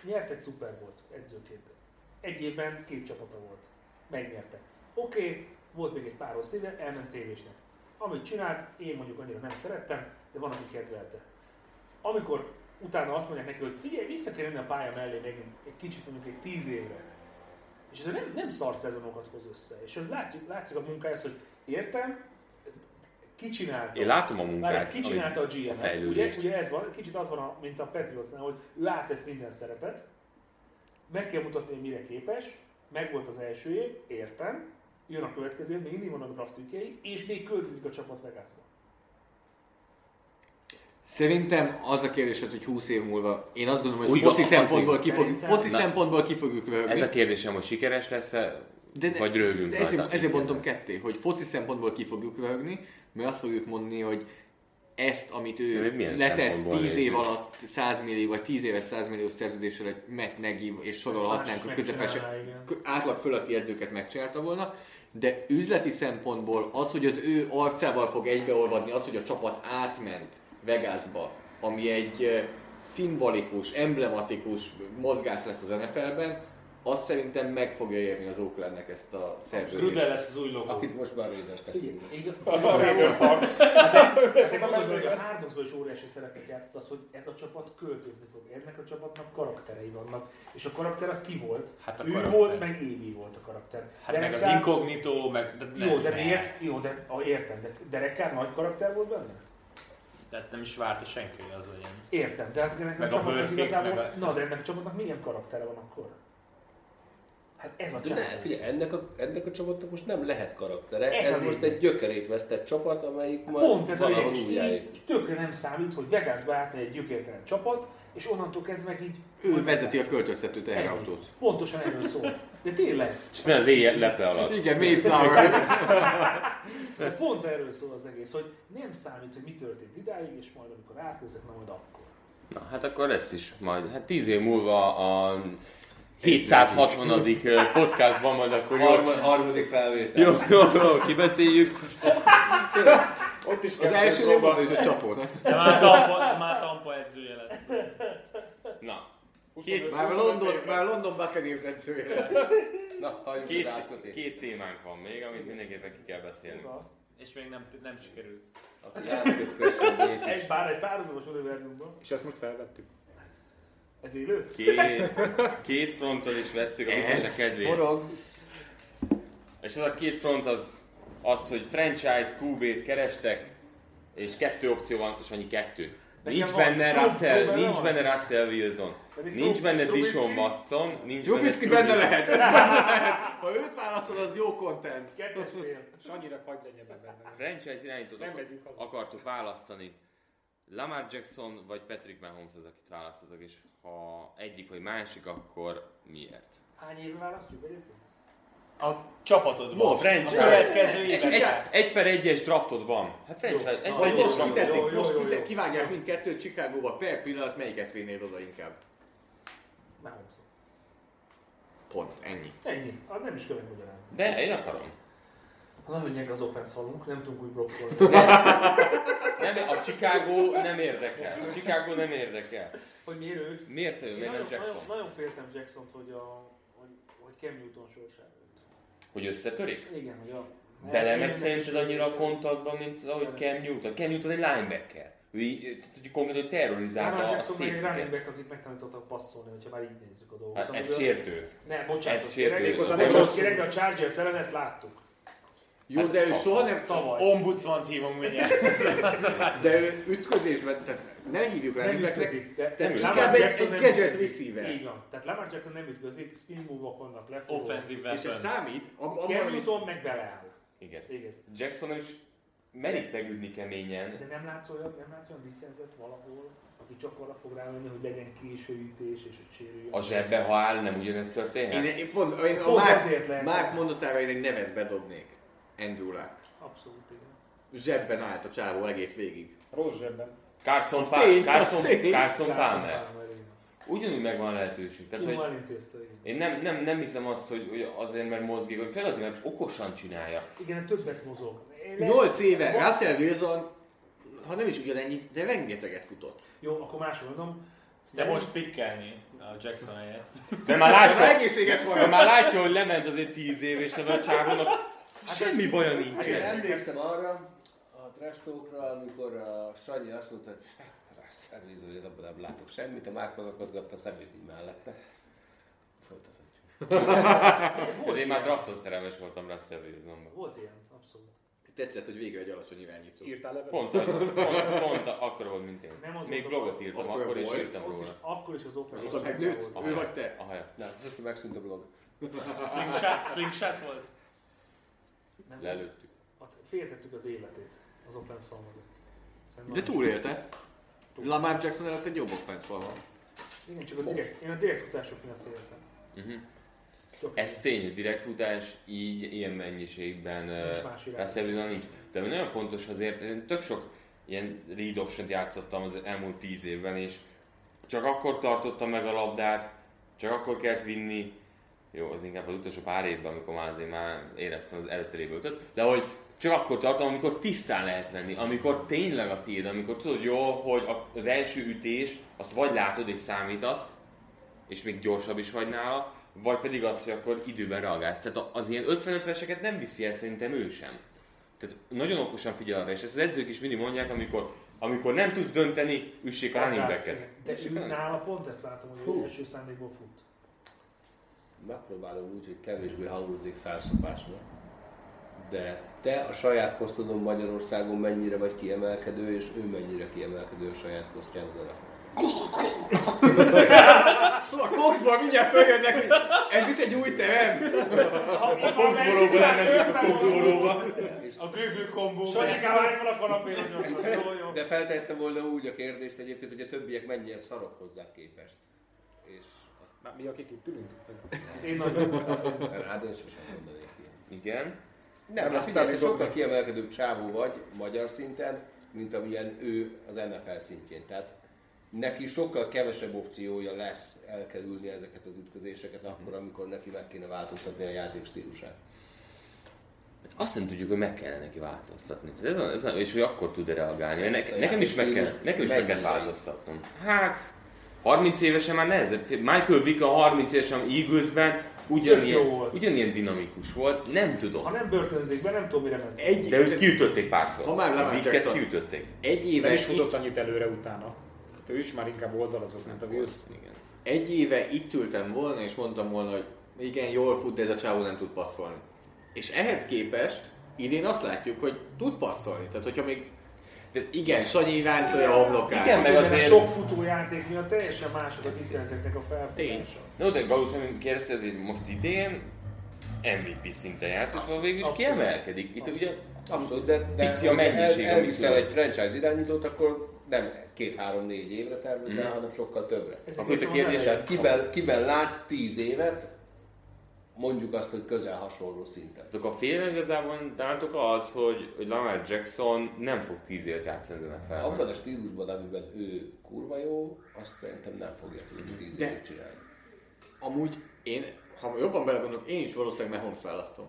nyert egy szuper volt edzőként. Egy évben két csapata volt. Megnyerte. Oké, volt még egy pár rossz éve, elment tévésnek. Amit csinált, én mondjuk annyira nem szerettem, de van, aki kedvelte. Amikor utána azt mondják neki, hogy figyelj, vissza kell jönni a pálya mellé még egy kicsit, mondjuk egy tíz évre. És ez nem, nem szar szezonokat hoz össze. És ez látszik, látszik a munkájához, hogy értem, kicsináltam. Én látom a Már munkát, kicsinálta a GM-et, ugye, fejlődést. ugye ez van, kicsit az van, a, mint a Patriotsnál, hogy ő átesz minden szerepet, meg kell mutatni, hogy mire képes, meg volt az első év, értem, jön a következő év, még mindig vannak draft ügyei, és még költözik a csapat Vegasba. Szerintem az a kérdés, hogy 20 év múlva, én azt gondolom, hogy Úgy foci van, szempontból, azért. ki fog, Szerintem- foci Na. szempontból ki fogjuk röhögni. Ez a kérdésem, hogy sikeres lesz-e, vagy rögünk de ezért, ezért mondtam ketté, hogy foci szempontból ki fogjuk röhögni, mert azt fogjuk mondni, hogy ezt, amit De ő milyen letett szempontból 10 év nézzük? alatt 100 millió vagy 10 éves 100 millió szerződéssel egy Matt Nagy és sorolhatnánk más a is közepes megcsinálná, igen. kö- átlag fölötti edzőket megcsinálta volna, de üzleti szempontból az, hogy az ő arcával fog egybeolvadni, az, hogy a csapat átment Vegasba, ami egy eh, szimbolikus, emblematikus mozgás lesz az NFL-ben, azt szerintem meg fogja érni az Oaklandnek ezt a Gruden szerződést. lesz az új logó. Akit most már Raidersnek Figyelj, hívnak. én Az Raiders harc. Hát Szerintem az, hogy a Hárdoxban is óriási szerepet játszott az, hogy ez a csapat költözni fog. Ennek a csapatnak karakterei vannak. És a karakter az ki volt? Hát a ő karakter. volt, meg Évi volt a karakter. Hát meg az Derek Carr- inkognitó, meg... De Jó, de ne. miért? Jó, de ah, értem, de Derek Carr nagy karakter volt benne? Tehát nem is várta senki, hogy az legyen. Értem, de hát Meg ennek meg a a csapatnak Burfict, igazából... meg a- Na, de ennek a csapatnak milyen karaktere van akkor? Hát ez a De csapat. ne, figyelj, ennek a, ennek a csapatnak most nem lehet karaktere. Ez a Ez, ez lényeg. Hát most egy gyökerét vesztett csapat, amelyik majd Pont ez a lényeg, valahol és újjáig. így tökre nem számít, hogy Vegasba átmegy egy gyökértelen csapat, és onnantól kezdve meg így... Ő vezeti a költöztető teherautót. Pontosan erről szól. De tényleg, Csak ne az éjjel leple alatt. Igen, Mayflower. de pont erről szól az egész, hogy nem számít, hogy mi történt idáig, és majd amikor átközök, na majd akkor. Na, hát akkor ezt is majd, hát tíz év múlva a 760. podcastban majd akkor jó, Harmad, harmadik felvétel. jó, jó, jó kibeszéljük. Ott is Az első robban és a csapónak. De már Tampa, de már Tampa edzője lesz. Na, Már London, már London Buccaneers edzője lesz. Na, hagyjuk az két, átkötést. két témánk van még, amit mindenképpen ki kell beszélni. És még nem, nem sikerült. Aki átkötkössön végig. Egy bár egy párhuzamos univerzumban. És ezt most felvettük. Ez élő? Két, két fronton is veszük a biztos a kedvét. forog. És ez a két front az, az hogy franchise QB-t kerestek, és kettő opció van, és annyi kettő. Nincs van benne Trubisky Russell, benne nincs van. benne Russell Wilson, Pedig nincs Trub- benne Trubisky- Dishon Watson, nincs benne Trubisky benne Trubisky. lehet, ez benne lehet. Ha őt válaszol, az jó content. Kettes fél. És annyira hagyd legyen benne. Franchise irányítót Nem akar- megyünk haza. akartok választani. Lamar Jackson vagy Patrick Mahomes az, akit választotok, és ha egyik vagy másik, akkor miért? Hány évre választjuk egyébként? A csapatodban. Most. A következő évben. Egy, egy per egyes draftod van. Hát franchise, egy per Vagy egyes most draftod van. jó, kiteszik, jó, most jó, kite- jó. kivágják mindkettőt Chicagóba, per pillanat melyiket vinnéd oda inkább. Már húszom. Pont, ennyi. Ennyi. Hát nem is következik magyarán. De én akarom. Nagyon gyenge az offense falunk, nem tudunk úgy blokkolni. Nem, a Chicago nem érdekel. A Chicago nem érdekel. [LAUGHS] hogy miért ő? Miért ő, Én miért nem nagyon, Jackson? Nagyon, nagyon féltem Jackson-t, hogy, a, hogy, hogy Cam Newton sorsa előtt. Hogy összetörik? Igen, hogy a... Belemegy szerinted annyira a kontaktba, mint ahogy Cam Newton. Cam Newton egy linebacker. Ő így, eh, tehát, hogy konkrétan hogy terrorizálta Lamar a Jackson meg egy running szétüket. back, akit megtanítottak passzolni, hogyha már így nézzük a dolgot. Hát ez Amiből- sértő. Ne, bocsánat, ez kérek, sértő. méghozzá Ez nem rossz. csak kérek, de a Chargers ellen ezt láttuk. Jó, de ő soha nem... Hát, Tavaly. Ombudsman hívom mindjárt. De ő ütközésben, tehát ne hívjuk Nem el, ütközik. De, Tehát Lamar inkább egy- Jackson egy nem gadget ütközik. receiver. Így van. Tehát Lamar Jackson nem ütközik, spin move-ok vannak le. Offenzív és ez weapon. számít, ab- abban, Cam hogy Newton meg beleáll. Igen. Igaz. Jackson nem is merik megüdni keményen. De nem látsz olyan, nem látsz olyan defense-et valahol, aki csak arra fog rámenni, hogy legyen későütés és hogy sérüljön. A zsebbe, ha áll, nem ugyanezt én, történhet? én pont, én a Pont Márk, azért lehet. Márk mondatára én egy nevet bedobnék. Andrew Luck. Abszolút igen. Zsebben állt a csávó egész végig. Rossz zsebben. Carson Tény, Palmer. Carson, az tény. Carson Carson Palmer. Palmer, igen. Ugyanúgy megvan a lehetőség. Tehát, hogy Jó, elintézte, igen. Én nem, nem, nem hiszem azt, hogy, hogy azért, mert mozgék, hogy főleg azért, mert okosan csinálja. Igen, hát többet mozog. Én lehet- 8 éve Russell Wilson, ha nem is ugyanennyit, de rengeteget futott. Jó, akkor máshol mondom. De most pikkelni a Jackson helyett. De már Hát, látja, egészséges de van. már látja, hogy lement azért 10 év, és az a csávónak semmi baja nincs. Hát, Én emlékszem arra, a trash talkra, amikor a Sanyi azt mondta, hogy Russell Wilson, hogy abban nem látok semmit, a Márk megakaszgatta a szemét így mellette. Folytatom. hát, Volt, én már drafton szerelmes voltam Russell Wilsonba. Volt ilyen, abszolút. Tetszett, hogy végre egy alacsony irányító. Írtál levelet? Pont, pont, pont akkor volt, mint én. Nem az Még volt, blogot írtam, akkor akkor is volt, írtam Ott is, róla. akkor is az offense Ott megnőtt, volt. ő vagy te. A haja. Na, most megszűnt a blog. Slingshot, slingshot volt. Nem, Lelőttük. ott Hát Féltettük az életét az offense fal mögött. Szerintem De nagyon- túlélte. Lamar Jackson előtt egy jobb offense van. Igen, csak a direkt, én a direkt utások miatt féltem. Csak Ez tény, hogy direkt futás így ilyen mennyiségben Nincs ö, más irány. Russell Wilson nincs. De ami nagyon fontos azért, én tök sok ilyen read option játszottam az elmúlt tíz évben, és csak akkor tartotta meg a labdát, csak akkor kellett vinni, jó, az inkább az utolsó pár évben, amikor már azért már éreztem az előtte lévő ötöt, de hogy csak akkor tartom, amikor tisztán lehet venni, amikor tényleg a tiéd, amikor tudod jó, hogy a- az első ütés, azt vagy látod és számítasz, és még gyorsabb is vagy nála, vagy pedig az, hogy akkor időben reagálsz. Tehát a- az ilyen 50-50-eseket nem viszi el szerintem ő sem. Tehát nagyon okosan figyel arra, és ezt az edzők is mindig mondják, amikor, amikor nem tudsz dönteni, üssék a running back-et. Hát, De Üssék a ő running nála pont ezt látom, hogy ő Hú. első szándékból fut. Megpróbálom úgy, hogy kevésbé hangzik felszopásnak. De te a saját posztodon Magyarországon mennyire vagy kiemelkedő, és ő mennyire kiemelkedő a saját posztján oda A Coxból mindjárt följön neki. Ez is egy új terem. A fogzboróba elmentünk a fogzboróba. A glüglü kombó. Sanyi Kávány van a kanapén, hogy ott van. jó, jó. De feltettem volna úgy a kérdést egyébként, hogy a többiek mennyire szarok hozzá képest. És Már mi akik itt ülünk? Én nagyon hát én sosem mondanék ki. Igen. Nem, hát figyelj, te sokkal kiemelkedőbb csávó vagy magyar szinten, mint amilyen ő az NFL szintjén. Tehát neki sokkal kevesebb opciója lesz elkerülni ezeket az ütközéseket Mhm. akkor, amikor neki meg kéne változtatni a játék stílusát. Hát Azt nem tudjuk, hogy meg kellene neki változtatni. Tehát Ez a, ez a, és hogy akkor tud-e reagálni. Szerintem Ne, nekem is meg kell, játékstílus nekem is meg kell megnézni. változtatnom. Hát, 30 évesen már nehezebb. Michael Vick a 30 évesen Eaglesben Tök jó ugyanilyen, volt. ugyanilyen dinamikus volt. Nem tudom. Ha nem börtönzik be, nem tudom mire ment. Egy, De őt kiütötték párszor. Ha már Lamar A Vicket Jackson. kiütötték. egy Nem éve, is itt, futott annyit előre utána. Hát ő is már inkább oldalazott, mint a Wilson. Igen. egy éve itt ültem volna, és mondtam volna, hogy igen, jól fut, de ez a csávó nem tud passzolni. És ehhez képest idén azt látjuk, hogy tud passzolni. Tehát, hogyha még Igen, Sanyi Ivánc olyan homlokát. Igen, meg azért... azért- a sok futójáték miatt teljesen mások az internezeknek a felfogása. No, de valószínűleg kérdezte, azért most idén MVP szinten játszik, szóval végül is kiemelkedik. Itt ugye Abszolút, de, de Pici a mennyiség, el, elviszel amit egy franchise irányítót, akkor nem két-három-négy évre tervezel, hanem sokkal többre. Ez Mhm. Akkor itt a egészen kérdés, az elején. hát Kiben, kiben látsz tíz évet, mondjuk azt, hogy közel hasonló szinten. azok a félre igazából nálatok az, hogy, hogy Lamar Jackson nem fog 10 évet játszani az nfl -ben. Hát Abban a stílusban, amiben ő kurva jó, azt szerintem nem fogja tudni tíz De- évet csinálni. Amúgy én, ha jobban belegondolok, én is valószínűleg Mahomes választom.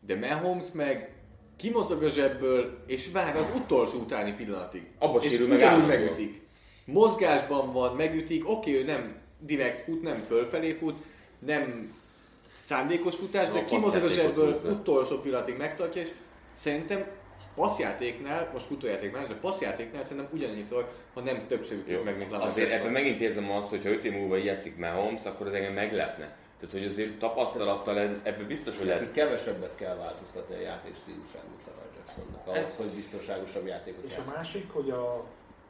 De Mahomes meg kimozog a zsebből, és vág az utolsó utáni pillanatig. Abba és sérül meg ugyanúgy állandóan. megütik. Mozgásban van, megütik, oké, ő nem direkt fut, nem fölfelé fut, nem szándékos futás, de A kimozog a passzjátékot zsebből húzza. utolsó pillanatig megtartja, és szerintem passzjátéknál, most futójáték más, de passzjátéknál szerintem ugyannyiszor, ha nem többször Jó, ütjük meg, mint Lamar azért Jackson. ebben megint érzem azt, hogy ha 5 év múlva így játszik Mahomes, akkor az engem meglepne. Tehát, hogy azért tapasztalattal ebben biztos, hogy Neki lehet. kevesebbet kell változtatni a játék stílusán, mint Lamar Jacksonnak, ahhoz, Ez- hogy biztonságosabb játékot És a játszani. másik, hogy a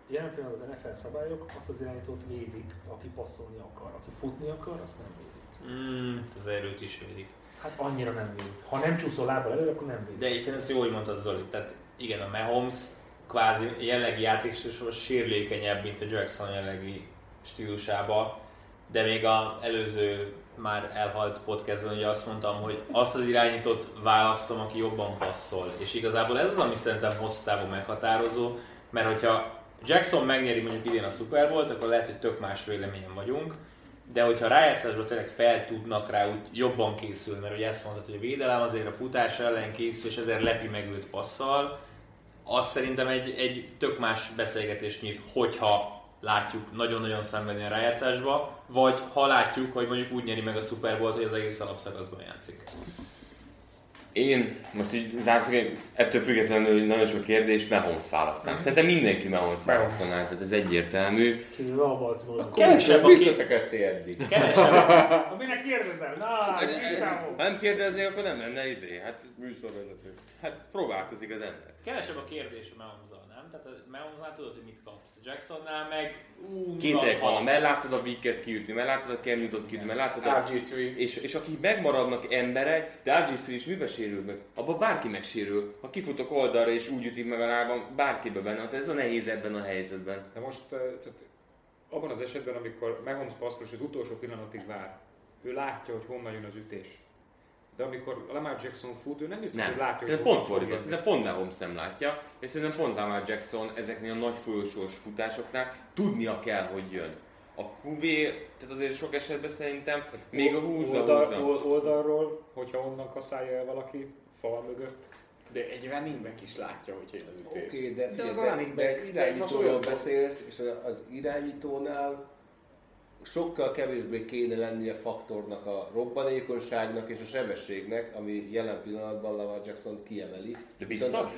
jelen pillanatban az NFL szabályok azt az irányítót védik, aki passzolni akar, aki futni akar, azt nem védik. Mm, az erőt is védik. Hát annyira nem védik. Ha nem csúszol lábbal elő, akkor nem védik. De egyébként ez jó, hogy mondtad Zoli. Tehát igen, a Mahomes kvázi jelenlegi játékosról sérülékenyebb, mint a Jackson jelenlegi stílusába, de még a előző már elhalt podcastben ugye azt mondtam, hogy azt az irányítót választom, aki jobban passzol. És igazából ez az, ami szerintem hosszú távon meghatározó, mert hogyha Jackson megnyeri mondjuk idén a Super Bowl-t, akkor lehet, hogy tök más véleményen vagyunk, de hogyha rájátszásból tényleg fel tudnak rá, úgy jobban készül, mert ugye ezt mondod, hogy a védelem azért a futás ellen készül, és ezért lepi meg őt passzal, az szerintem egy, egy tök más beszélgetés nyit, hogyha látjuk nagyon-nagyon szenvedni a rájátszásba, vagy ha látjuk, hogy mondjuk úgy nyeri meg a Super Bowl-t, hogy az egész alapszakaszban játszik. Én most így zárszok, én ettől függetlenül hogy nagyon sok kérdés, Mahomes választám. Szerintem mindenki Mahomes választaná, tehát ez egyértelmű. Kivéve a Baltimore. Kevesebb, Mit aki, ütököttél eddig? Aminek kérdezel? Na, mi számom? Ha nem kérdezni, akkor nem lenne izé, hát műsorvezető. Hát próbálkozik az ember. kevesebb a kérdés a mahomes nem? Tehát a Mahomes-nál tudod, hogy mit kapsz. Jacksonnál meg... ú, Kétek na, van, mert láttad a Wicket kiütni, mert láttad a Cam Newton kiütni, mert láttad a... RG3. És, és akik megmaradnak emberek, de rg is mibe sérül meg? Abba bárki megsérül. Ha kifutok oldalra és úgy ütik meg a lábam, bárkibe benne, hát ez a nehéz ebben a helyzetben. De most eh, tehát abban az esetben, amikor Mahomes passzol, és az utolsó pillanatig vár, ő látja, hogy honnan jön az ütés. De amikor Lamar Jackson fut, ő nem biztos, Nem, hogy látja, hogy szerintem pont honnan fog fordítva, jönni. szerintem pont Mahomes nem látja, és szerintem pont Lamar Jackson ezeknél a nagy folyosós futásoknál tudnia kell, hogy jön. A QB, tehát azért sok esetben szerintem még a húzza, Oldal, húzza. old- oldalról, hogyha onnan kaszálja el valaki, fal mögött, De egy running back is látja, hogy jön az ütés. Oké, de, De figyelj, az de, running de back, most irányítóról olyan- beszélsz, és az irányítónál sokkal kevésbé kéne lennie faktornak a robbanékonyságnak és a sebességnek, ami jelen pillanatban Lamar Jackson kiemeli. De biztos? Viszont az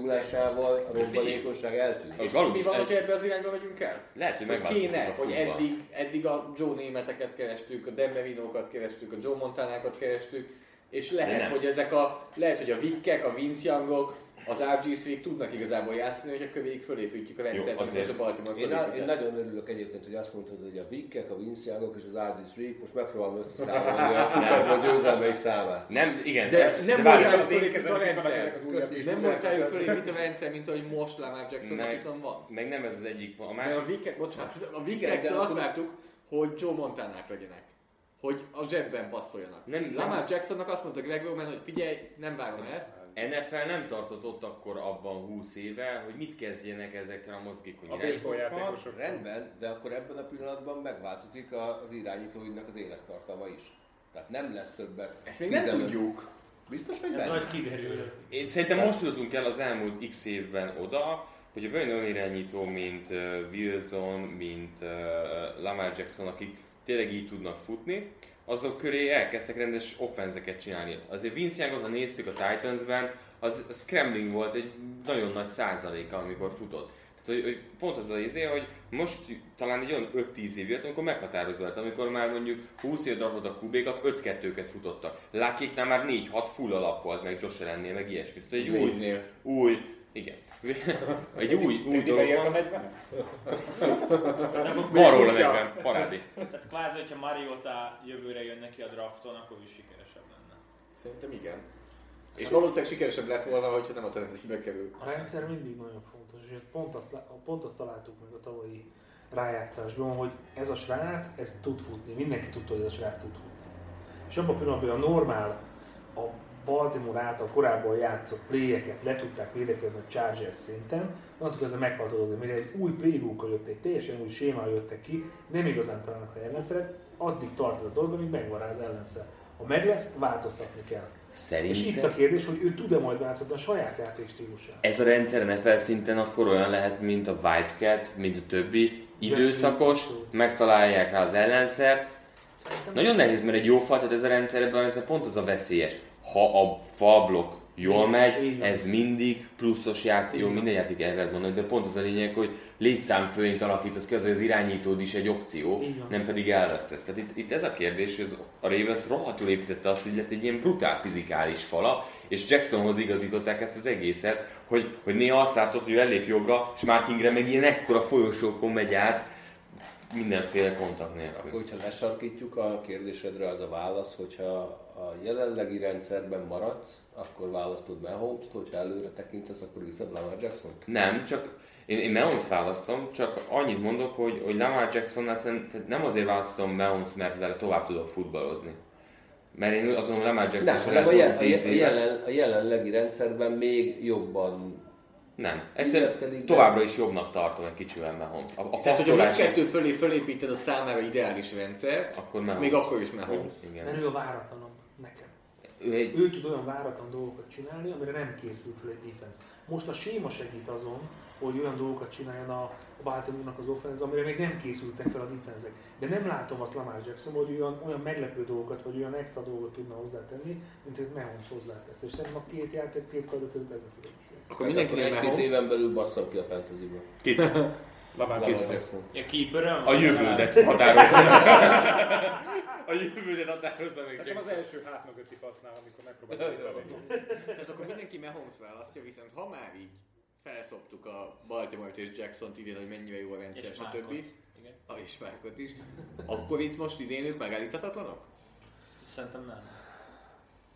időmúlásával a robbanékonyság eltűnik. És Mi valós, van, hogyha ebbe az irányba megyünk el? lehet, hogy Hogy megváltozik kéne, a hogy futball. eddig, eddig a Joe Németeket kerestük, a Dan Mevinókat kerestük, a Joe Montanákat kerestük, és nem. lehet, hogy ezek a, lehet, hogy a Vickek, a Vince Youngok, az rg tudnak igazából játszani, hogyha kövéig fölépítjük a rendszert, azért. és a Baltimore Én, á- én fölépített. nagyon örülök egyébként, hogy azt mondtad, hogy a Vickek, a Vince Youngok és az RG Streak, most megpróbálom összeszámolni [LAUGHS] a Super Bowl győzelmeik számát. Nem, igen, De ez- nem várjál, voltál ez- fölépít a rendszer. Köszi, Nem voltál fölépít a rendszer, mint ahogy most Lamar Jackson Meg- viszont van. Meg nem ez az egyik, a Mert másik. a Vickek, bocsánat, a Igen, Vickektől de azt akkor- vártuk, hogy Joe Montanák legyenek. Hogy a zsebben passzoljanak. Nem, nem. Lamar Jacksonnak azt mondta Greg Roman, hogy figyelj, nem várom ezt. NFL nem tartott ott akkor abban 20 éve, hogy mit kezdjenek ezekkel a mozgékony a baseball irányítókkal. játékosok. Rendben, de akkor ebben a pillanatban megváltozik a- az irányítóidnak az élettartama is. Tehát nem lesz többet. Ezt még nem 15 tudjuk. Biztos vagy Ez benne? majd kiderül. Én szerintem most jutottunk el az elmúlt x évben oda, hogy a olyan irányító, mint ö, Wilson, mint ö, Lamar Jackson, akik tényleg így tudnak futni, azok köré elkezdtek rendes offenzeket csinálni. Azért Vince Youngot, ha néztük a Titansben, az scrambling volt egy nagyon nagy százaléka, amikor futott. Tehát, hogy, hogy pont az az izé, hogy most talán egy olyan 5-10 év jött, amikor meghatározó lett, amikor már mondjuk 20 év dartod a kubékat, 5-2-ket futottak. Lákéknál már 4-6 full alap volt, meg Josh Allennél, meg ilyesmi. Tehát egy új, Wade-nél. új [LAUGHS] Igen. Egy új, új Mindig dolog elért a van. 40 Van róla nekem, parádi. Tehát kvázi, hogyha Mariota jövőre jön neki a drafton, akkor ő sikeresebb lenne. Szerintem igen. És valószínűleg sikeresebb lett volna, hogyha nem a Tennessee-be kerül. A rendszer mindig nagyon fontos, és pont azt, lá- pont azt találtuk meg a tavalyi rájátszásban, hogy ez a srác, ez tud futni. Mindenki tudta, hogy ez a srác tud futni. És abban a pillanatban, hogy a normál, a Baltimore által korábban játszott pléjeket le tudták védekezni a Chargers szinten, onnantól kezdve meghatodott, mire egy új playbook jött, egy teljesen új sémával jöttek ki, nem igazán találnak a ellenszeret, addig tart ez a dolog, amíg megvan rá az ellenszer. Ha meg lesz, változtatni kell. És itt a Szerintem kérdés, hogy ő tud-e majd változtatni a saját játékstílusát. ez a rendszer NFL szinten akkor olyan lehet, mint a Whitecat, mint a többi időszakos, megtalálják rá az ellenszert. Nagyon nehéz, mert egy jó fal, tehát ez a rendszer, ebben a rendszer pont az a veszélyes. Ha a falblok jól így megy, van. ez mindig pluszos játék, jó, minden játék erre lehet mondani, de pont az a lényeg, hogy létszám fölint alakítasz ki, az, hogy az irányítód is egy opció, Így van. nem pedig elvesztesz. Tehát itt, itt ez a kérdés, hogy az- a Ravens rohadtul építette azt, hogy lett egy ilyen brutál fizikális fala, és Jacksonhoz igazították ezt az egészet, hogy, hogy néha azt látod, hogy ő ellép jobbra, és Mark Ingram meg ilyen ekkora folyosókon megy át, mindenféle kontakt Akkor, nélkül. hogyha lesarkítjuk a kérdésedre, az a válasz, hogyha a jelenlegi rendszerben maradsz, akkor választod Mahomes-t, hogyha előre tekintesz, akkor viszed Lamar jackson Nem, csak én, én Mahomes választom, csak annyit mondok, hogy, hogy Lamar Jacksonnál szerintem tehát nem azért választom Mahomes, mert vele tovább tudok futballozni. Mert én azt mondom, Lamar Jackson Nem, se hanem a, jel, a, hozni tíz jel, a, évet. jelen, a jelenlegi rendszerben még jobban Nem. Egyszerűen Illeszkedik be. továbbra is jobbnak tartom egy kicsivel Mahomes. A, a Tehát, hogyha passzolás, mindkettő fölé fölépíted a számára ideális rendszert, akkor Mahomes. még akkor is Mahomes. Igen. Mert ő a váratlanabb nekem. Ő egy, Ő tud olyan váratlan dolgokat csinálni, amire nem készül fel egy defense. Most a séma segít azon, hogy olyan dolgokat csináljon a, a Baltimore-nak az offense, amire még nem készültek fel a defense De nem látom azt Lamar Jackson, hogy olyan, olyan meglepő dolgokat, vagy olyan extra dolgot tudna hozzátenni, mint hogy Mahomes hozzátesz. És szerintem a két játék, két kajdok között ez a különbség. Hát Akkor mindenki mindenkinek egy-két Mahomes. éven belül basszam ki a fantasy-ből. [LAUGHS] Lavár Lamar Jackson. Jackson. Ja, keeperön? a jövődet határozza meg. A jövődet határozza meg Szerintem az Jackson. első hát mögötti fasznál, amikor megpróbáljuk javítani. Tehát akkor mindenki Mahomes választja, viszont ha már így felszoptuk a Baltimore-t és Jackson-t idén, hogy mennyire jó a rendszer, És stb. Márkot. Igen. A és Márkot is. Akkor itt most idén ők megállíthatatlanok? Szerintem nem.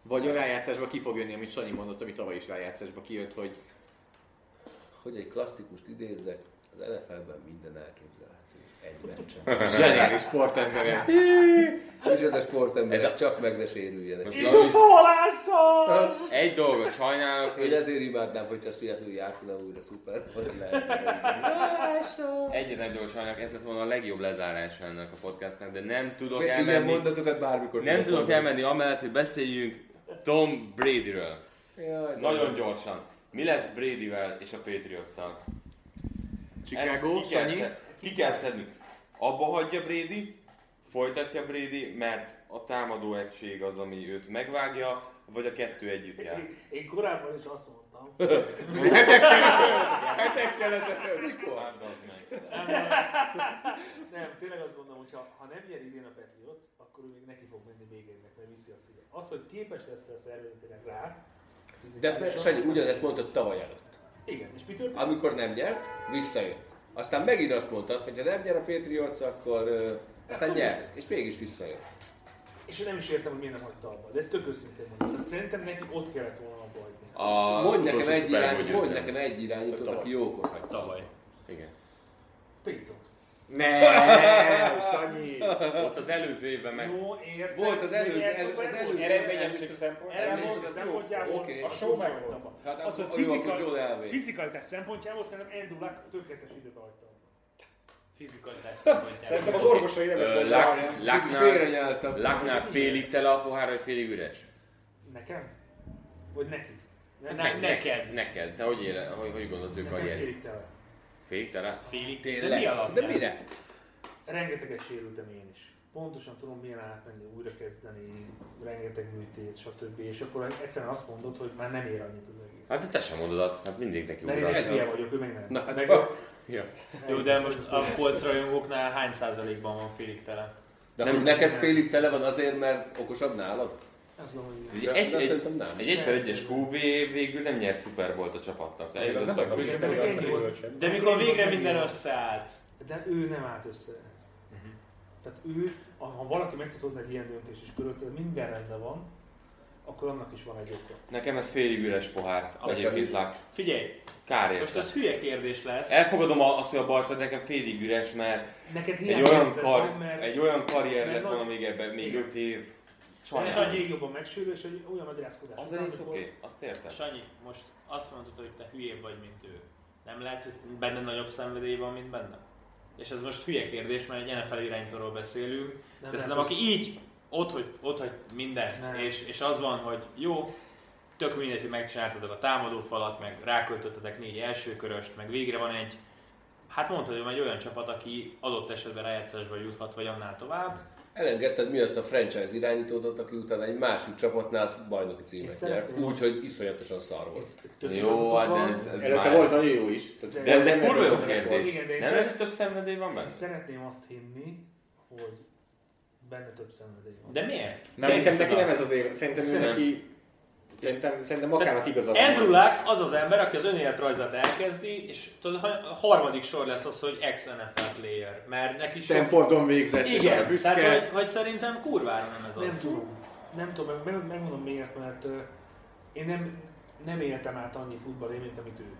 Vagy a rájátszásba ki fog jönni, amit Sanyi mondott, ami tavaly is rájátszásba kijött, hogy Hogy egy klasszikust idézzek, az NFL-ben minden elképzelhető. Egy [LAUGHS] meccsen. zseniális sportembere. Micsoda sportemberek, csak meg ne sérüljenek. És Egy dolgot sajnálok, Én hogy ezért imádnám, hogyha Seattle játszana újra szuper, [LAUGHS] hogy lehet. egyre nagy dolgot sajnálok, ez lett volna a legjobb lezárás ennek a podcastnak, de nem tudok Ilyen elmenni. mondatokat bármikor Nem tudok mondani. elmenni amellett, hogy beszéljünk Tom Bradyről. Jaj, de Nagyon gyorsan. Mi lesz Bradyvel és a Patriots-szal? Chicago, Ezt ki kell, Sanyi. szed- ki kell szedni. Abba hagyja Brady, folytatja Brady, mert a támadó egység az, ami őt megvágja, vagy a kettő együtt [LAUGHS] jár. Én, én korábban is azt mondtam, Hetekkel ezelőtt. Hát, bazd meg. Nem, tényleg azt gondolom, hogy ha, ha nem nyer idén a Patriots, akkor ő még neki fog menni még ennek, mert viszi a szíve. Az, hogy képes lesz a szervezetileg rá, De Sanyi ugyanezt mondtad tavaly előtt. Igen, és mi történt? Amikor nem nyert, visszajött. Aztán megint azt mondtad, hogy ha nem nyer a Patriots, akkor ö, aztán Akkor nyert, és mégis visszajött. És én nem is értem, hogy miért nem hagyta abba, de ezt tök őszintén mondom. Tehát Szerintem neki ott kellett volna abba hagyni. A Mondj nekem utolsó egy, Super Bowl irány, mondj győzelem. nekem egy irányítót, aki jókor hagy. Tavaly. Igen. Péton. Ne, Sanyi. Ott az előző évben meg... Jó, értem. Volt az előző- hogy elő- az játszottak, előző- volt. Eredményesség szempontjából. Erre volt az az jó. szempontjából Oké. a show megvolt. Hát Az a akkor jó, akkor Joel fizika- Elway. fizikalitás szempontjából szerintem Andrew Luck tökéletes időbe hagyta. Fizikai tesztben Szerintem az orvosai nem ezt Ö, mondják. Lak- Félre Laknál- nyeltem. Laknál félig tele a pohár, vagy félig üres? Nekem? Vagy neki? Nem, Ne- neked. Hát Neked. Te hogy, éle, hogy, hogy gondolsz ő nekem karrier? félig tele. Félig tele? Félig De mi Tényleg. alapján? De mire? Rengeteget sérültem én is. Pontosan tudom, milyen átmenni, újrakezdeni, rengeteg műtét, stb. És akkor egyszerűen azt mondod, hogy már nem ér annyit az egész. Hát de te sem mondod azt, hát mindig neki Mert én újra azt SBA mondod. vagyok, ő meg nem. Na, hát meg, ha- Ja. Jó, de most a Colts rajongóknál hány százalékban van félig tele? De nem, neked félig tele van azért, mert okosabb nálad? Azt gondolom, hogy Ugye igen. Egy, de egy, szerintem nem. egy, egy per egyes QB végül nem nyert szuper volt a csapatnak. Tehát az nem eljutottak a Fritz- Fritz- Ennyi Ennyi volt. volt sem. Hát De mikor végre minden összeállt. De ő nem állt össze ehhez. Mhm. Tehát ő, ha- ha valaki meg tud hozni egy ilyen döntést, és körülötte minden rendben van, akkor annak is van egy oka. Nekem ez félig üres pohár. Egyébként lát. Figyelj, Kár most érte. ez hülye kérdés lesz. Elfogadom a- azt, hogy a balta nekem félig üres, mert Neked egy olyan, hiányérzet kar, van, mert egy olyan karrier mert lett volna nagy- még ebben, még Igen. öt év. és Sajnálom. annyi jobban megsérül, és egy olyan nagy rászkodás. Az után, egész amikor- oké, azt értem. Sanyi, most azt mondod, hogy te hülyébb vagy, mint ő. Nem lehet, hogy benne nagyobb szenvedély van, mint benne? És ez most hülye kérdés, mert egy NFL iránytól beszélünk, Nem de lehet szerintem aki így ott, hogy, ott hagy mindent, Nem. és, és, az van, hogy jó, tök mindegy, hogy megcsináltatok a támadófalat, meg ráköltöttetek négy első köröst, meg végre van egy, hát mondhatom, egy olyan csapat, aki adott esetben rájátszásba juthat, vagy annál tovább. Elengedted miatt a franchise irányítódat, aki utána egy másik csapatnál bajnoki Én címet szeretném nyert, azt- úgyhogy iszonyatosan szar volt. Tök Jó, igazatok hát de van. ez, ez Előtte már- volt nagyon jó is. Tehát De ez nem egy kurva jó volt- kérdés. Igen, de én Nem szeret- lehet, hogy több szenvedély van Én benne? Szeretném azt hinni, hogy benne több szenvedély van. De miért? Nem szerintem neki nem hiszed ez az élet. Szerintem ő Nem. neki... Szerintem, szerintem magának igaza van. Andrew Luck az az ember, aki az önéletrajzát elkezdi, és tudod, ha- a harmadik sor lesz az, hogy ex-NFL player, mert neki sok... Stanfordon végzett, és arra Igen, tehát büszke. hogy, hogy, szerintem kurvára nem ez Nem az. tudom. Nem tudom, meg, meg, megmondom miért, mert ö, én nem, nem éltem át annyi futballé, mint amit ő.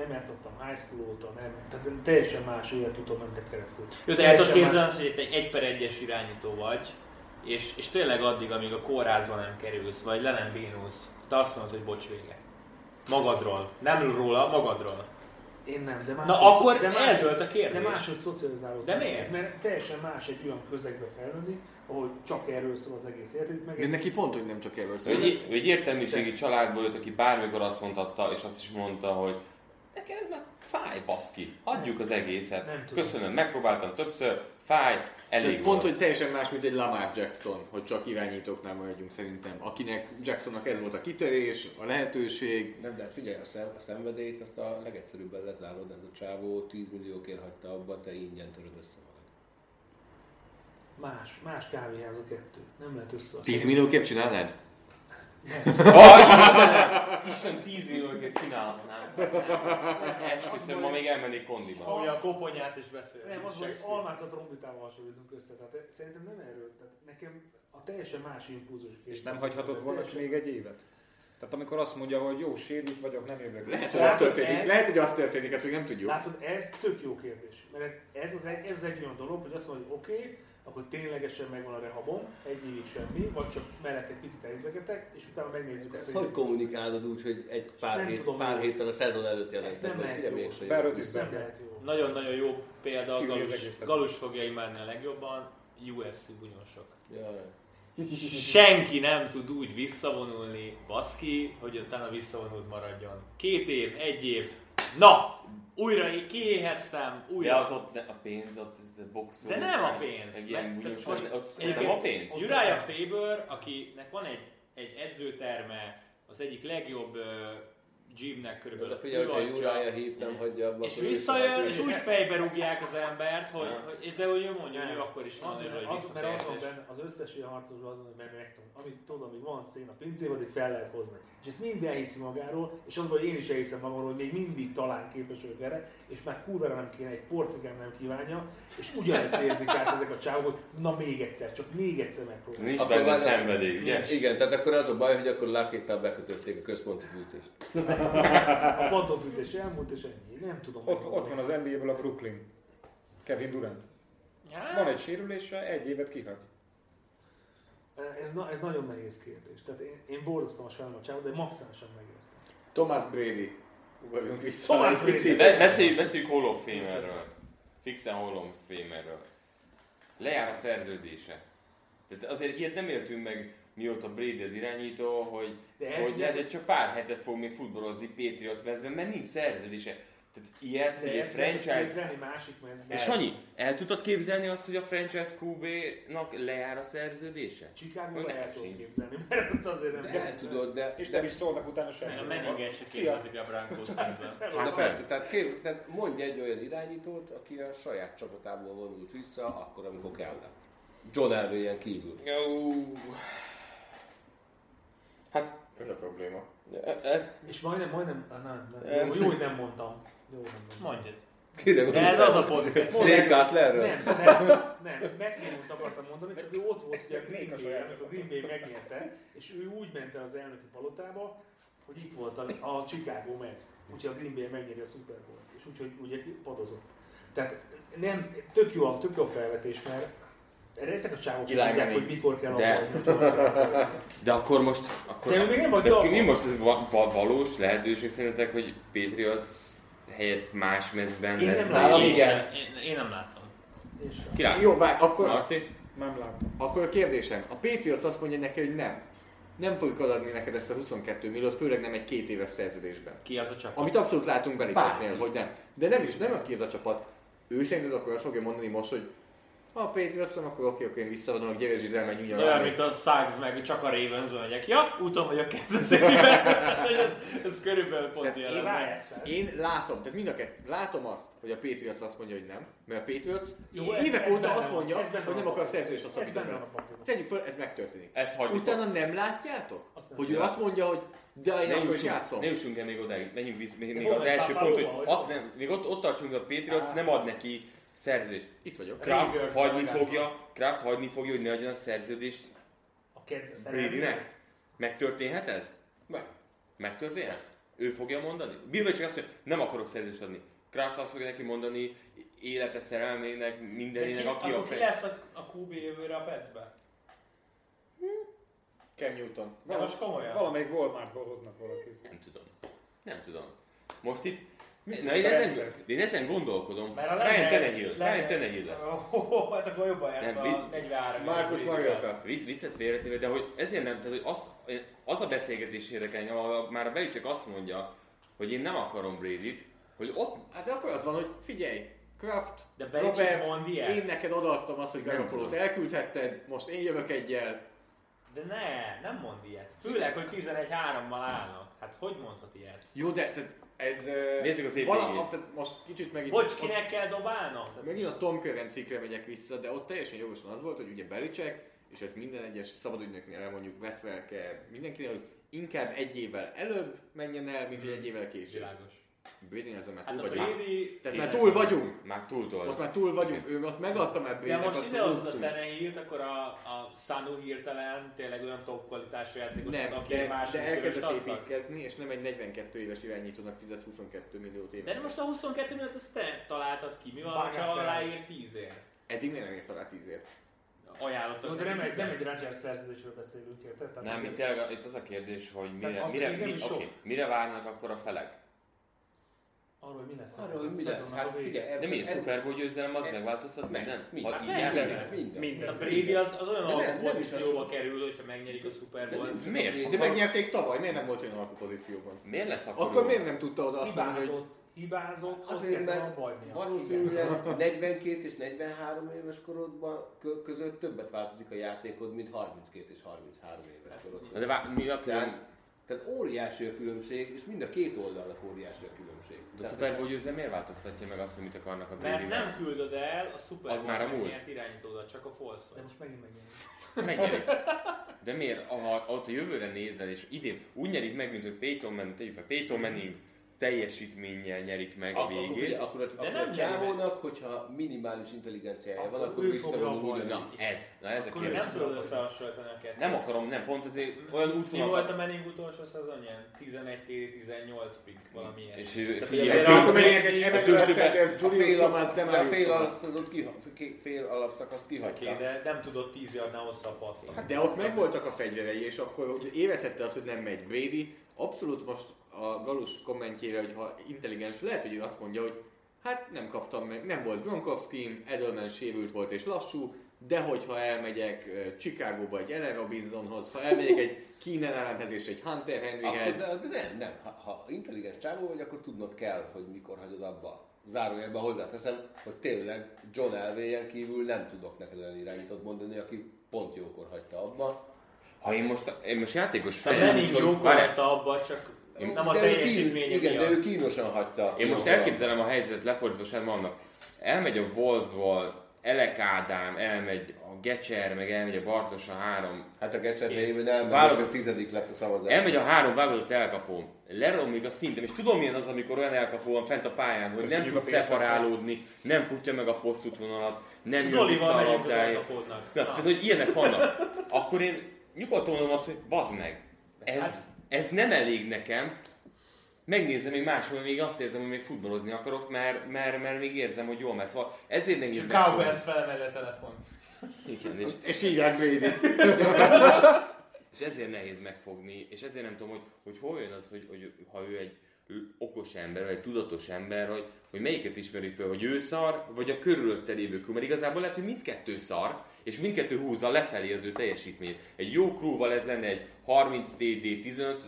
Nem játszottam high school óta, nem. Tehát én teljesen más életuton mentem keresztül. Jó, de el Teljesen tudod képzelni, más- azt, hogy te egy egy per egyes irányító vagy, és, és tényleg addig, amíg a kórházba nem kerülsz, vagy le nem bénulsz, te azt mondod, hogy bocs vége. Magadról. Nem róla, magadról. Én nem, de máshogy, Na akkor de más- eldőlt a kérdés. De máshogy De szocializálódtam. miért? Mert teljesen más egy olyan közegbe felnőni, ahol csak erről szól az egész életed, meg De egy neki pont, hogy nem csak Everson. Ő egy, ő egy értelmiségi családból jött, aki bármikor azt mondhatta, és azt is mondta, hogy nekem ez már fáj, baszki, adjuk az Nem egészet. tudom. Köszönöm, megpróbáltam többször, fáj, elég Tehát pont, volt. hogy teljesen más, mint egy Lamar Jackson, hogy csak irányítóknál maradjunk szerintem. Akinek Jacksonnak ez volt a kitörés, a lehetőség. Nem, de hát figyelj, a, szem, a szenvedélyt azt a legegyszerűbben lezárod, ez a csávó 10 milliókért hagyta abba, te ingyen töröd össze magad. más, más kávéház a kettő. Nem lehet összehasonlítani. 10 millióképp csinálnád? Isten 10 millióért csinálhatnám. Esküszöm, ma még elmennék kondiba. Ahogy a koponyát is beszél. Nem, az, hogy Shakespeare. almát a trombitával hasonlítunk össze, tehát szerintem nem erről, tehát nekem a teljesen más impulzus. És nem hagyhatott volna ki még egy évet? Tehát amikor azt mondja, hogy jó, sérült vagyok, nem jövök Lehet, vissza. hogy az Látod, történik. ez- Lehet, hogy az történik, ezt még nem tudjuk. Látod, ez tök jó kérdés, mert ez, ez, az egy, ez egy olyan dolog, hogy azt mondod, hogy oké, okay, akkor ténylegesen megvan a rehabom, egy évig semmi, vagy csak mellett egy picit elüzegetek, és utána megnézzük Hát Ezt azt, hogy hogy... kommunikálod úgy, hogy egy pár, Nem hét, tudom, pár mi. héttel a szezon előtt Ezt nem jelentek meg? lehet Figyelj, jó. még se Pár jövök öt Ez vissza. nem lehet jó. Nagyon-nagyon jó példa, a Tűri az Galus, egészet. Galus fogja imádni a legjobban, UFC bunyósok. Jaj. Senki nem tud úgy visszavonulni, baszki, hogy utána visszavonult maradjon. Két év, egy év, na! Újra é- kiéheztem, De újra az ott ne- a pénz, ott a boxoló. De nem a pénz. Meg ilyen Mert- bunyós, most- ott- ott nem Egyébként a pénz. Uriah Faber, akinek van egy, egy edzőterme, az egyik legjobb uh, gymnek körülbelül. a De figyelj, hogyha a főadja, Júrája hív nem hagyja abba. És akkor ő is visszajön, lehet. és úgy fejbe rúgják az embert, hogy, Ja. hogy de hogy ő mondja, hogy Nem. ő akkor is van, Azért, hogy az, mert az van visszatért, és- benne, az összes ilyen harcosban az van, hogy megmegtanul. Amit tudom, hogy van szén a pincében, addig fel lehet hozni. És ezt mind elhiszi magáról, és az, hogy én is elhiszem magamról, hogy még mindig talán képes vagyok erre, és már kurvára nem kéne, egy porcigám nem kívánja, és ugyanezt érzik át ezek a csávok, hogy na még egyszer, csak még egyszer megpróbálom. Nincs Akkor benne várjál. szenvedély, ugye? Igen, tehát akkor az a baj, hogy akkor lákéknál bekötötték a központi fűtést. A pantofűtés elmúlt, és ennyi. Nem tudom. Ott, ott van az NBA-ből a Brooklyn. Kevin Durant. Van egy sérülése, egy évet kihagy. Ez, na, ez nagyon nehéz kérdés. Tehát én, én borzasztom a sajnálom a csávot, de maximálisan megértem. Thomas Brady. Ugorjunk vissza. Thomas egy Brady. kicsit. Be- Beszéljük, beszéljük Hall of Famerről. Fixen Hall of Famerről. Lejár a szerződése. Tehát azért ilyet nem éltünk meg mióta Brady az irányító, hogy, De el hogy tudjátok- lehet, hogy csak pár hetet fog még futballozni Patriots mezben, mert nincs szerződése. Tehát ilyet, hogy egy el tudjátok franchise... képzelni másik mezben. És Sanyi, el tudtad képzelni azt, hogy a franchise QB-nak lejár a szerződése? Chicago Nekem el tudom sincs. képzelni, mert ott azért nem De kell. tudod, de... És de- nem is szólnak utána Meg a semmi. Menninger csak képzelik a Broncos szemben. Hát, De persze, tehát, kép, tehát mondj egy olyan irányítót, aki a saját csapatából vonult vissza, akkor, amikor kellett. John Elway-en kívül. Jó. Hát Ez a probléma. És majdnem, majdnem, ah, nem, Em. nem. Jó, jó, hogy nem mondtam. Jó, nem mondtam. Mondjad. Kérem, De ez az a podcast. Mondd. Jay Cutlerről? Nem, nem, nem, megnyomult akartam mondani, csak ő ott volt ugye a Green Bay, amikor Green Bay megnyerte, és ő úgy ment el az elnöki palotába, hogy itt volt a, a Chicago Mets, úgyhogy a Green Bay megnyeri a Super bowl és úgyhogy ugye padozott. Tehát nem, tök jó, a- tök jó a felvetés, mert erre ezek a csávok sem Eli tudják, Manning. hogy mikor kell De- abba, hogy mikor kell. De akkor most... Akkor, De még nem vagy de abban. mi most ez va- va- valós lehetőség szerintetek, hogy Patriots helyett más mezben Én lesz? nem Brady? látom. Én, Igen. sem, én, én nem láttam. És Ki lát? Jó, várj, akkor, Marci? Nem látom. akkor a kérdésem. A Patriots azt mondja neki, hogy nem. Nem fogjuk adni neked ezt a 22 milliót, főleg nem egy két éves szerződésben. Ki az a csapat? Amit abszolút látunk Belichicknél, hogy nem. De nem is, nem aki ez a csapat. Ő szerinted akkor azt fogja mondani most, hogy ha Péter azt mondom, akkor oké, akkor én visszavadom, gyere Zsizel, menj Ez olyan, mint nyújjal a Sags meg, hogy csak a Ravens megyek. Ja, úton vagyok Kansas City-ben. Hát, [LAUGHS] hogy ez, ez körülbelül pont Tehát ilyen én lenne. Én látom, tehát mind a kettő, látom azt, hogy a Patriots azt mondja, hogy nem, mert a Patriots Jó, ez- évek ez óta benne azt van, mondja, ez benne hogy nem van. akar a szerződést ez benne van a hosszabbítani. papíron. Tegyük fel, ez megtörténik. Ezt hagyjuk. Utána nem látjátok? Azt nem hogy ő tudom. azt mondja, hogy de én Ne akkor is jussunk, játszom. ne jussunk el még odáig, menjünk vissza, még, még Hol az vagy, első pont, Buffalo-ba, hogy vagy? azt nem, még ott, ott tartsunk, hogy a Patriots nem ad neki szerződést. Itt vagyok. Kraft Rangers hagyni válogatás. fogja, Kraft hagyni fogja, hogy ne adjanak szerződést A kedves Bradynek? Megtörténhet ez? Meg. Megtörténhet? Ő fogja mondani? Bill csak azt mondja, nem akarok szerződést adni. Kraft azt fogja neki mondani, élete szerelmének, De ki, mindenének, aki a akkor ki fej. lesz a, a QB jövőre a Petsbe? Cam Newton. De most komolyan. Valamelyik Walmartból hoznak valakit. Nem tudom. Nem tudom. Most itt... Mit Na, én ezen, percet? én ezen gondolkodom. Mert a Ryan Leonard- Tannehill. Ryan Leonard- Tannehill lesz. Oh, oh, [LAUGHS] hát akkor jobban jársz Nem, a vi- 43 Marcus éves Brady-vel. Mariota. Vic, viccet félretéve, de hogy ezért nem, tehát hogy az, az a beszélgetés érdekel, engem, ahol már a Belicek azt mondja, hogy én nem akarom Brady-t, hogy ott Hát de akkor az van, hogy figyelj, Kraft, De Belichick Robert, mond ilyet? én neked odaadtam azt, hogy Nem Garoppolót tudom. elküldhetted, most én jövök egyel. De ne, nem mond ilyet. Főleg, hogy 11-3-mal állnak. Hát hogy mondhat ilyet? Jó, de tehát ez... ö, Nézzük az év vala- végét. tehát most kicsit megint... Bocs, kinek kell dobálnom? ott- Megint a Tom Curran cikkre megyek vissza, de ott teljesen jogosan az volt, hogy ugye Belicek, és ez minden egyes szabadügynöknél elmondjuk Westwelke mindenkinél, hogy inkább egy évvel előbb menjen el, mint hogy egy évvel később. Világos. Brady ezen már Hát túl a vagyunk. Brady... Tehát már túl vagyunk. már túltolja. Most már túl vagyunk. Ő ott megadta már De Bradynek most azt a idehozod a luxust. Tenehírt, akkor a, a Sanu hirtelen tényleg olyan top kvalitású játékos, az, Nem, aki egy de, de második körös elkezdesz tartak. építkezni, és nem egy 42 éves irányítónak 10-22 milliót éve. De most a 22 milliót ezt te találtad ki. Mi van, ha Bagatell. aláír 10 ért? Eddig miért nem írt alá 10 ért? Jó, Ajánlatok. de nem, egy- nem egy Rangers szerződésről beszélünk, érted? Tehát Nem, azért- itt, tényleg, itt az a kérdés, hogy mire, az mire, még nem mi, is sok. okay, mire várnak akkor a felek? Arról, hogy mi lesz. Arról, hogy mi lesz, hát figyelj. ez- De mi, ez- Super Bowl győzelem, az megváltoztat minden? Mi? Ha Hát így nem, játszik? nem. Minden. A Minden. Brady az, az olyan De nem, alapú nem is pozícióba az. kerül, hogyha megnyerik a Super De Bowl. nem csak Miért? a Brady- De megnyerték tavaly, miért nem volt olyan alapú pozícióban? Miért lesz akkor? Akkor jó? miért nem tudta oda azt mondani, hogy... Hibázott, hibázott, Azért, mert valószínűleg... [LAUGHS] valószínűleg 42 és 43 éves korodban kö- között többet változik a játékod, mint 32 és 33 éves korodban. Na De vá- mi a Tehát, külön? tehát óriási a különbség, és mind a két oldalnak óriási a különbség. De a Tehát- Super Bowl győzelem miért változtatja meg azt, hogy mit akarnak a Mert Brady-nek? nem küldöd el a Super Az Bowl már a múlt. megnyert irányítódat, csak a false De vagy. most megint megint. Megnyerik. Hát De miért? Ha ott a jövőre nézel, és idén úgy nyerik meg, mint hogy Peyton Manning, tegyük fel, Peyton Manning teljesítménnyel nyerik meg a Ak- Akkor, ugye, végét. akkor, a- akkor nem a csávónak, hogyha minimális intelligenciája van, Akkor akkor ő visszavonul fogja abba ugyanúgy. hagyni. Ez, na ez a Akkor kérdés. nem tudod összehasonlítani a kettőt. Nem akarom, nem, pont azért olyan Mi volt útvonalakat... a Manning utolsó szezonján? 11 TD, 18 pick, valami Mm. És ilyesmi. ő- hogy figyelj, azért Látom, a- hogy egy Emmanuel Sanders, A Julius fél, Thomas, alap, a fél, Demarius alapszakot kiha, ki- fél alapszakaszt Oké, kihagyta. de nem tudod 10 yardnál hosszabb passzol. Hát De ott megvoltak a fegyverei, és akkor hogy érezhette azt, hogy nem megy Brady. Abszolút most a Galus kommentjére, hogy ha intelligens, lehet, hogy ő azt mondja, hogy hát nem kaptam meg, nem volt Gronkowski, Edelman sérült volt és lassú, de hogyha elmegyek eh, Chicagóba egy Ellen Robinsonhoz, ha elmegyek egy Keenan Allenhez és egy Hunter Akkor, Henryhez, de, de nem, nem. Ha, ha intelligens csávó vagy, akkor tudnod kell, hogy mikor hagyod abba. Zárójelben hozzáteszem, hogy tényleg John elway kívül nem tudok neked olyan irányítót mondani, aki pont jókor hagyta abba. Ha én most, én most játékos A fejjel, Manning amikor- jó várjál, lett abban, csak nem a De ő kín- teljesítménye Igen, de miatt. ő kínosan hagyta. Én most jókor abba. elképzelem a helyzetet lefordítva sem annak. Elmegy a Wolfsból Elek Ádám, elmegy a Gecser, meg elmegy a Bartos a három. Hát a Gecser végül nem, mert Válogatott csak tizedik lett a szavazás. Elmegy a három válogatott elkapó. Leromlik a szintem, és tudom milyen az, amikor olyan elkapó van fent a pályán, hogy nem Köszönjük tud a Péter szeparálódni, nem futja meg a posztútvonalat, nem jön Zoli vissza van a megyünk az labdáért. alkapódnak. Na, tehát, hogy ilyenek vannak. Akkor én nyugodtan mondom azt, hogy bazd meg, ez, ez nem elég nekem, megnézem még máshol, még azt érzem, hogy még futballozni akarok, mert, mert, mert még érzem, hogy jól megy. Szóval ezért És nehéz a Cowboys felemelje a telefont. Igen, és, És hívják Brady. és ezért nehéz megfogni, és ezért nem tudom, hogy, hogy hol jön az, hogy, hogy ha ő egy ő okos ember, vagy egy tudatos ember, hogy, hogy melyiket ismeri fel, hogy ő szar, vagy a körülötte lévő crew. Mert igazából lehet, hogy mindkettő szar, és mindkettő húzza lefelé az ő teljesítményt. Egy jó crewval ez lenne egy 30 TD, 15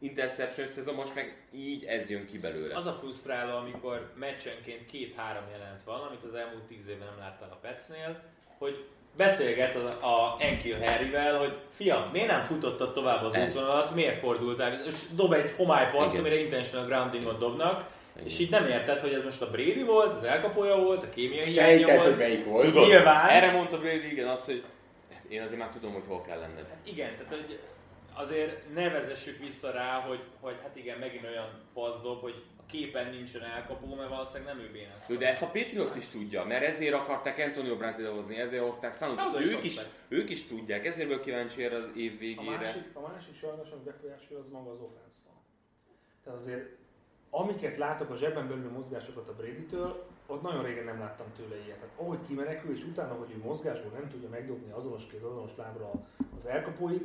interception szezon, most meg így ez jön ki belőle. Az a frusztráló, amikor meccsenként két-három jelent van, amit az elmúlt tíz évben nem láttál a Petsnél, hogy beszélget a, a Enkil Harryvel, hogy fiam, miért nem futottad tovább az Ez. útvonalat, miért fordultál, és dob egy homálypaszt, Igen. amire intentional groundingot dobnak, és így nem érted, hogy ez most a Brady volt, az elkapója volt, a kémiai hiánya Sejtett, volt. hogy melyik volt. Tudod. Nyilván. Erre mondta Brady, igen, azt, hogy én azért már tudom, hogy hol kell lenned. Igen, tehát hogy azért ne vezessük vissza rá, hogy, hogy hát igen, megint olyan pazdob, hogy a képen nincsen elkapó, mert valószínűleg nem ő bénázta. Jó, De ezt a Patriots is tudja, mert ezért akarták Antonio Brown idehozni, ezért hozták Hát, Sanut, oda is ők is, hozták. ők is tudják, ezért vagyok kíváncsi erre az év A végére. másik, a másik sajnos, ami befolyásolja, az maga az offense van. Tehát azért, amiket látok a zsebben belül mozgásokat a Brady-től, ott nagyon régen nem láttam tőle ilyet. Tehát ahogy kimenekül, és utána, hogy ő mozgásból nem tudja megdobni azonos kéz, azonos lábra az elkapóit,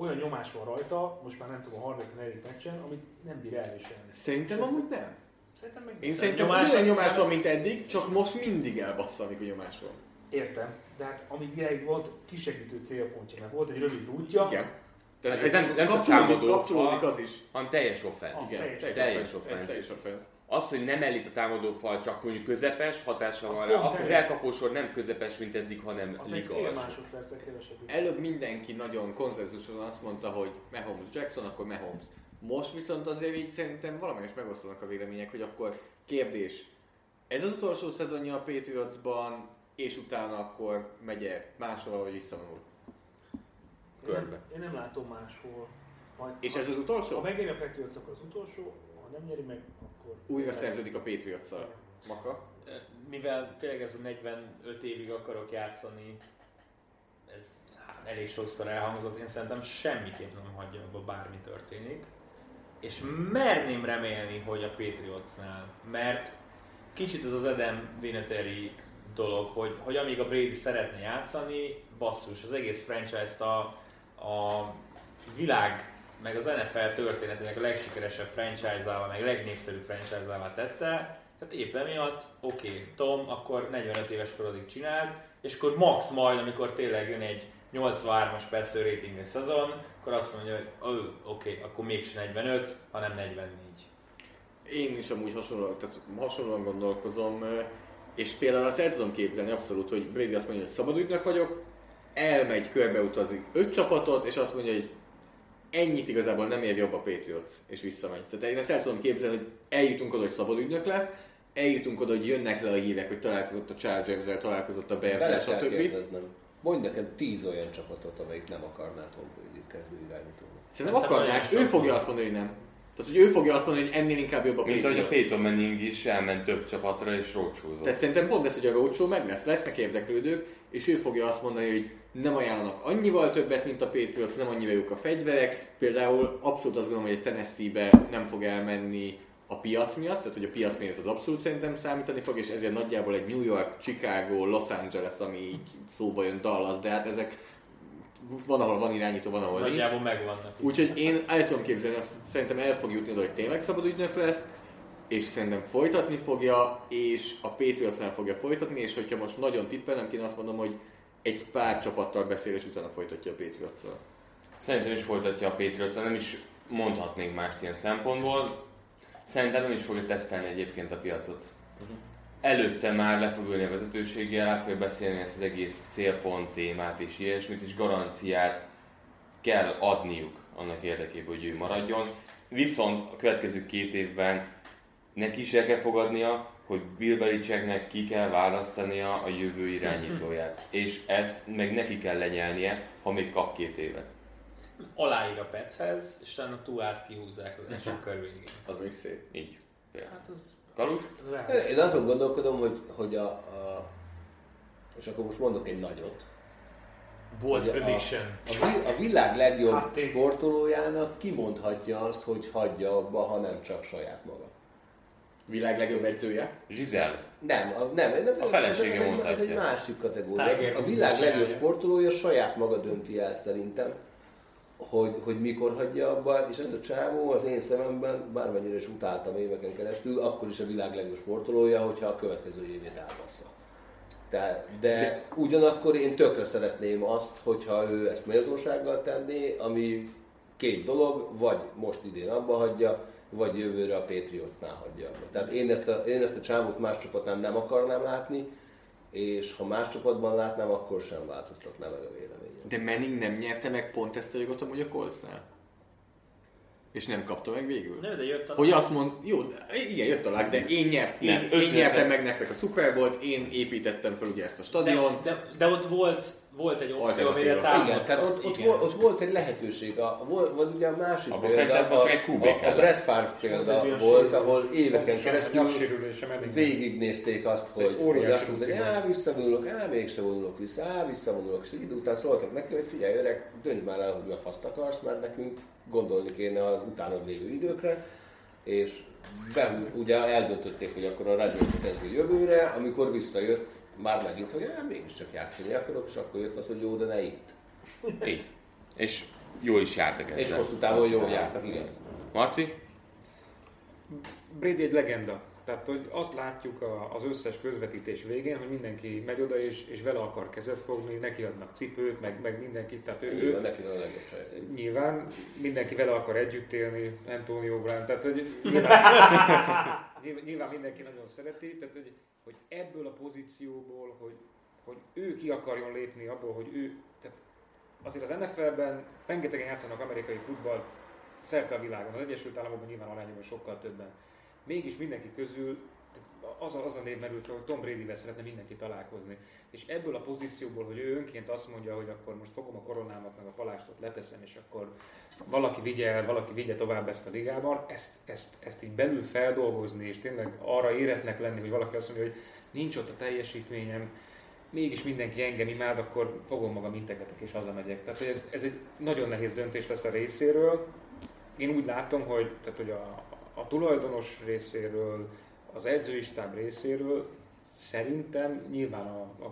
olyan nyomás van rajta, most már nem tudom, a harmadik, negyedik meccsen, amit nem bír elviselni. Szerintem amúgy nem. Szerintem meg Én szerintem Nyomás- olyan nyomás van, mint eddig, csak most mindig elbassza, amikor nyomás van. Értem, de hát amíg ideig volt kisegítő célpontja, mert volt egy rövid útja, Igen. Tehát Hát ez nem, nem csak Kapcsolódik- támadó, Kapcsolódik fal, az is. hanem teljes offense. Igen, Ah, teljes teljes offense. offense. Ez teljes offense. Az, hogy nem elit a támadó fal, csak mondjuk közepes hatása van rá, pont azt az elég. elkapósor nem közepes, mint eddig, hanem az egy liga fél alsó. másodperccel kevesebb. Előbb mindenki nagyon konszenzusosan azt mondta, hogy Mahomes Jackson, akkor Mahomes. Most viszont azért így szerintem valamelyest megosztanak a vélemények, hogy akkor kérdés. Ez az utolsó szezonja a Patriotsban, és utána akkor megye máshova, vagy visszavonul. körbe. Én, nem- én nem látom máshol. Majd, És ha, ez az ha utolsó? megéri a Patriots, akkor az utolsó, ha nem nyeri meg, akkor... Újra lesz. szerződik a patriots Maka? mivel tényleg ez a 45 évig akarok játszani, ez hát, elég sokszor elhangzott, én szerintem semmiképp nem hagyja abba bármi történik. És merném remélni, hogy a Patriotsnál, mert kicsit ez az Adam Vinatieri dolog, hogy, hogy amíg a Brady szeretne játszani, basszus, az egész franchise-t a, a világ, meg az NFL történetének a legsikeresebb franchise-ával, meg legnépszerűbb franchise-ával tette, tehát éppen miatt, oké, okay, Tom, akkor 45 éves korodig csináld, és akkor max majd, amikor tényleg jön egy 83-as persze ratinges szezon, akkor azt mondja, hogy "Ö, oké, okay, akkor mégsem 45, hanem 44. Én is amúgy hasonlóan, tehát hasonlóan gondolkozom, ö, és például azt el tudom képzelni abszolút, hogy Brady azt mondja, hogy szabadügynök vagyok, elmegy, körbeutazik öt csapatot, és azt mondja, hogy ennyit igazából nem ér jobb a Patriots, és visszamegy. Tehát én ezt el tudom képzelni, hogy eljutunk oda, hogy szabadügynök lesz, eljutunk oda, hogy jönnek le a hívek, hogy találkozott a chargers találkozott a Bele bears kell stb. kérdeznem. Mondj nekem tíz olyan csapatot, amelyik nem akarná Tom Brady-t kezdő irányítónak. Szerintem akarják, ő fogja azt mondani, hogy nem. Tehát, hogy ő fogja azt mondani, hogy ennél inkább jobb a Mint Patriots. ahogy a Peyton Manning is elment több csapatra és rócsúzott. Tehát szerintem pont ez, hogy a roadshow meg lesz, lesznek érdeklődők, és ő fogja azt mondani, hogy nem ajánlanak annyival többet, mint a Patriots, nem annyira jók a fegyverek. Például abszolút azt gondolom, hogy egy Tennessee-be nem fog elmenni a piac miatt, tehát hogy a piac miatt az abszolút szerintem számítani fog, és ezért nagyjából egy New York, Chicago, Los Angeles, ami így szóba jön Dallas, de hát ezek van, ahol van irányító, van, ahol nincs. Nagyjából megvannak. Úgyhogy én el tudom képzelni, azt szerintem el fog jutni oda, hogy tényleg szabad ügynök lesz, és szerintem folytatni fogja, és a patriots nem fogja folytatni, és hogyha most nagyon tippelnem, én azt mondom, hogy egy pár csapattal beszél, és utána folytatja a patriots Szerintem is folytatja a Patriots, nem is mondhatnénk mást ilyen szempontból. Szerintem nem is fogja tesztelni egyébként a piacot. Előtte már le fog ülni a vezetőséggel, el fogja beszélni ezt az egész célpont témát és ilyesmit, és garanciát kell adniuk annak érdekében, hogy ő maradjon. Viszont a következő két évben neki is el kell fogadnia, hogy Bill Belichicknek ki kell választania a jövő irányítóját. És ezt meg neki kell lenyelnie, ha még kap két évet. Aláír a Petshez, és utána túlát kihúzzák az [LAUGHS] első kör végén. Az még szép. Így. például. Hát az... Kalus? Hát. Én azon gondolkodom, hogy, hogy a, a... És akkor most mondok egy nagyot. Bold Ugye a- prediction. A, vi- a világ legjobb Hát én- sportolójának kimondhatja azt, hogy hagyja abba, ha nem csak saját maga. Világ legjobb edzője. Zsizel. Nem, a, nem, nem A felesége ez, ez, egy, ez mondhatja. egy másik Tiger kategória. A Woods világ is legjobb csinálja. sportolója saját maga dönti el szerintem, hogy, hogy mikor hagyja abba, és ez a csávó az én szememben, bármennyire is utáltam éveken keresztül, akkor is a világ legjobb sportolója, hogyha a következő évét elbassza. De, de ugyanakkor én tökre szeretném azt, hogyha ő ezt méltósággal tenné, ami két dolog, vagy most idén abba hagyja, vagy jövőre a Patriotsnál hagyja abba. Tehát én ezt a, én ezt a csávót más csapatnál nem akarnám látni, és ha más csapatban látnám, akkor sem változtatnám meg a véleményem. De Manning nem nyerte meg pont ezt a jogot amúgy a Coltsnál. És nem kapta meg végül. Nem, de jött a... Hogy azt mond, jó, de- igen, jött a lag, de én, nyert, én, Nem, én összesen- nyertem meg nektek a Super Bowl-t, én építettem fel ugye ezt a de, stadion. de, de, ott volt, volt egy opció, Alternatíva. amire Igen, támasztott. Igen, tehát ott, ott, Igen. Volt, ott volt egy lehetőség, a, volt, vagy ugye a másik Abban a franchise-ban csak egy QB a, a kellett. Brett Favre volt egy példa olyan volt, sérülés. ahol éveken Pontosan, a keresztül nyaksérülésem eddig. végignézték azt, egy hogy, hogy óriási azt mondták, hogy rutin á, visszavonulok, á, mégse vonulok vissza, á, visszavonulok, és egy idő után szóltak neki, hogy figyelj öreg, döntsd már el, hogy mi a faszt akarsz, mert nekünk gondolni kéne az utánad lévő időkre, és be, ugye eldöntötték, hogy akkor a Rodgers kezdő jövőre, amikor visszajött, már megint, hogy á, mégiscsak játszani akarok, és akkor jött az, hogy jó, de ne itt. Így. És jól is jártak ezzel. És hosszú távon jól jártak, igen. Marci? Brady egy legenda. Tehát, hogy azt látjuk a- az összes közvetítés végén, hogy mindenki megy oda és, és vele akar kezet fogni, neki adnak cipőt, meg, meg mindenkit. Tehát ő, Ő van ő, neki a legjobb csaj. nyilván mindenki vele akar együtt élni, Antonio Brown, tehát hogy nyilván, nyilván- nyilván mindenki nagyon szereti, tehát hogy, hogy ebből a pozícióból, hogy, hogy ő ki akarjon lépni abból, hogy ő, tehát azért az NFL-ben rengetegen játszanak amerikai futballt szerte a világon, az Egyesült Államokban nyilván arányban sokkal többen. Mégis mindenki közül tehát az a, az a név merül fel, hogy Tom Brady-vel szeretne mindenki találkozni. És ebből a pozícióból, hogy ő önként azt mondja, hogy akkor most fogom a koronámat, meg a palástot leteszem, és akkor valaki vigye el, valaki vigye tovább ezt a ligában, ezt, ezt, ezt így belül feldolgozni, és tényleg arra éretnek lenni, hogy valaki azt mondja, hogy nincs ott a teljesítményem, mégis mindenki engem imád, akkor fogom magam integetek és hazamegyek. Tehát hogy ez, ez egy nagyon nehéz döntés lesz a részéről. Én úgy látom, hogy, tehát, hogy a, a tulajdonos részéről, az edzői stáb részéről szerintem nyilván a, a,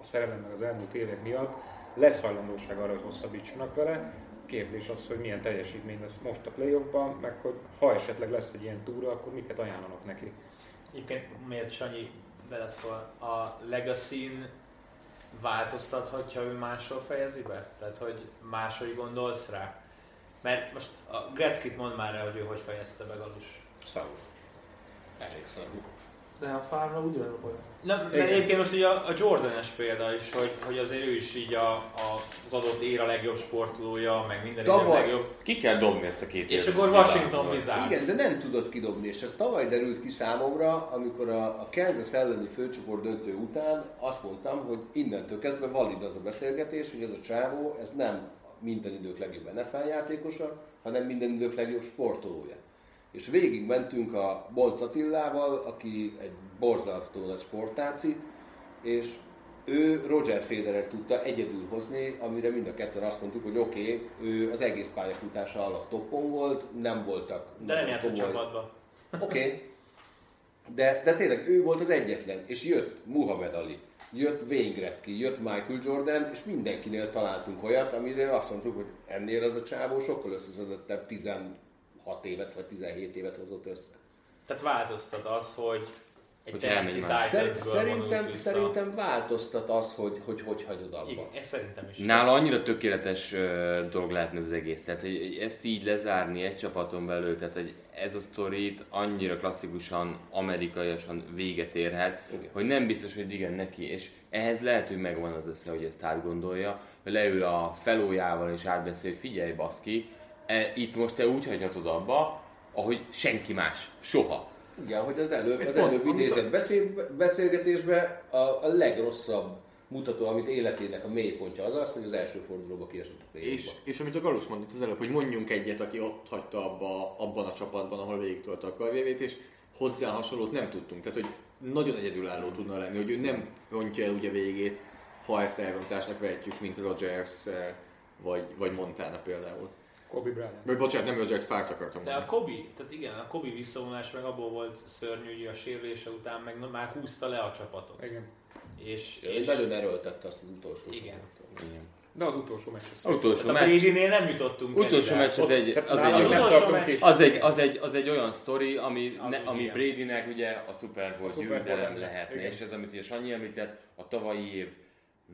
a szerelem meg az elmúlt évek miatt lesz hajlandóság arra, hogy hosszabbítsanak vele. Kérdés az, hogy milyen teljesítmény lesz most a playoffban, meg hogy ha esetleg lesz egy ilyen túra, akkor miket ajánlanak neki. Egyébként miért Sanyi beleszól? A legacy változtathatja, ő máshol fejezi be? Tehát, hogy máshogy gondolsz rá? Mert most a Gretzkit mond már el, hogy ő hogy fejezte be Galus. Szarul. Elég szarul. De a fárra ugyanaz a baj. Na, mert egyébként most ugye a, a Jordanes példa is, hogy, hogy azért ő is így a, a, az adott éra legjobb sportolója, meg minden idő Tavaly- legjobb. Ki kell dobni ezt a két És évet? akkor Washington Wizards. Igen, de nem tudott kidobni, és ez tavaly derült ki számomra, amikor a, a Kansas elleni főcsoport döntő után azt mondtam, hogy innentől kezdve valid az a beszélgetés, hogy ez a csávó, ez nem minden idők legjobb NFL játékosa, hanem minden idők legjobb sportolója. És végig mentünk a Bonc Attilával, aki egy borzalftól nagy sportáci, és ő Roger Federer tudta egyedül hozni, amire mind a ketten azt mondtuk, hogy oké, okay, ő az egész pályafutása alatt toppon volt, nem voltak. De nem nagyon játszott komoly- csapatba. Oké. Okay. De, de tényleg ő volt az egyetlen, és jött Muhammad Ali, jött Wayne Gretzky, jött Michael Jordan, és mindenkinél találtunk olyat, amire azt mondtuk, hogy ennél az a csávó sokkal összeszedettebb 16 évet vagy 17 évet hozott össze. Tehát változtat az, hogy egy Hogy Tennessee elmegy más. Szer- Titans-ből vonulsz szerintem, vissza. szerintem változtat az, hogy hogy, hogy hagyod abba. Igen, ez szerintem is. Nála annyira tökéletes ö, dolog lehetne ez az egész. Tehát, hogy hogy ezt így lezárni egy csapaton belül, tehát hogy ez a sztorit annyira klasszikusan, amerikaiasan véget érhet, Igen. hogy nem biztos, hogy igen neki. És ehhez lehet, hogy megvan az össze, hogy ezt átgondolja, hogy leül a felójával és átbeszél, hogy figyelj baszki, e, itt most te úgy hagyhatod abba, ahogy senki más, soha. Igen, hogy az előbb, Ez az pont- előbb amit- idézett beszél, beszélgetésben a, a legrosszabb mutató, amit életének a mélypontja az az, hogy az első fordulóba kiesett a És, mélypontba. és amit a Galus mondott az előbb, hogy mondjunk egyet, aki ott hagyta abba, abban a csapatban, ahol végigtolta a karvjevét, és hozzá hasonlót nem tudtunk. Tehát, hogy nagyon egyedülálló tudna lenni, hogy ő nem rontja el ugye végét, ha ezt elrontásnak vehetjük, mint Rogers eh, vagy, vagy Montana például. Kobe Bryant. Vagy bocsánat, nem Rogers, párt akartam De a mondani. Kobi, tehát igen, a Kobi visszavonás meg abból volt szörnyű, hogy a sérülése után meg na- már húzta le a csapatot. Igen. És, És és nagyon erőltette azt az utolsó Igen. szakaszot. De az utolsó meccs. az Az utolsó tehát Hát a meccs, Brady-nél nem jutottunk el utolsó ide. meccs az egy, az egy, Az az, nem egy, utolsó tartunk meccs. itt. az, egy, az, egy, az egy olyan sztori, ami, Az ne, úgy ami igen. Bradynek ugye a Super Bowl A Super Bowl győzelem lenne. lehetne, Igen. és ez, amit ugye Sanyi említett, a tavalyi év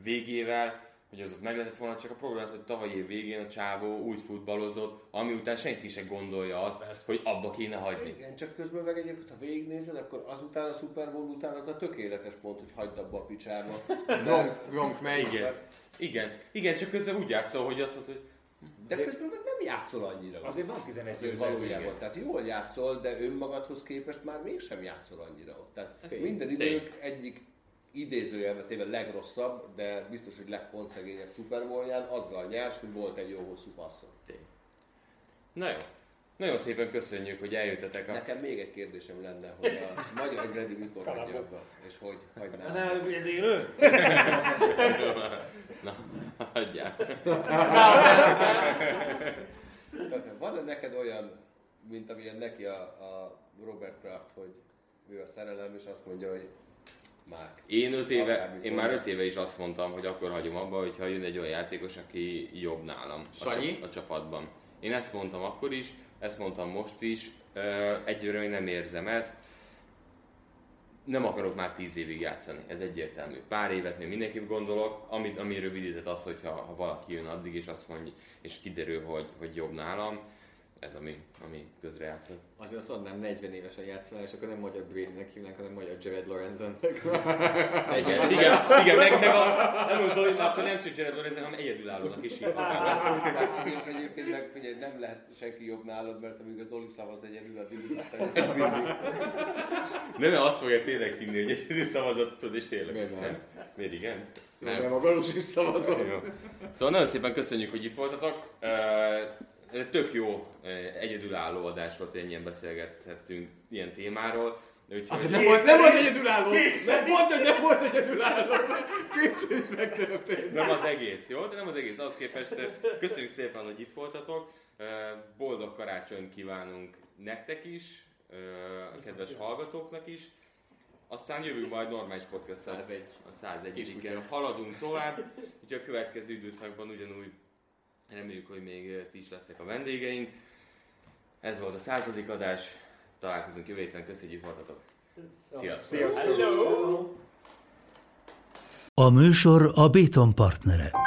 végével, hogy az ott meg lehetett volna, csak a program az, hogy tavalyi év végén a csávó úgy futballozott, ami után senki se gondolja azt, Persze. hogy abba kéne hagyni. Igen, csak közben meg egyébként, ha végignézed, akkor azután a Super Bowl után az a tökéletes pont, hogy hagyd abba a picsába. De, Ronk, Ronk, mely? Igen, igen, igen, csak közben úgy játszol, hogy azt mondod, hogy de közben meg nem játszol annyira. Azért van 11 Azért győzelem, valójában. igen. Tehát jól játszol, de önmagadhoz képest már mégsem játszol annyira ott. Tehát tény. minden idők egyik idézőjelbe téve legrosszabb, de biztos, hogy legpontszegényebb Super Bowlján azzal nyers, hogy volt egy jó hosszú passzon. na jó, nagyon szépen köszönjük, hogy eljöttetek a Nekem még egy kérdésem lenne, hogy a magyar Gredi mikor hagyja abba, és hogy hagyná. Na, ez élő? Na, hagyjál. Van-e neked olyan, mint amilyen neki a, a Robert Kraft, hogy ő a szerelem, és azt mondja, hogy Márk. Én, öt éve, Akármikor én már lesz. öt éve is azt mondtam, hogy akkor hagyom abba, hogyha jön egy olyan játékos, aki jobb nálam a, Sanyi? csap- a csapatban. Én ezt mondtam akkor is, ezt mondtam most is, ö, egyőre még nem érzem ezt. Nem akarok már tíz évig játszani, ez egyértelmű. Pár évet még mindenképp gondolok, amit, ami rövidített az, hogyha ha valaki jön addig, és azt mondja, és kiderül, hogy, hogy jobb nálam, ez ami, ami közre játszott. Azért azt mondanám, 40 évesen játszol, és akkor nem magyar Bradynek hívnánk, hanem magyar Jared Lorenzennek. Igen, igen, igen, meg, meg a, nem mondom, hogy akkor nem csak Jared Lorenzen, hanem egyedülállónak is hívhatnám. Egyébként- Egyébként meg figyelj, nem lehet senki jobb nálad, mert amíg az Oli szavaz egyedül, addig aztán ez mindig. Nem, mert azt fogja tényleg hinni, hogy egy [LAUGHS] szavazott tudod, és tényleg. Miért nem? nem? Miért igen? Nem, nem a Galus is szavazott. Jó. Szóval nagyon szépen köszönjük, hogy itt voltatok. Ö, Tök jó, ö, egyedülálló adás volt, hogy ennyien beszélgethettünk ilyen témáról. Úgyhogy... Nem volt, nem volt egyedülálló! Nem volt, hogy nem volt egyedülálló! Kétszer is megtörtént. Nem az egész, jó? De nem az egész, az képest ö, köszönjük szépen, hogy itt voltatok. Ö, Boldog karácsonyt kívánunk nektek is, ö, a kedves hallgatóknak is. Aztán jövünk majd normális podcast 101. a 101 Kiskutya. igen haladunk tovább, úgyhogy a következő időszakban ugyanúgy reméljük, hogy még ö, ti is leszek a vendégeink. Ez volt a századik adás, találkozunk jövő héten, köszönjük, hogy itt voltatok. Sziasztok! Sziasztok! Hello! A műsor a Béton partnere.